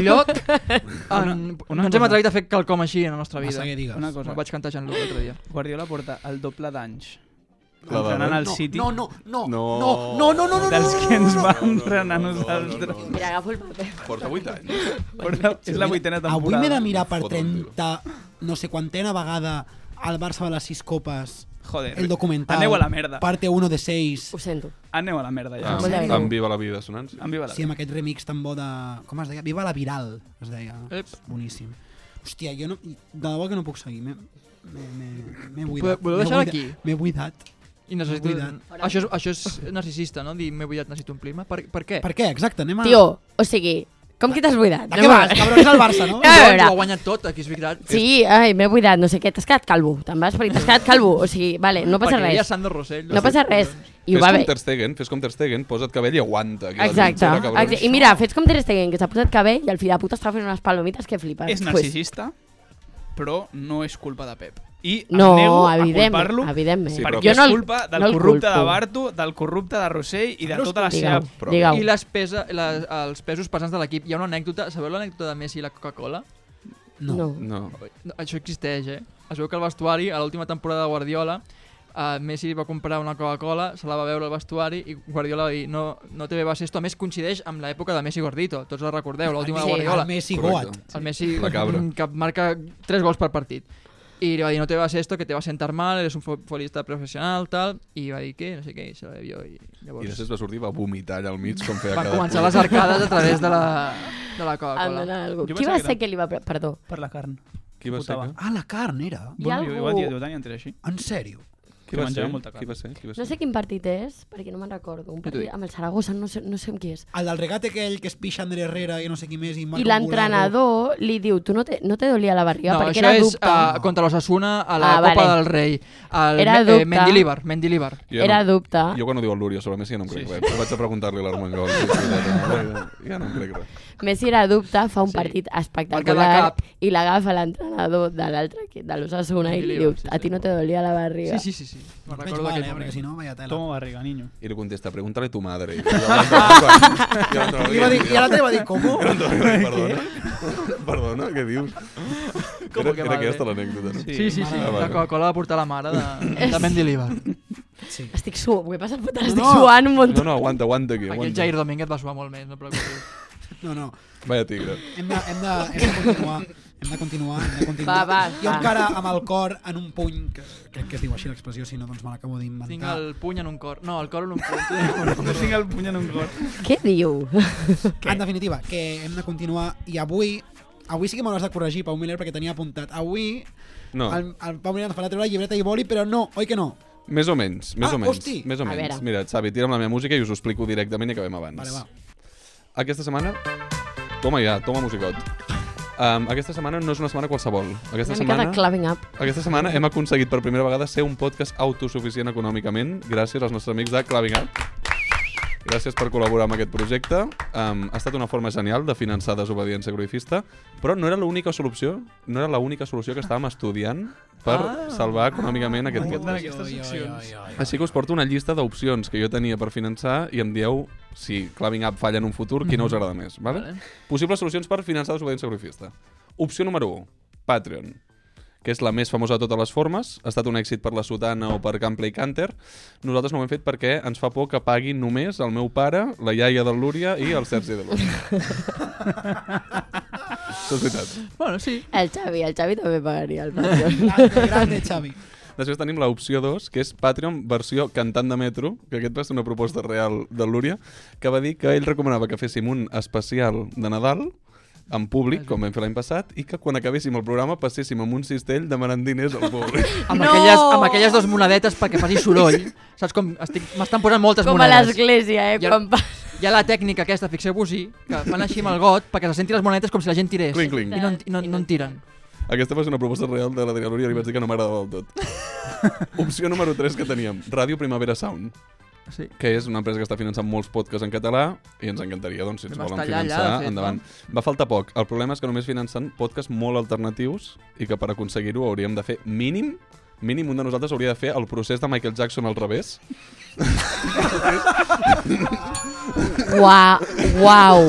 [SPEAKER 2] lloc en...
[SPEAKER 9] una
[SPEAKER 2] no ens
[SPEAKER 9] cosa.
[SPEAKER 2] hem atrevit a fer quelcom així en la nostra vida.
[SPEAKER 1] Massa que digues.
[SPEAKER 9] Una
[SPEAKER 2] Me'l
[SPEAKER 9] cosa,
[SPEAKER 2] vaig cantar Jean-Luc l'altre dia.
[SPEAKER 9] Guardiola porta el doble d'anys
[SPEAKER 3] La dada.
[SPEAKER 9] entrenant al
[SPEAKER 1] No,
[SPEAKER 9] City
[SPEAKER 1] no, no, no, no, no, no,
[SPEAKER 3] No.
[SPEAKER 1] no, no, no,
[SPEAKER 9] dels que ens va
[SPEAKER 3] no, no,
[SPEAKER 9] entrenar
[SPEAKER 3] no, no,
[SPEAKER 9] nosaltres.
[SPEAKER 3] no,
[SPEAKER 4] Mira, agafo el paper.
[SPEAKER 3] Porta 8 anys.
[SPEAKER 9] Però és la vuitena
[SPEAKER 1] Avui m'he de
[SPEAKER 9] temporada.
[SPEAKER 1] mirar per
[SPEAKER 3] Foto,
[SPEAKER 1] 30, no sé quantena vegada el Barça de les 6 copes,
[SPEAKER 9] Joder,
[SPEAKER 1] el documental.
[SPEAKER 9] Aneu a la merda.
[SPEAKER 1] Parte 1 de 6.
[SPEAKER 4] Ho sento.
[SPEAKER 9] Aneu a la merda ja.
[SPEAKER 3] Ah,
[SPEAKER 4] Molt de greu.
[SPEAKER 3] amb viva la vida sonant.
[SPEAKER 9] Em viva la
[SPEAKER 1] Sí, amb aquest remix tan bo de... Com es deia? Viva la Viral, es deia.
[SPEAKER 2] Ep.
[SPEAKER 1] Boníssim. Hòstia, jo no, de debò que no puc seguir. M'he- m'he- M'he m'he
[SPEAKER 2] Voleu
[SPEAKER 1] buidat. M'he
[SPEAKER 2] deixar-ho
[SPEAKER 1] buidat-
[SPEAKER 2] aquí?
[SPEAKER 1] M'he buidat.
[SPEAKER 2] I necessito...
[SPEAKER 1] Buidat.
[SPEAKER 2] Això és, això és narcisista, no? Dir, m'he buidat, necessito un clima. Per, per què?
[SPEAKER 1] Eh, Per què? Exacte, anem a...
[SPEAKER 4] Tio, o sigui, com que t'has buidat?
[SPEAKER 1] Ah. De què vas? Cabrons del Barça, no?
[SPEAKER 4] A
[SPEAKER 2] Doncs
[SPEAKER 4] veure.
[SPEAKER 2] Ho ha guanyat tot, aquí és veritat.
[SPEAKER 4] Sí, ai, m'he buidat, no sé què, t'has quedat calvo. Te'n vas perquè t'has quedat calvo. O sigui, vale, no passa
[SPEAKER 2] Perquè hi ha
[SPEAKER 4] res.
[SPEAKER 2] Sandro Rossell.
[SPEAKER 4] No passa res. I
[SPEAKER 3] Fes
[SPEAKER 4] ho va
[SPEAKER 3] com
[SPEAKER 4] bé.
[SPEAKER 3] Ter Stegen, fes com Ter Stegen, posa't cabell i aguanta. aquí a la
[SPEAKER 4] Exacte.
[SPEAKER 3] trinxera, cabrons.
[SPEAKER 4] Exacte. I mira, fets com Ter Stegen, que s'ha posat cabell i el fill de puta està fent unes palomites que flipes.
[SPEAKER 9] És narcisista, però no és culpa de Pep. I em
[SPEAKER 4] No,
[SPEAKER 9] nego a
[SPEAKER 4] evidentment,
[SPEAKER 9] culpar-lo
[SPEAKER 4] evidentment.
[SPEAKER 3] Sí, però
[SPEAKER 9] perquè
[SPEAKER 3] Jo
[SPEAKER 9] és
[SPEAKER 4] no el-
[SPEAKER 9] culpa del
[SPEAKER 4] no el
[SPEAKER 9] corrupte de
[SPEAKER 4] culpo.
[SPEAKER 9] Barto, del corrupte de Rossell i de
[SPEAKER 1] No us
[SPEAKER 9] tota la seva...
[SPEAKER 4] Digue-ho,
[SPEAKER 3] però-
[SPEAKER 4] digue-ho.
[SPEAKER 2] I les pesa, les, els pesos pesants de l'equip. Hi ha una anècdota, sabeu l'anècdota de Messi i la Coca-Cola?
[SPEAKER 1] No.
[SPEAKER 4] No.
[SPEAKER 3] No.
[SPEAKER 2] No, això existeix, eh? Es veu que al vestuari, a l'última temporada de Guardiola, eh, Messi va comprar una Coca-Cola, se la va veure al vestuari i Guardiola va dir no, no te bebas esto. A més, coincideix amb l'època de Messi Gordito. Tots la recordeu, l'última
[SPEAKER 4] Sí.
[SPEAKER 2] de Guardiola.
[SPEAKER 1] El Messi
[SPEAKER 3] Correcte.
[SPEAKER 1] Goat.
[SPEAKER 2] El Messi
[SPEAKER 3] La cabra.
[SPEAKER 2] mm, que marca 3 gols per partit. I li va dir, no te vas esto, que te va a sentar mal, eres un futbolista professional, tal, i va dir que, no sé què, i se la bebió. I llavors
[SPEAKER 3] I després va sortir, va vomitar allà al mig, com feia
[SPEAKER 2] va
[SPEAKER 3] cada...
[SPEAKER 2] començar les arcades a través de la, de la
[SPEAKER 4] Em
[SPEAKER 2] Coca-Cola.
[SPEAKER 4] dona algú.
[SPEAKER 9] Jo
[SPEAKER 4] Qui
[SPEAKER 9] pensava
[SPEAKER 4] va
[SPEAKER 9] que
[SPEAKER 4] ser
[SPEAKER 9] era-
[SPEAKER 4] que li va... pre- Perdó.
[SPEAKER 9] Per la carn.
[SPEAKER 3] Qui va ser?
[SPEAKER 9] Putava.
[SPEAKER 3] que-
[SPEAKER 1] Ah, la carn era?
[SPEAKER 4] Hi ha
[SPEAKER 9] Bueno, Igual
[SPEAKER 4] algú-
[SPEAKER 9] dia ho tenien així.
[SPEAKER 1] En sèrio?
[SPEAKER 3] Qui
[SPEAKER 9] Que
[SPEAKER 3] va
[SPEAKER 9] menjava
[SPEAKER 3] ser?
[SPEAKER 9] molta carn.
[SPEAKER 3] Qui va ser? Qui va ser?
[SPEAKER 4] No sé quin partit és, perquè no me'n recordo. Un
[SPEAKER 2] t'ho
[SPEAKER 4] partit
[SPEAKER 2] dic.
[SPEAKER 4] amb el Saragossa, no sé, no sé amb qui és.
[SPEAKER 1] El del regate aquell que es pixa André Herrera i no sé qui més i marca un
[SPEAKER 4] I
[SPEAKER 1] golazo.
[SPEAKER 4] l'entrenador li diu, tu no te, no te dolia la barriga
[SPEAKER 2] No,
[SPEAKER 4] perquè
[SPEAKER 2] això
[SPEAKER 4] era
[SPEAKER 2] és
[SPEAKER 4] dubte.
[SPEAKER 2] uh, contra l'Ossassuna a la
[SPEAKER 4] Ah,
[SPEAKER 2] Copa
[SPEAKER 4] vale.
[SPEAKER 2] del Rei. El,
[SPEAKER 4] Era
[SPEAKER 2] Me- eh,
[SPEAKER 4] dubte.
[SPEAKER 2] Mendilibar, Mendilibar.
[SPEAKER 3] Jo
[SPEAKER 4] Era
[SPEAKER 3] no,
[SPEAKER 4] dubte.
[SPEAKER 3] jo quan ho diu el Lúria sobre Messi ja no em crec sí, res. Sí. Vaig a preguntar-li a l'Armengol. ja no em crec res.
[SPEAKER 4] Messi era dubte, fa un
[SPEAKER 2] Sí.
[SPEAKER 4] partit
[SPEAKER 2] Marca de
[SPEAKER 4] espectacular
[SPEAKER 2] cap.
[SPEAKER 4] i l'agafa l'entrenador de l'altre equip, de l'Osasuna, i
[SPEAKER 2] I li
[SPEAKER 4] li
[SPEAKER 2] diu,
[SPEAKER 4] diu,
[SPEAKER 2] sí,
[SPEAKER 4] a ti
[SPEAKER 2] sí.
[SPEAKER 4] no te dolia la barriga.
[SPEAKER 2] Sí, sí, sí, sí. sí.
[SPEAKER 1] No
[SPEAKER 2] Me'n
[SPEAKER 1] et
[SPEAKER 2] recordo
[SPEAKER 1] veig mal,
[SPEAKER 2] d'aquell
[SPEAKER 1] eh,
[SPEAKER 2] moment.
[SPEAKER 1] perquè si no, vaya tela.
[SPEAKER 9] Toma barriga, niño.
[SPEAKER 3] I li contesta, pregúntale a tu madre. I
[SPEAKER 1] Ah. I, va dir, I l'altre va dir, com?
[SPEAKER 3] Perdona, perdona, què dius?
[SPEAKER 2] Com que
[SPEAKER 3] era, era
[SPEAKER 2] madre?
[SPEAKER 3] aquesta l'anècdota, no?
[SPEAKER 2] Sí, sí, sí.
[SPEAKER 1] Mare
[SPEAKER 3] meva.
[SPEAKER 2] La Coca-Cola va portar la mare de, de Mendy Líbar.
[SPEAKER 1] Sí.
[SPEAKER 4] Estic suant, ho he passat fatal,
[SPEAKER 1] No,
[SPEAKER 4] estic
[SPEAKER 1] no.
[SPEAKER 4] suant un munt.
[SPEAKER 3] No, no, aguanta, aguanta aquí.
[SPEAKER 2] Aquell
[SPEAKER 3] Aguanta.
[SPEAKER 2] Jair Domínguez va suar molt més, no et preocupis.
[SPEAKER 1] No, no.
[SPEAKER 3] Vaya tigre.
[SPEAKER 1] Hem de, hem de, hem de continuar. Hem de continuar, hem de continuar.
[SPEAKER 4] Va, va,
[SPEAKER 1] Jo
[SPEAKER 4] va.
[SPEAKER 1] encara amb el cor en un puny, que crec que es diu així l'expressió, si no, doncs me l'acabo
[SPEAKER 2] Tinc
[SPEAKER 1] d'inventar.
[SPEAKER 2] el puny en un cor. No, el cor en un puny.
[SPEAKER 9] No tinc el puny en un cor.
[SPEAKER 4] Què diu?
[SPEAKER 1] En definitiva, que hem de continuar i avui Avui sí que m'hauràs de corregir, Pau Miller, perquè tenia apuntat. Avui
[SPEAKER 3] No,
[SPEAKER 1] el, el Pau Miller ens farà treure llibreta i boli, però no, oi que no?
[SPEAKER 3] més o menys, més
[SPEAKER 1] Ah,
[SPEAKER 3] o menys.
[SPEAKER 1] hosti.
[SPEAKER 3] Més o
[SPEAKER 4] A
[SPEAKER 3] menys.
[SPEAKER 4] veure.
[SPEAKER 3] Mira, Xavi, tira'm la meva música i us ho explico directament i acabem abans.
[SPEAKER 1] Vale, va.
[SPEAKER 3] Aquesta setmana... Toma ja, toma musicot. Um, aquesta setmana no és una setmana qualsevol. Aquesta
[SPEAKER 4] Una mica
[SPEAKER 3] setmana...
[SPEAKER 4] de clubbing up.
[SPEAKER 3] Aquesta setmana hem aconseguit per primera vegada ser un podcast autosuficient econòmicament gràcies als nostres amics de Claving Up. Gràcies per col·laborar amb aquest projecte. Um, ha estat una forma genial de finançar desobediència groïfista, però no era l'única solució, no era l'única solució que estàvem estudiant per
[SPEAKER 2] Ah.
[SPEAKER 3] salvar econòmicament aquest
[SPEAKER 9] M'encanten
[SPEAKER 3] podcast.
[SPEAKER 9] aquestes seccions.
[SPEAKER 3] Així que us porto una llista d'opcions que jo tenia per finançar i em dieu si Claving Up falla en un futur, quina us agrada més. Vale?
[SPEAKER 2] Vale.
[SPEAKER 3] Possibles solucions per finançar desobediència sacrifista. Opció número 1, Patreon que és la més famosa de totes les formes. Ha estat un èxit per la Sotana o per Gameplay Canter. Nosaltres no ho hem fet perquè ens fa por que pagui només el meu pare, la iaia del Lúria i el Sergi de Lúria. Això és veritat.
[SPEAKER 2] Bueno, sí.
[SPEAKER 4] El Xavi, el Xavi també pagaria el Patreon.
[SPEAKER 1] Grande, grande, Xavi.
[SPEAKER 3] Després tenim l'opció 2, que és Patreon versió cantant de metro, que aquest va ser una proposta real de Lúria, que va dir que ell recomanava que féssim un especial de Nadal en públic, com vam fer l'any passat, i que quan acabéssim el programa passéssim amb un cistell demanant diners al públic.
[SPEAKER 2] Amb,
[SPEAKER 4] No!
[SPEAKER 2] aquelles, amb aquelles dues monedetes perquè faci soroll. Saps com? Estic- M'estan posant moltes
[SPEAKER 4] Com a
[SPEAKER 2] monedes.
[SPEAKER 4] l'església, eh?
[SPEAKER 2] Jo-
[SPEAKER 4] Quan pa...
[SPEAKER 2] Hi ha la tècnica aquesta, fixeu-vos-hi, que fan així amb el got perquè se senti les monetes com si la gent tirés.
[SPEAKER 3] Cling, cling.
[SPEAKER 2] I no, en- i no, no en tiren.
[SPEAKER 3] Aquesta va ser una proposta real de l'Adrià Lúria i li vaig dir que no m'agradava del tot. Opció número 3 que teníem, Ràdio Primavera Sound,
[SPEAKER 2] Sí.
[SPEAKER 3] que és una empresa que està finançant molts podcasts en català i ens encantaria, doncs, si ens
[SPEAKER 2] Vam
[SPEAKER 3] volen
[SPEAKER 2] estar allà,
[SPEAKER 3] finançar,
[SPEAKER 2] allà, de fet,
[SPEAKER 3] endavant. Va faltar poc. El problema és que només financen podcasts molt alternatius i que per aconseguir-ho hauríem de fer mínim mínim un de nosaltres hauria de fer el procés de Michael Jackson al revés.
[SPEAKER 4] Uau, uau.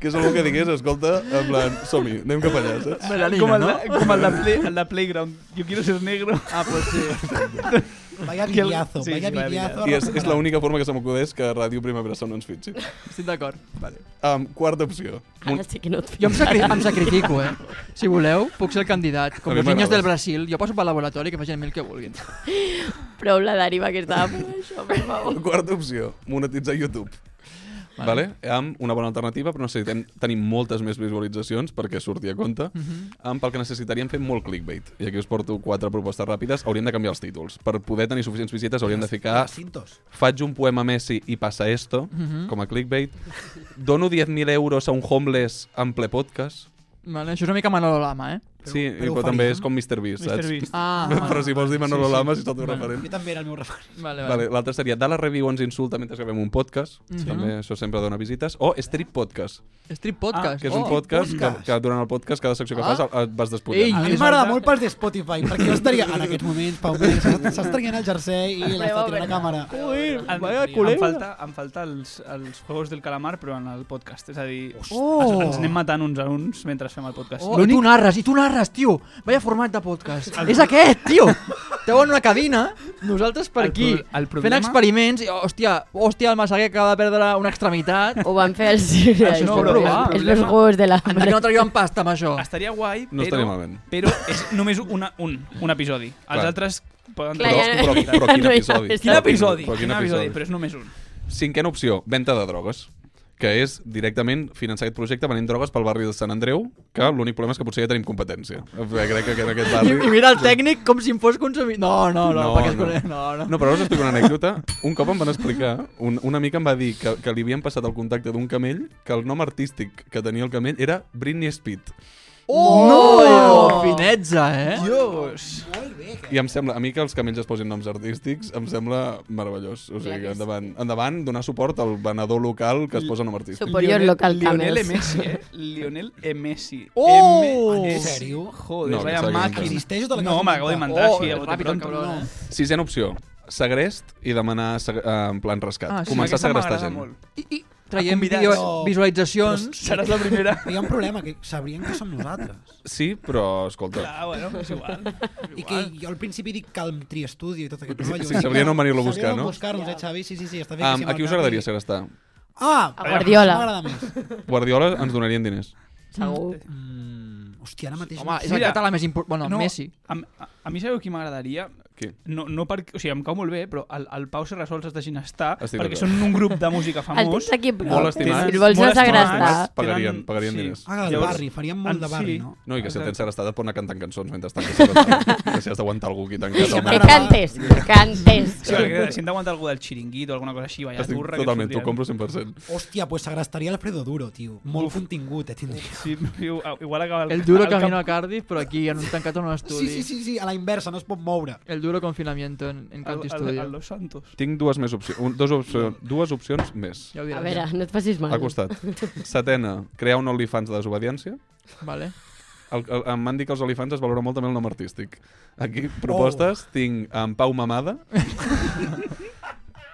[SPEAKER 3] Que és algú que digués, escolta, en plan, som-hi, anem cap allà, saps?
[SPEAKER 2] Melanina,
[SPEAKER 9] Com el,
[SPEAKER 2] no?
[SPEAKER 9] de, com el de, play, el de Playground. Yo quiero ser negro.
[SPEAKER 2] Ah, pues sí.
[SPEAKER 1] Vaya
[SPEAKER 9] Que el-
[SPEAKER 1] vidiazo,
[SPEAKER 9] sí,
[SPEAKER 1] vaya
[SPEAKER 9] sí, vaya
[SPEAKER 1] vidiazo.
[SPEAKER 3] I és, és l'única forma que se m'acudeix que Ràdio Primavera Sound no ens fitxi.
[SPEAKER 2] Estic d'acord. Vale.
[SPEAKER 3] Um, quarta opció.
[SPEAKER 4] Ara sí que no et
[SPEAKER 2] Jo em, sacri em sacrifico, eh? Si voleu, puc ser el candidat. Com
[SPEAKER 3] A mi
[SPEAKER 2] els niños
[SPEAKER 3] m'agrada.
[SPEAKER 2] del Brasil, jo passo pel laboratori que facin amb mi el que vulguin.
[SPEAKER 4] Prou la deriva que estava fent això, per favor.
[SPEAKER 3] Quarta opció, monetitzar YouTube. Vale.
[SPEAKER 2] Vale.
[SPEAKER 3] Amb una bona alternativa, però necessitem tenir moltes més visualitzacions perquè surti a compte. Uh -huh. Amb pel que necessitaríem fer molt clickbait. I aquí us porto quatre propostes ràpides. Hauríem de canviar els títols. Per poder tenir suficients visites hauríem de ficar
[SPEAKER 1] Cintos.
[SPEAKER 3] faig un poema a Messi i passa esto, uh -huh. com a clickbait. Dono 10.000 euros a un homeless en ple podcast.
[SPEAKER 2] Vale, això és una mica Manolo Lama, eh?
[SPEAKER 3] sí,
[SPEAKER 1] però
[SPEAKER 3] però,
[SPEAKER 1] ho
[SPEAKER 3] també
[SPEAKER 1] faríem?
[SPEAKER 3] és com Mr. Beast,
[SPEAKER 9] Mr.
[SPEAKER 3] saps?
[SPEAKER 9] Beast.
[SPEAKER 2] Ah,
[SPEAKER 3] però si vols dir Manolo sí, sí. Lama, si és el teu
[SPEAKER 2] Bueno,
[SPEAKER 3] referent.
[SPEAKER 1] Jo també era el meu referent.
[SPEAKER 2] vale, vale.
[SPEAKER 3] Vale, L'altre seria Dala Review ens insulta mentre gravem un podcast, mm
[SPEAKER 2] Mhm.
[SPEAKER 3] -hmm.
[SPEAKER 4] Mm-hmm.
[SPEAKER 3] també això sempre dona visites, o Street Podcast,
[SPEAKER 2] Strip Podcast.
[SPEAKER 3] Ah, que és un
[SPEAKER 2] Oh.
[SPEAKER 3] podcast,
[SPEAKER 1] podcast.
[SPEAKER 3] Que, que durant el podcast cada secció que
[SPEAKER 2] Ah.
[SPEAKER 3] fas el- et vas despullant.
[SPEAKER 1] A
[SPEAKER 2] Ei.
[SPEAKER 1] mi m'agrada molt pels de Spotify, perquè jo estaria en aquests moments, Pau Miller, s'està- s'està traient el jersei i l'està tirant a càmera.
[SPEAKER 2] Ui,
[SPEAKER 9] Em,
[SPEAKER 2] vaya
[SPEAKER 9] em
[SPEAKER 2] culero.
[SPEAKER 9] falta, em falta els, els Juegos del Calamar, però en el podcast. És a dir, ens, ens anem
[SPEAKER 1] Oh!
[SPEAKER 9] matant uns a uns mentre fem el podcast.
[SPEAKER 2] Oh, I tu narres, i tu narres, tio. Vaya format de podcast. És aquest, tio. Esteu en una cabina, nosaltres per
[SPEAKER 9] El
[SPEAKER 2] aquí,
[SPEAKER 9] pro- el
[SPEAKER 2] fent
[SPEAKER 9] problema-
[SPEAKER 2] experiments, i, hòstia, hòstia, el Massaguer acaba de perdre una extremitat.
[SPEAKER 4] Ho van fer els sírias.
[SPEAKER 9] no,
[SPEAKER 4] els-
[SPEAKER 9] però va,
[SPEAKER 4] els
[SPEAKER 9] problema-
[SPEAKER 4] meus juegos de la...
[SPEAKER 2] Aquí no traiem pasta amb això.
[SPEAKER 9] Estaria guai,
[SPEAKER 3] No
[SPEAKER 9] però,
[SPEAKER 3] estaria malament.
[SPEAKER 9] però és només una, un, un episodi. Els
[SPEAKER 3] Clar.
[SPEAKER 9] altres poden...
[SPEAKER 4] Clar,
[SPEAKER 3] Però,
[SPEAKER 4] ja-
[SPEAKER 3] però, però quin
[SPEAKER 4] No hi ha
[SPEAKER 3] episodi?
[SPEAKER 4] més.
[SPEAKER 9] Quin episodi?
[SPEAKER 3] Però quin episodi?
[SPEAKER 9] Però és només un.
[SPEAKER 3] Cinquena opció, venda de drogues que és directament finançar aquest projecte venent drogues pel barri de Sant Andreu, que l'únic problema és que potser ja tenim competència. Eh, Crec que en aquest
[SPEAKER 2] I,
[SPEAKER 3] barri...
[SPEAKER 2] I mira el tècnic com si em fos consumit. No, no, no,
[SPEAKER 3] No,
[SPEAKER 2] no perquè
[SPEAKER 3] no.
[SPEAKER 2] no. no, no.
[SPEAKER 3] No, però ara us explico una anècdota. Un cop em van explicar, un, una mica em va dir que, que li havien passat el contacte d'un camell que el nom artístic que tenia el camell era Britney Speed.
[SPEAKER 2] Oh! No! Finetza, eh?
[SPEAKER 9] Dios!
[SPEAKER 3] I em sembla, a mi que els camells es posin noms artístics em sembla meravellós. O sigui, que endavant, endavant donar suport al venedor local que es posa nom artístic.
[SPEAKER 4] Superior local
[SPEAKER 9] Lionel
[SPEAKER 4] camels.
[SPEAKER 9] Messi, eh? Lionel E. Messi.
[SPEAKER 2] Oh!
[SPEAKER 9] M-
[SPEAKER 1] En sèrio?
[SPEAKER 9] Joder,
[SPEAKER 3] No,
[SPEAKER 9] no, vaya
[SPEAKER 3] que s'ha
[SPEAKER 9] màquina.
[SPEAKER 1] Existeix o te l'acabes
[SPEAKER 9] No, me l'acabo
[SPEAKER 1] d'inventar?
[SPEAKER 9] d'inventar
[SPEAKER 2] Oh,
[SPEAKER 9] així. a bote
[SPEAKER 2] ràpid, el
[SPEAKER 9] pronto.
[SPEAKER 2] cabrón, eh?
[SPEAKER 3] Sisena opció, segrest i demanar seg eh, en plan rescat.
[SPEAKER 9] Ah, sí,
[SPEAKER 3] Començar a
[SPEAKER 9] aquesta
[SPEAKER 3] segrestar
[SPEAKER 9] m'agrada
[SPEAKER 3] gent.
[SPEAKER 9] molt.
[SPEAKER 2] I, i traiem
[SPEAKER 9] convidats.
[SPEAKER 2] vídeo,
[SPEAKER 1] No.
[SPEAKER 2] visualitzacions.
[SPEAKER 9] Seràs la primera.
[SPEAKER 1] Hi ha un problema, que sabrien que som nosaltres.
[SPEAKER 3] Sí, però escolta,
[SPEAKER 9] Ah, bueno, és igual.
[SPEAKER 1] I que jo al principi dic Calm Tree Studio i tot aquest rotllo.
[SPEAKER 3] sí, sabrien on venir-lo a buscar,
[SPEAKER 1] Sabrien
[SPEAKER 3] no?
[SPEAKER 1] on buscar-nos, eh, Xavi? Sí, sí, sí, està bé. que
[SPEAKER 3] Um,
[SPEAKER 1] s'hi
[SPEAKER 3] a qui us
[SPEAKER 1] marca.
[SPEAKER 3] agradaria segrestar?
[SPEAKER 1] Ah!
[SPEAKER 4] A Guardiola.
[SPEAKER 1] això M'agrada més.
[SPEAKER 3] Guardiola ens donarien diners.
[SPEAKER 4] Segur.
[SPEAKER 1] Mm, hòstia, ara mateix...
[SPEAKER 2] Home, és el
[SPEAKER 9] Mira.
[SPEAKER 2] català més important. Bueno, no. Messi.
[SPEAKER 9] A, a, a mi sabeu qui m'agradaria?
[SPEAKER 3] Qui?
[SPEAKER 9] No, no per, o sigui, em cau molt bé, però el, el Pau Serrasols has de ginestar
[SPEAKER 3] Estic
[SPEAKER 9] perquè
[SPEAKER 3] d'acord.
[SPEAKER 9] són un grup de música
[SPEAKER 4] El
[SPEAKER 9] famós.
[SPEAKER 4] tens aquí a prop.
[SPEAKER 3] Molt estimat.
[SPEAKER 4] Si el vols
[SPEAKER 9] Molt
[SPEAKER 4] anar a
[SPEAKER 9] estimats.
[SPEAKER 4] segrestar.
[SPEAKER 3] Pagarien-
[SPEAKER 9] Tenen-
[SPEAKER 3] pagarien diners.
[SPEAKER 1] Ah, del
[SPEAKER 9] Llavors,
[SPEAKER 1] barri, faríem molt
[SPEAKER 9] en
[SPEAKER 1] de barri,
[SPEAKER 9] sí.
[SPEAKER 1] no?
[SPEAKER 3] No, i que si et
[SPEAKER 9] Exacte.
[SPEAKER 3] tens segrestada pot anar cantant cançons mentre estàs segrestada. que si has d'aguantar algú aquí tancat.
[SPEAKER 1] Sí,
[SPEAKER 3] al
[SPEAKER 1] que
[SPEAKER 4] Que
[SPEAKER 3] màxim.
[SPEAKER 4] cantes, que cantes.
[SPEAKER 9] Sí, perquè si hem d'aguantar algú del xiringuit o alguna cosa així, ballar
[SPEAKER 3] Estic
[SPEAKER 9] turra... que
[SPEAKER 3] totalment, t'ho
[SPEAKER 9] sortirem.
[SPEAKER 3] compro 100%.
[SPEAKER 1] Hòstia, pues s'agrestaria Alfredo Duro, tio. Molt contingut, eh, tindria.
[SPEAKER 9] Sí, iu- igual acaba el,
[SPEAKER 2] El duro
[SPEAKER 9] el
[SPEAKER 2] camino a Cardiff, però aquí en un tancat en un estudi.
[SPEAKER 1] Sí, sí, sí, sí, a la inversa, no es pot moure.
[SPEAKER 2] El duro confinamiento en, en
[SPEAKER 9] El,
[SPEAKER 2] Canti
[SPEAKER 9] el, el,
[SPEAKER 2] Studio.
[SPEAKER 9] Los Santos.
[SPEAKER 3] Tinc dues més opcions, un, dos opcions, dues opcions més.
[SPEAKER 2] Ja ho diré.
[SPEAKER 4] A veure, no et facis mal.
[SPEAKER 3] Al costat. Setena, crear un OnlyFans de desobediència.
[SPEAKER 2] Vale.
[SPEAKER 3] El, el, em van dir que els OnlyFans es valora molt també el nom artístic. Aquí, propostes, oh. tinc en Pau Mamada,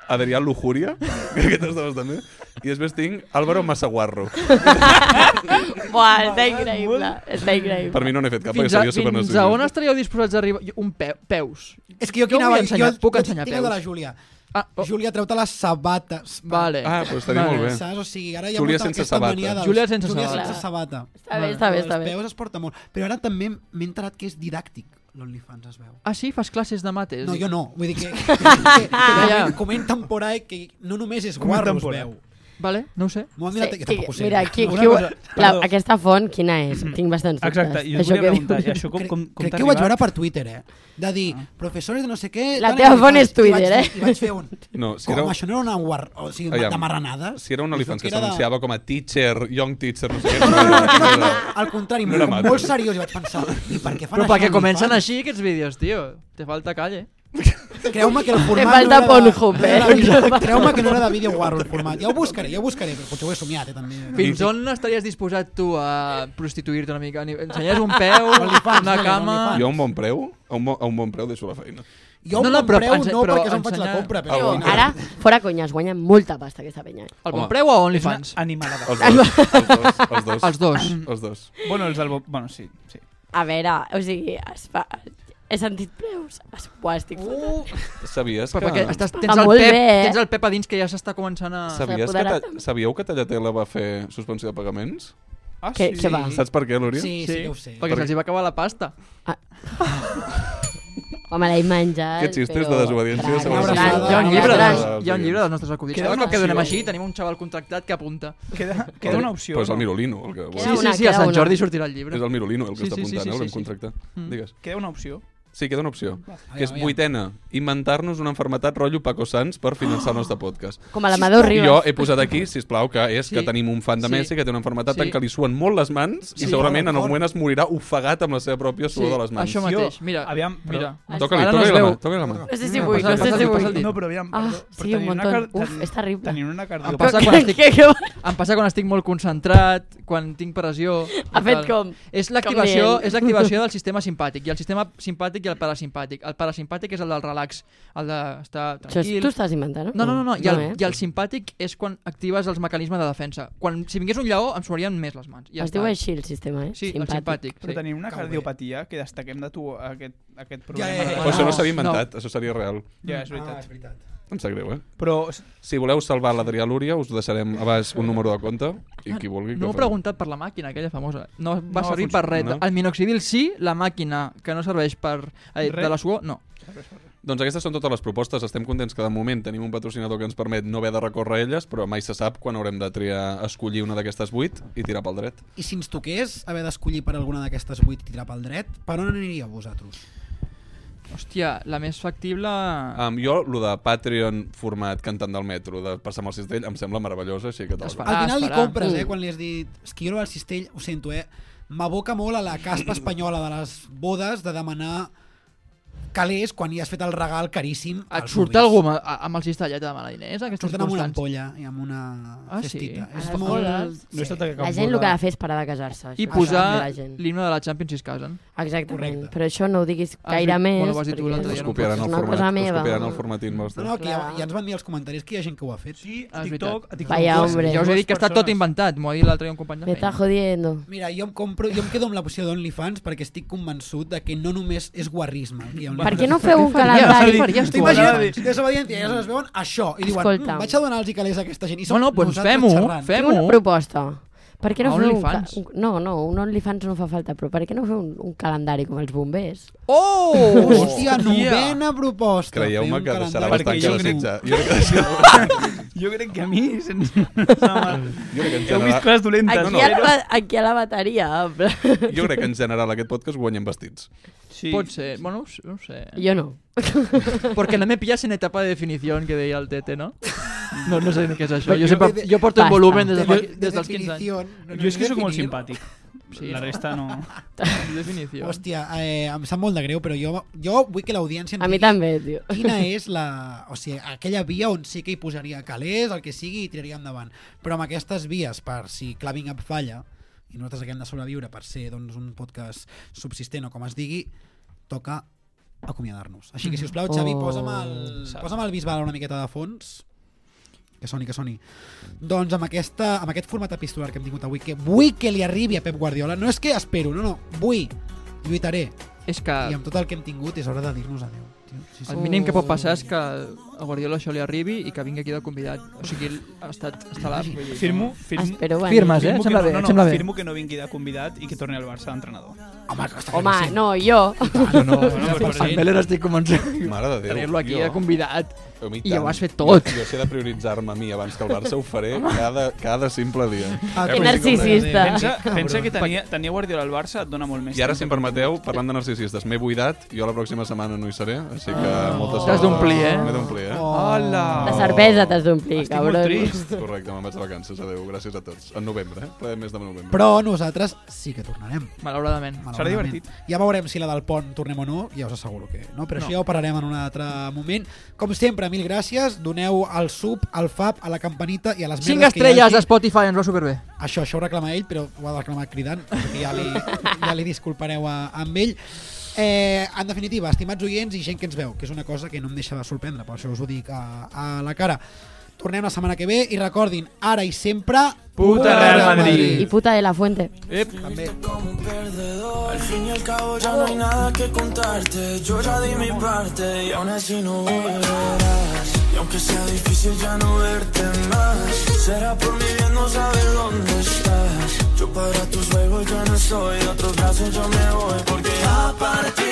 [SPEAKER 3] Adrià Lujuria, que aquest està bastant bé, i després tinc Álvaro Massaguarro.
[SPEAKER 4] Buah, està increïble. Està increïble.
[SPEAKER 3] Per mi no n'he fet cap,
[SPEAKER 2] Fins
[SPEAKER 3] perquè
[SPEAKER 2] a,
[SPEAKER 3] seria
[SPEAKER 2] fins a on
[SPEAKER 3] supernecessari.
[SPEAKER 2] estaríeu disposats d'arribar? Jo- Un peu, peus.
[SPEAKER 1] És que jo aquí
[SPEAKER 2] Jo vull
[SPEAKER 1] anava...
[SPEAKER 2] ensenyar,
[SPEAKER 1] jo,
[SPEAKER 2] puc
[SPEAKER 1] jo
[SPEAKER 2] ensenyar
[SPEAKER 1] tinc el de la
[SPEAKER 2] peus.
[SPEAKER 1] Júlia.
[SPEAKER 2] Ah, oh,
[SPEAKER 1] Júlia, treu-te les sabates.
[SPEAKER 2] vale.
[SPEAKER 3] Ah, doncs estaria molt bé.
[SPEAKER 1] Saps? O sigui, ara hi ha
[SPEAKER 3] Júlia
[SPEAKER 1] molta
[SPEAKER 3] sense
[SPEAKER 1] aquesta
[SPEAKER 3] sabata.
[SPEAKER 1] mania dels...
[SPEAKER 2] Júlia sense
[SPEAKER 1] Júlia
[SPEAKER 2] sabata.
[SPEAKER 1] sense sabata.
[SPEAKER 4] Està bé, està bé,
[SPEAKER 1] Els
[SPEAKER 4] està bé.
[SPEAKER 1] peus es porta molt. Però ara també m'he enterat que és didàctic, l'OnlyFans, es veu.
[SPEAKER 2] Ah, sí? Fas classes de mates?
[SPEAKER 1] No, jo no. Vull dir que, que, que, que
[SPEAKER 2] ja.
[SPEAKER 1] comenten por ahí que no només és guarro, es
[SPEAKER 9] por ahí.
[SPEAKER 1] veu.
[SPEAKER 2] Vale, no ho sé.
[SPEAKER 1] M'ho han
[SPEAKER 4] Sí,
[SPEAKER 1] mirat, que tampoc ho
[SPEAKER 4] qui,
[SPEAKER 1] sé.
[SPEAKER 4] mira, qui,
[SPEAKER 9] Una
[SPEAKER 4] qui, ho-
[SPEAKER 9] cosa,
[SPEAKER 4] la,
[SPEAKER 9] perdó.
[SPEAKER 4] aquesta font, quina és? Tinc bastants dubtes.
[SPEAKER 9] Exacte, i us volia
[SPEAKER 4] que
[SPEAKER 9] preguntar, i
[SPEAKER 4] diu-
[SPEAKER 9] això com,
[SPEAKER 1] Crec-
[SPEAKER 9] com, com
[SPEAKER 1] crec
[SPEAKER 9] t'ha
[SPEAKER 1] que ho vaig veure
[SPEAKER 9] arribat?
[SPEAKER 1] per
[SPEAKER 9] Ah.
[SPEAKER 1] Twitter, eh? De dir, professores de no sé què...
[SPEAKER 4] La
[SPEAKER 1] tal,
[SPEAKER 4] teva
[SPEAKER 1] i
[SPEAKER 4] font
[SPEAKER 1] vaig-
[SPEAKER 4] és Twitter,
[SPEAKER 1] i vaig,
[SPEAKER 4] eh?
[SPEAKER 1] I vaig fer un...
[SPEAKER 3] No, si
[SPEAKER 1] Com,
[SPEAKER 3] era,
[SPEAKER 1] això no era una guar... O sigui,
[SPEAKER 3] Aviam.
[SPEAKER 1] de marranades?
[SPEAKER 3] si era un
[SPEAKER 1] Això
[SPEAKER 3] OnlyFans que
[SPEAKER 1] era de-
[SPEAKER 3] s'anunciava com a teacher, young teacher, no sé què.
[SPEAKER 1] No, no, no, no, no, no, al contrari,
[SPEAKER 3] No era
[SPEAKER 1] molt,
[SPEAKER 3] maco.
[SPEAKER 1] molt seriós i vaig pensar, i per què fan
[SPEAKER 2] Però
[SPEAKER 1] això?
[SPEAKER 2] perquè
[SPEAKER 1] amb
[SPEAKER 2] comencen
[SPEAKER 1] infants?
[SPEAKER 2] així aquests vídeos, tio. Te falta calle.
[SPEAKER 1] Creu-me que el format
[SPEAKER 4] falta
[SPEAKER 1] no era de-
[SPEAKER 4] Pornhub,
[SPEAKER 1] no era
[SPEAKER 4] eh?
[SPEAKER 1] de vídeo- Creu-me que no era de vídeo guarro el format. Ja ho buscaré, ja ho buscaré, però potser ho he somiat, eh, també.
[SPEAKER 2] Fins on estaries disposat tu a prostituir-te una mica? Ni- Ensenyes un peu, una
[SPEAKER 1] vale,
[SPEAKER 2] cama...
[SPEAKER 1] OnlyFans.
[SPEAKER 3] Jo a un bon preu, a un, bo, a un bon preu deixo la feina.
[SPEAKER 1] Jo
[SPEAKER 2] No,
[SPEAKER 1] no,
[SPEAKER 2] no,
[SPEAKER 1] no,
[SPEAKER 2] però
[SPEAKER 1] però, preu,
[SPEAKER 2] ense-
[SPEAKER 1] no
[SPEAKER 2] però
[SPEAKER 1] perquè se'n faig la
[SPEAKER 2] ensenyar-
[SPEAKER 1] compra,
[SPEAKER 4] Tio,
[SPEAKER 1] però... bueno.
[SPEAKER 4] Ara, fora conyes, guanyen molta pasta aquesta penya. eh?
[SPEAKER 2] El
[SPEAKER 3] Home.
[SPEAKER 2] bon preu o
[SPEAKER 9] És una
[SPEAKER 2] OnlyFans?
[SPEAKER 9] animalada.
[SPEAKER 3] Els dos, els dos, els dos.
[SPEAKER 2] Els dos.
[SPEAKER 3] Els dos.
[SPEAKER 9] Bueno, els del... bo- Bueno, sí, sí.
[SPEAKER 4] A veure, o sigui, es fa... He sentit preus. Es, buah, estic uh,
[SPEAKER 3] Sabies
[SPEAKER 2] Però
[SPEAKER 3] que...
[SPEAKER 2] perquè estàs, tens,
[SPEAKER 4] Va
[SPEAKER 2] el
[SPEAKER 4] molt
[SPEAKER 2] Pep,
[SPEAKER 4] bé, eh?
[SPEAKER 2] tens el Pep a dins que ja s'està començant a...
[SPEAKER 3] Sabies que
[SPEAKER 4] S'apoderat.
[SPEAKER 3] ta... Sabíeu que Tallatela va fer suspensió de pagaments?
[SPEAKER 9] Ah,
[SPEAKER 4] Què-
[SPEAKER 9] sí.
[SPEAKER 4] què va?
[SPEAKER 3] Saps per què, Lúria?
[SPEAKER 1] Sí, sí, ja ho sé.
[SPEAKER 2] Perquè se'ls hi va acabar la pasta.
[SPEAKER 4] Home, l'he menjat,
[SPEAKER 3] Aquests xistes
[SPEAKER 4] però...
[SPEAKER 3] de desobediència
[SPEAKER 4] Gran,
[SPEAKER 3] segons
[SPEAKER 1] els-
[SPEAKER 4] gran,
[SPEAKER 2] Hi ha un
[SPEAKER 1] Ah,
[SPEAKER 4] gran,
[SPEAKER 2] llibre,
[SPEAKER 4] gran.
[SPEAKER 2] dels, hi ha un llibre dels nostres acudits.
[SPEAKER 9] Queda
[SPEAKER 2] Ara no
[SPEAKER 9] una
[SPEAKER 2] que donem
[SPEAKER 9] opció.
[SPEAKER 2] així, tenim un xaval contractat que apunta.
[SPEAKER 9] Queda, queda una opció.
[SPEAKER 3] Però és el
[SPEAKER 9] no?
[SPEAKER 3] Mirolino el que...
[SPEAKER 4] Queda
[SPEAKER 2] Sí, sí,
[SPEAKER 4] una,
[SPEAKER 2] sí, a
[SPEAKER 4] queda
[SPEAKER 2] Sant
[SPEAKER 4] una.
[SPEAKER 2] Jordi sortirà el llibre.
[SPEAKER 3] És el Mirolino el que
[SPEAKER 2] Sí,
[SPEAKER 3] està
[SPEAKER 2] sí, sí,
[SPEAKER 3] apuntant,
[SPEAKER 2] sí,
[SPEAKER 3] eh?
[SPEAKER 2] sí,
[SPEAKER 3] L'hem
[SPEAKER 2] sí.
[SPEAKER 3] contractat.
[SPEAKER 2] Mm.
[SPEAKER 3] Digues.
[SPEAKER 9] Queda una opció.
[SPEAKER 3] Sí, queda una opció.
[SPEAKER 1] Aviam,
[SPEAKER 3] Que és
[SPEAKER 1] aviam.
[SPEAKER 3] vuitena. Inventar-nos una enfermetat rotllo Paco Sans per finançar el nostre podcast.
[SPEAKER 4] Com a l'Amador
[SPEAKER 3] I
[SPEAKER 4] Ribas.
[SPEAKER 3] jo he posat aquí, si plau que és
[SPEAKER 2] Sí.
[SPEAKER 3] que tenim un fan de
[SPEAKER 2] Sí.
[SPEAKER 3] Messi que té una enfermetat
[SPEAKER 2] Sí.
[SPEAKER 3] tan que li suen molt les mans
[SPEAKER 1] Sí,
[SPEAKER 3] i segurament en
[SPEAKER 1] d'acord.
[SPEAKER 3] el moment es morirà ofegat amb la seva pròpia suor de les mans.
[SPEAKER 2] Això mateix, mira.
[SPEAKER 9] Aviam, però-
[SPEAKER 2] mira.
[SPEAKER 3] Toca-li,
[SPEAKER 2] Ara no
[SPEAKER 3] toca-li
[SPEAKER 2] es
[SPEAKER 3] la
[SPEAKER 2] veu.
[SPEAKER 3] mà, toca-li la mà.
[SPEAKER 4] No sé si
[SPEAKER 2] Mira,
[SPEAKER 4] vull,
[SPEAKER 2] passa-
[SPEAKER 4] no sé
[SPEAKER 2] passa
[SPEAKER 4] si
[SPEAKER 2] el- passa
[SPEAKER 4] vull.
[SPEAKER 2] el dit.
[SPEAKER 9] No, però aviam,
[SPEAKER 4] Ah,
[SPEAKER 9] perdó.
[SPEAKER 4] sí,
[SPEAKER 9] però
[SPEAKER 4] un
[SPEAKER 9] tenir una
[SPEAKER 4] montón.
[SPEAKER 9] car-
[SPEAKER 4] Uf,
[SPEAKER 9] tenir-
[SPEAKER 4] és terrible.
[SPEAKER 9] Tenir una
[SPEAKER 2] Em
[SPEAKER 9] cardiopàtia.
[SPEAKER 2] passa quan estic,
[SPEAKER 4] Que, que,
[SPEAKER 2] em passa quan estic molt concentrat, quan tinc pressió...
[SPEAKER 4] ha
[SPEAKER 2] i
[SPEAKER 4] fet
[SPEAKER 2] tal.
[SPEAKER 4] com...
[SPEAKER 2] És l'activació
[SPEAKER 4] dient.
[SPEAKER 2] és l'activació del sistema simpàtic. I el sistema simpàtic i el parasimpàtic. El parasimpàtic és el del relax, el d'estar
[SPEAKER 4] Això és-
[SPEAKER 2] tranquil.
[SPEAKER 4] Tu estàs inventant,
[SPEAKER 2] No, no, no, no. I, el,
[SPEAKER 4] eh?
[SPEAKER 2] i el simpàtic és quan actives els mecanismes de defensa. Quan, si vingués un lleó, em suarien més les mans. Ja
[SPEAKER 4] Es
[SPEAKER 2] està.
[SPEAKER 4] diu així el sistema, eh?
[SPEAKER 2] Sí, el simpàtic.
[SPEAKER 9] Però
[SPEAKER 2] Sí.
[SPEAKER 9] tenir una
[SPEAKER 1] Cau bé.
[SPEAKER 9] cardiopatia que destaquem de tu aquest, aquest
[SPEAKER 1] ja,
[SPEAKER 9] problema.
[SPEAKER 1] ja.
[SPEAKER 9] de-
[SPEAKER 3] Però això
[SPEAKER 2] No,
[SPEAKER 3] no s'havia
[SPEAKER 2] no.
[SPEAKER 3] inventat, això seria real.
[SPEAKER 9] Ja, és
[SPEAKER 1] Ah, és
[SPEAKER 9] veritat.
[SPEAKER 1] veritat.
[SPEAKER 3] Em sap greu, eh?
[SPEAKER 9] Però
[SPEAKER 3] Si voleu salvar l'Adrià Lúria, us deixarem a baix un número de compte i qui vulgui...
[SPEAKER 2] No
[SPEAKER 3] que
[SPEAKER 2] m'ho
[SPEAKER 3] ho
[SPEAKER 2] he
[SPEAKER 3] faci.
[SPEAKER 2] preguntat per la màquina, aquella famosa. No va
[SPEAKER 9] No
[SPEAKER 2] servir
[SPEAKER 9] funciona,
[SPEAKER 2] per res.
[SPEAKER 3] no?
[SPEAKER 2] El minoxidil sí, la màquina que no serveix per... Eh,
[SPEAKER 9] Res.
[SPEAKER 2] de la suor, no.
[SPEAKER 3] Doncs aquestes són totes les propostes. Estem contents que de moment tenim un patrocinador que ens permet no haver de recórrer a elles, però mai se sap quan haurem de triar, escollir una d'aquestes vuit i tirar pel dret.
[SPEAKER 1] I si ens toqués haver d'escollir per alguna d'aquestes vuit i tirar pel dret, per on aniríeu vosaltres?
[SPEAKER 2] Hòstia, la més factible...
[SPEAKER 3] Um, jo, lo de Patreon format cantant del metro, de passar amb el cistell, em sembla meravellós, eh, així que
[SPEAKER 2] Es
[SPEAKER 3] tal.
[SPEAKER 2] fa.
[SPEAKER 1] Al
[SPEAKER 2] Ah,
[SPEAKER 1] final li
[SPEAKER 2] esperar.
[SPEAKER 1] compres, eh,
[SPEAKER 4] Mm.
[SPEAKER 1] quan li has dit... És que jo el cistell, ho sento, eh? m'aboca molt a la caspa espanyola de les bodes de demanar calés quan hi has fet el regal caríssim.
[SPEAKER 2] Et
[SPEAKER 1] als
[SPEAKER 2] surt
[SPEAKER 1] nuvis.
[SPEAKER 2] algú amb, a- amb el cistellet de demanar diners? Aquestes
[SPEAKER 1] Surten amb una
[SPEAKER 2] constants.
[SPEAKER 1] ampolla i amb una
[SPEAKER 2] Ah, sí?
[SPEAKER 1] cestita.
[SPEAKER 4] A
[SPEAKER 1] És
[SPEAKER 4] les
[SPEAKER 1] molt...
[SPEAKER 4] bodes.
[SPEAKER 9] No he estat a cap
[SPEAKER 4] La gent el
[SPEAKER 9] boda.
[SPEAKER 4] que ha de fer és parar de casar-se.
[SPEAKER 2] I
[SPEAKER 4] això és
[SPEAKER 2] posar
[SPEAKER 4] el que ha de fer la gent.
[SPEAKER 2] l'himne de la Champions si eh? es casen.
[SPEAKER 4] Exactament,
[SPEAKER 1] Correcte.
[SPEAKER 4] però això no ho diguis
[SPEAKER 2] Ah,
[SPEAKER 4] gaire
[SPEAKER 2] sí.
[SPEAKER 4] més.
[SPEAKER 2] Bueno, ho has dit tu
[SPEAKER 4] perquè
[SPEAKER 2] l'altre
[SPEAKER 4] és
[SPEAKER 2] dia,
[SPEAKER 4] una
[SPEAKER 2] no?
[SPEAKER 3] Copiaran el
[SPEAKER 4] cosa
[SPEAKER 3] format, us
[SPEAKER 4] meva.
[SPEAKER 3] copiaran el formatín vostre.
[SPEAKER 1] No, no, que ja,
[SPEAKER 4] Clar.
[SPEAKER 1] ja ens van dir als comentaris que hi ha gent que ho ha fet.
[SPEAKER 9] Sí,
[SPEAKER 2] Ah,
[SPEAKER 9] a
[SPEAKER 2] és
[SPEAKER 9] TikTok, a TikTok.
[SPEAKER 4] Vaya
[SPEAKER 9] dues-
[SPEAKER 4] hombre.
[SPEAKER 2] Jo us he
[SPEAKER 9] dues
[SPEAKER 2] dit que està tot
[SPEAKER 9] persones.
[SPEAKER 2] inventat, m'ho ha dit l'altre dia un company de
[SPEAKER 4] Me está
[SPEAKER 2] feina.
[SPEAKER 4] jodiendo.
[SPEAKER 1] Mira, jo em compro, jo em quedo amb la posició d'OnlyFans perquè estic convençut de que no només és guarrisme. el que hi ha a
[SPEAKER 4] Per
[SPEAKER 1] OnlyFans.
[SPEAKER 4] què no feu un
[SPEAKER 2] Ja,
[SPEAKER 4] calendari?
[SPEAKER 2] ja, ja,
[SPEAKER 1] T'imagines? Desobediència, ja es veuen això. I diuen,
[SPEAKER 4] Escolta.
[SPEAKER 1] "Mm, vaig a donar els calés a aquesta gent. I som
[SPEAKER 2] No, no, doncs
[SPEAKER 1] nosaltres
[SPEAKER 2] pues fem-ho,
[SPEAKER 1] xerrant.
[SPEAKER 4] Tinc una
[SPEAKER 2] fem-ho.
[SPEAKER 4] proposta. Per què no
[SPEAKER 2] A
[SPEAKER 4] feu un, ca-
[SPEAKER 2] OnlyFans?
[SPEAKER 4] un... No, no, un OnlyFans no fa falta, però per què no feu un, un calendari com els bombers?
[SPEAKER 2] Oh!
[SPEAKER 1] Hòstia, novena proposta.
[SPEAKER 3] Creieu-me
[SPEAKER 1] Fem
[SPEAKER 3] que
[SPEAKER 1] calendari.
[SPEAKER 3] serà
[SPEAKER 9] Perquè
[SPEAKER 3] bastant que
[SPEAKER 9] jo
[SPEAKER 3] de
[SPEAKER 9] crec-
[SPEAKER 3] setze. Jo crec que,
[SPEAKER 9] Jo crec que a mi... sense- Heu
[SPEAKER 3] jo crec que en
[SPEAKER 9] vist
[SPEAKER 3] general,
[SPEAKER 9] coses dolentes.
[SPEAKER 4] Aquí,
[SPEAKER 3] no.
[SPEAKER 4] a la, aquí a la bateria. però-
[SPEAKER 3] jo crec que en general aquest podcast guanyem vestits.
[SPEAKER 9] Sí.
[SPEAKER 2] Pot ser, bueno, no ho sé, no ho sé.
[SPEAKER 4] Jo no.
[SPEAKER 2] Porque no me pillas en etapa de definición que deia el Tete, no? No, no sé ni què és això.
[SPEAKER 1] Però
[SPEAKER 2] Jo,
[SPEAKER 1] jo
[SPEAKER 2] sempre,
[SPEAKER 1] de- de-
[SPEAKER 2] jo porto el
[SPEAKER 4] Basta.
[SPEAKER 2] volumen des, de, fa-
[SPEAKER 1] De- de
[SPEAKER 2] des dels 15 anys.
[SPEAKER 1] definició, no- no
[SPEAKER 9] Jo és que sóc molt
[SPEAKER 1] definir.
[SPEAKER 9] simpàtic.
[SPEAKER 2] Sí,
[SPEAKER 9] La
[SPEAKER 2] no.
[SPEAKER 9] resta no...
[SPEAKER 2] Definició.
[SPEAKER 1] Hòstia, eh, em sap molt de greu, però jo, jo vull que l'audiència
[SPEAKER 4] A mi també, tio.
[SPEAKER 1] quina és la... O sigui, aquella via on sí que hi posaria calés, el que sigui, i tiraria endavant. Però amb aquestes vies, per si Claving Up falla, i nosaltres haguem de sobreviure per ser doncs, un podcast subsistent o com es digui, toca acomiadar-nos. Així que, si us plau, Xavi,
[SPEAKER 4] Oh.
[SPEAKER 1] posa'm el, posa'm el bisbal una miqueta de fons. Que soni, que soni. Doncs amb, aquesta, amb aquest format epistolar que hem tingut avui, que vull que li arribi a Pep Guardiola, no és que espero, no, no, vull, lluitaré.
[SPEAKER 2] És que
[SPEAKER 1] I amb tot el que hem tingut és hora de dir-nos adeu. Tio. Sí,
[SPEAKER 2] el mínim que pot passar és que a Guardiola això li arribi i que vingui aquí de convidat. O sigui, ha estat estel·lar. vull dir,
[SPEAKER 9] Firmo, firmo,
[SPEAKER 4] Espero venir.
[SPEAKER 2] Firmes, Ah, eh?
[SPEAKER 9] firmo que
[SPEAKER 2] Sembla
[SPEAKER 9] no,
[SPEAKER 2] bé,
[SPEAKER 9] no, no,
[SPEAKER 2] sembla bé.
[SPEAKER 9] firmo que no vingui de convidat i que torni al Barça d'entrenador.
[SPEAKER 1] Home, que està
[SPEAKER 4] Home,
[SPEAKER 1] claríssim.
[SPEAKER 4] no, jo.
[SPEAKER 2] No, Ah, no, no,
[SPEAKER 9] no, però pues sí.
[SPEAKER 2] en Beller estic convençut de
[SPEAKER 3] Mare de Déu.
[SPEAKER 2] tenir-lo aquí de
[SPEAKER 3] jo.
[SPEAKER 2] convidat.
[SPEAKER 3] A mi
[SPEAKER 2] I
[SPEAKER 3] tant.
[SPEAKER 2] ho has fet tot.
[SPEAKER 3] Jo, jo sé de prioritzar-me a mi abans que el Barça ho faré cada, cada simple dia.
[SPEAKER 1] Ah,
[SPEAKER 4] Que
[SPEAKER 3] Eh,
[SPEAKER 4] narcisista.
[SPEAKER 9] Pensa, pensa que tenia, tenia Guardiola al Barça et dona molt més.
[SPEAKER 3] I ara, si em permeteu, parlant de narcisistes, m'he buidat, jo la pròxima setmana no hi seré, així que molta sort.
[SPEAKER 2] Ah. T'has d'omplir, eh?
[SPEAKER 1] Ah,
[SPEAKER 3] M'he d'omplir,
[SPEAKER 1] Oh.
[SPEAKER 3] eh?
[SPEAKER 2] Hola!
[SPEAKER 4] La cervesa t'has d'omplir,
[SPEAKER 9] Estic molt
[SPEAKER 4] cabron.
[SPEAKER 9] trist.
[SPEAKER 3] Correcte, me'n vaig de vacances, adeu, gràcies a tots. En novembre, eh? Ple de mes de novembre.
[SPEAKER 1] Però nosaltres sí que tornarem.
[SPEAKER 2] Malauradament.
[SPEAKER 1] malauradament.
[SPEAKER 9] divertit.
[SPEAKER 1] Ja veurem si la del pont tornem o no, ja us asseguro que no, però no. això ja ho parlarem en un altre moment. Com sempre, mil gràcies, doneu al sub, al fab, a la campanita i a les
[SPEAKER 2] 5
[SPEAKER 1] merdes que hi hagi.
[SPEAKER 2] estrelles a Spotify, ens va superbé.
[SPEAKER 1] Això, això ho reclama ell, però ho ha de reclamar cridant, perquè ja li, ja li disculpareu a, amb ell. Eh, en definitiva, estimats oients i gent que ens veu, que és una cosa que no em deixa de sorprendre, per això us ho dic a, a la cara. Tornem la setmana que ve i recordin, ara i sempre...
[SPEAKER 9] Puta Real Madrid.
[SPEAKER 4] I puta de la fuente.
[SPEAKER 1] També.
[SPEAKER 6] Al fin y al cabo ya no hay nada que contarte. Yo ya di mi parte y aún así no volverás. Y aunque sea difícil ya no verte más, será por mi bien no saber dónde estás. Yo para tus juegos ya no soy, de otros brazos yo me voy porque ya partí.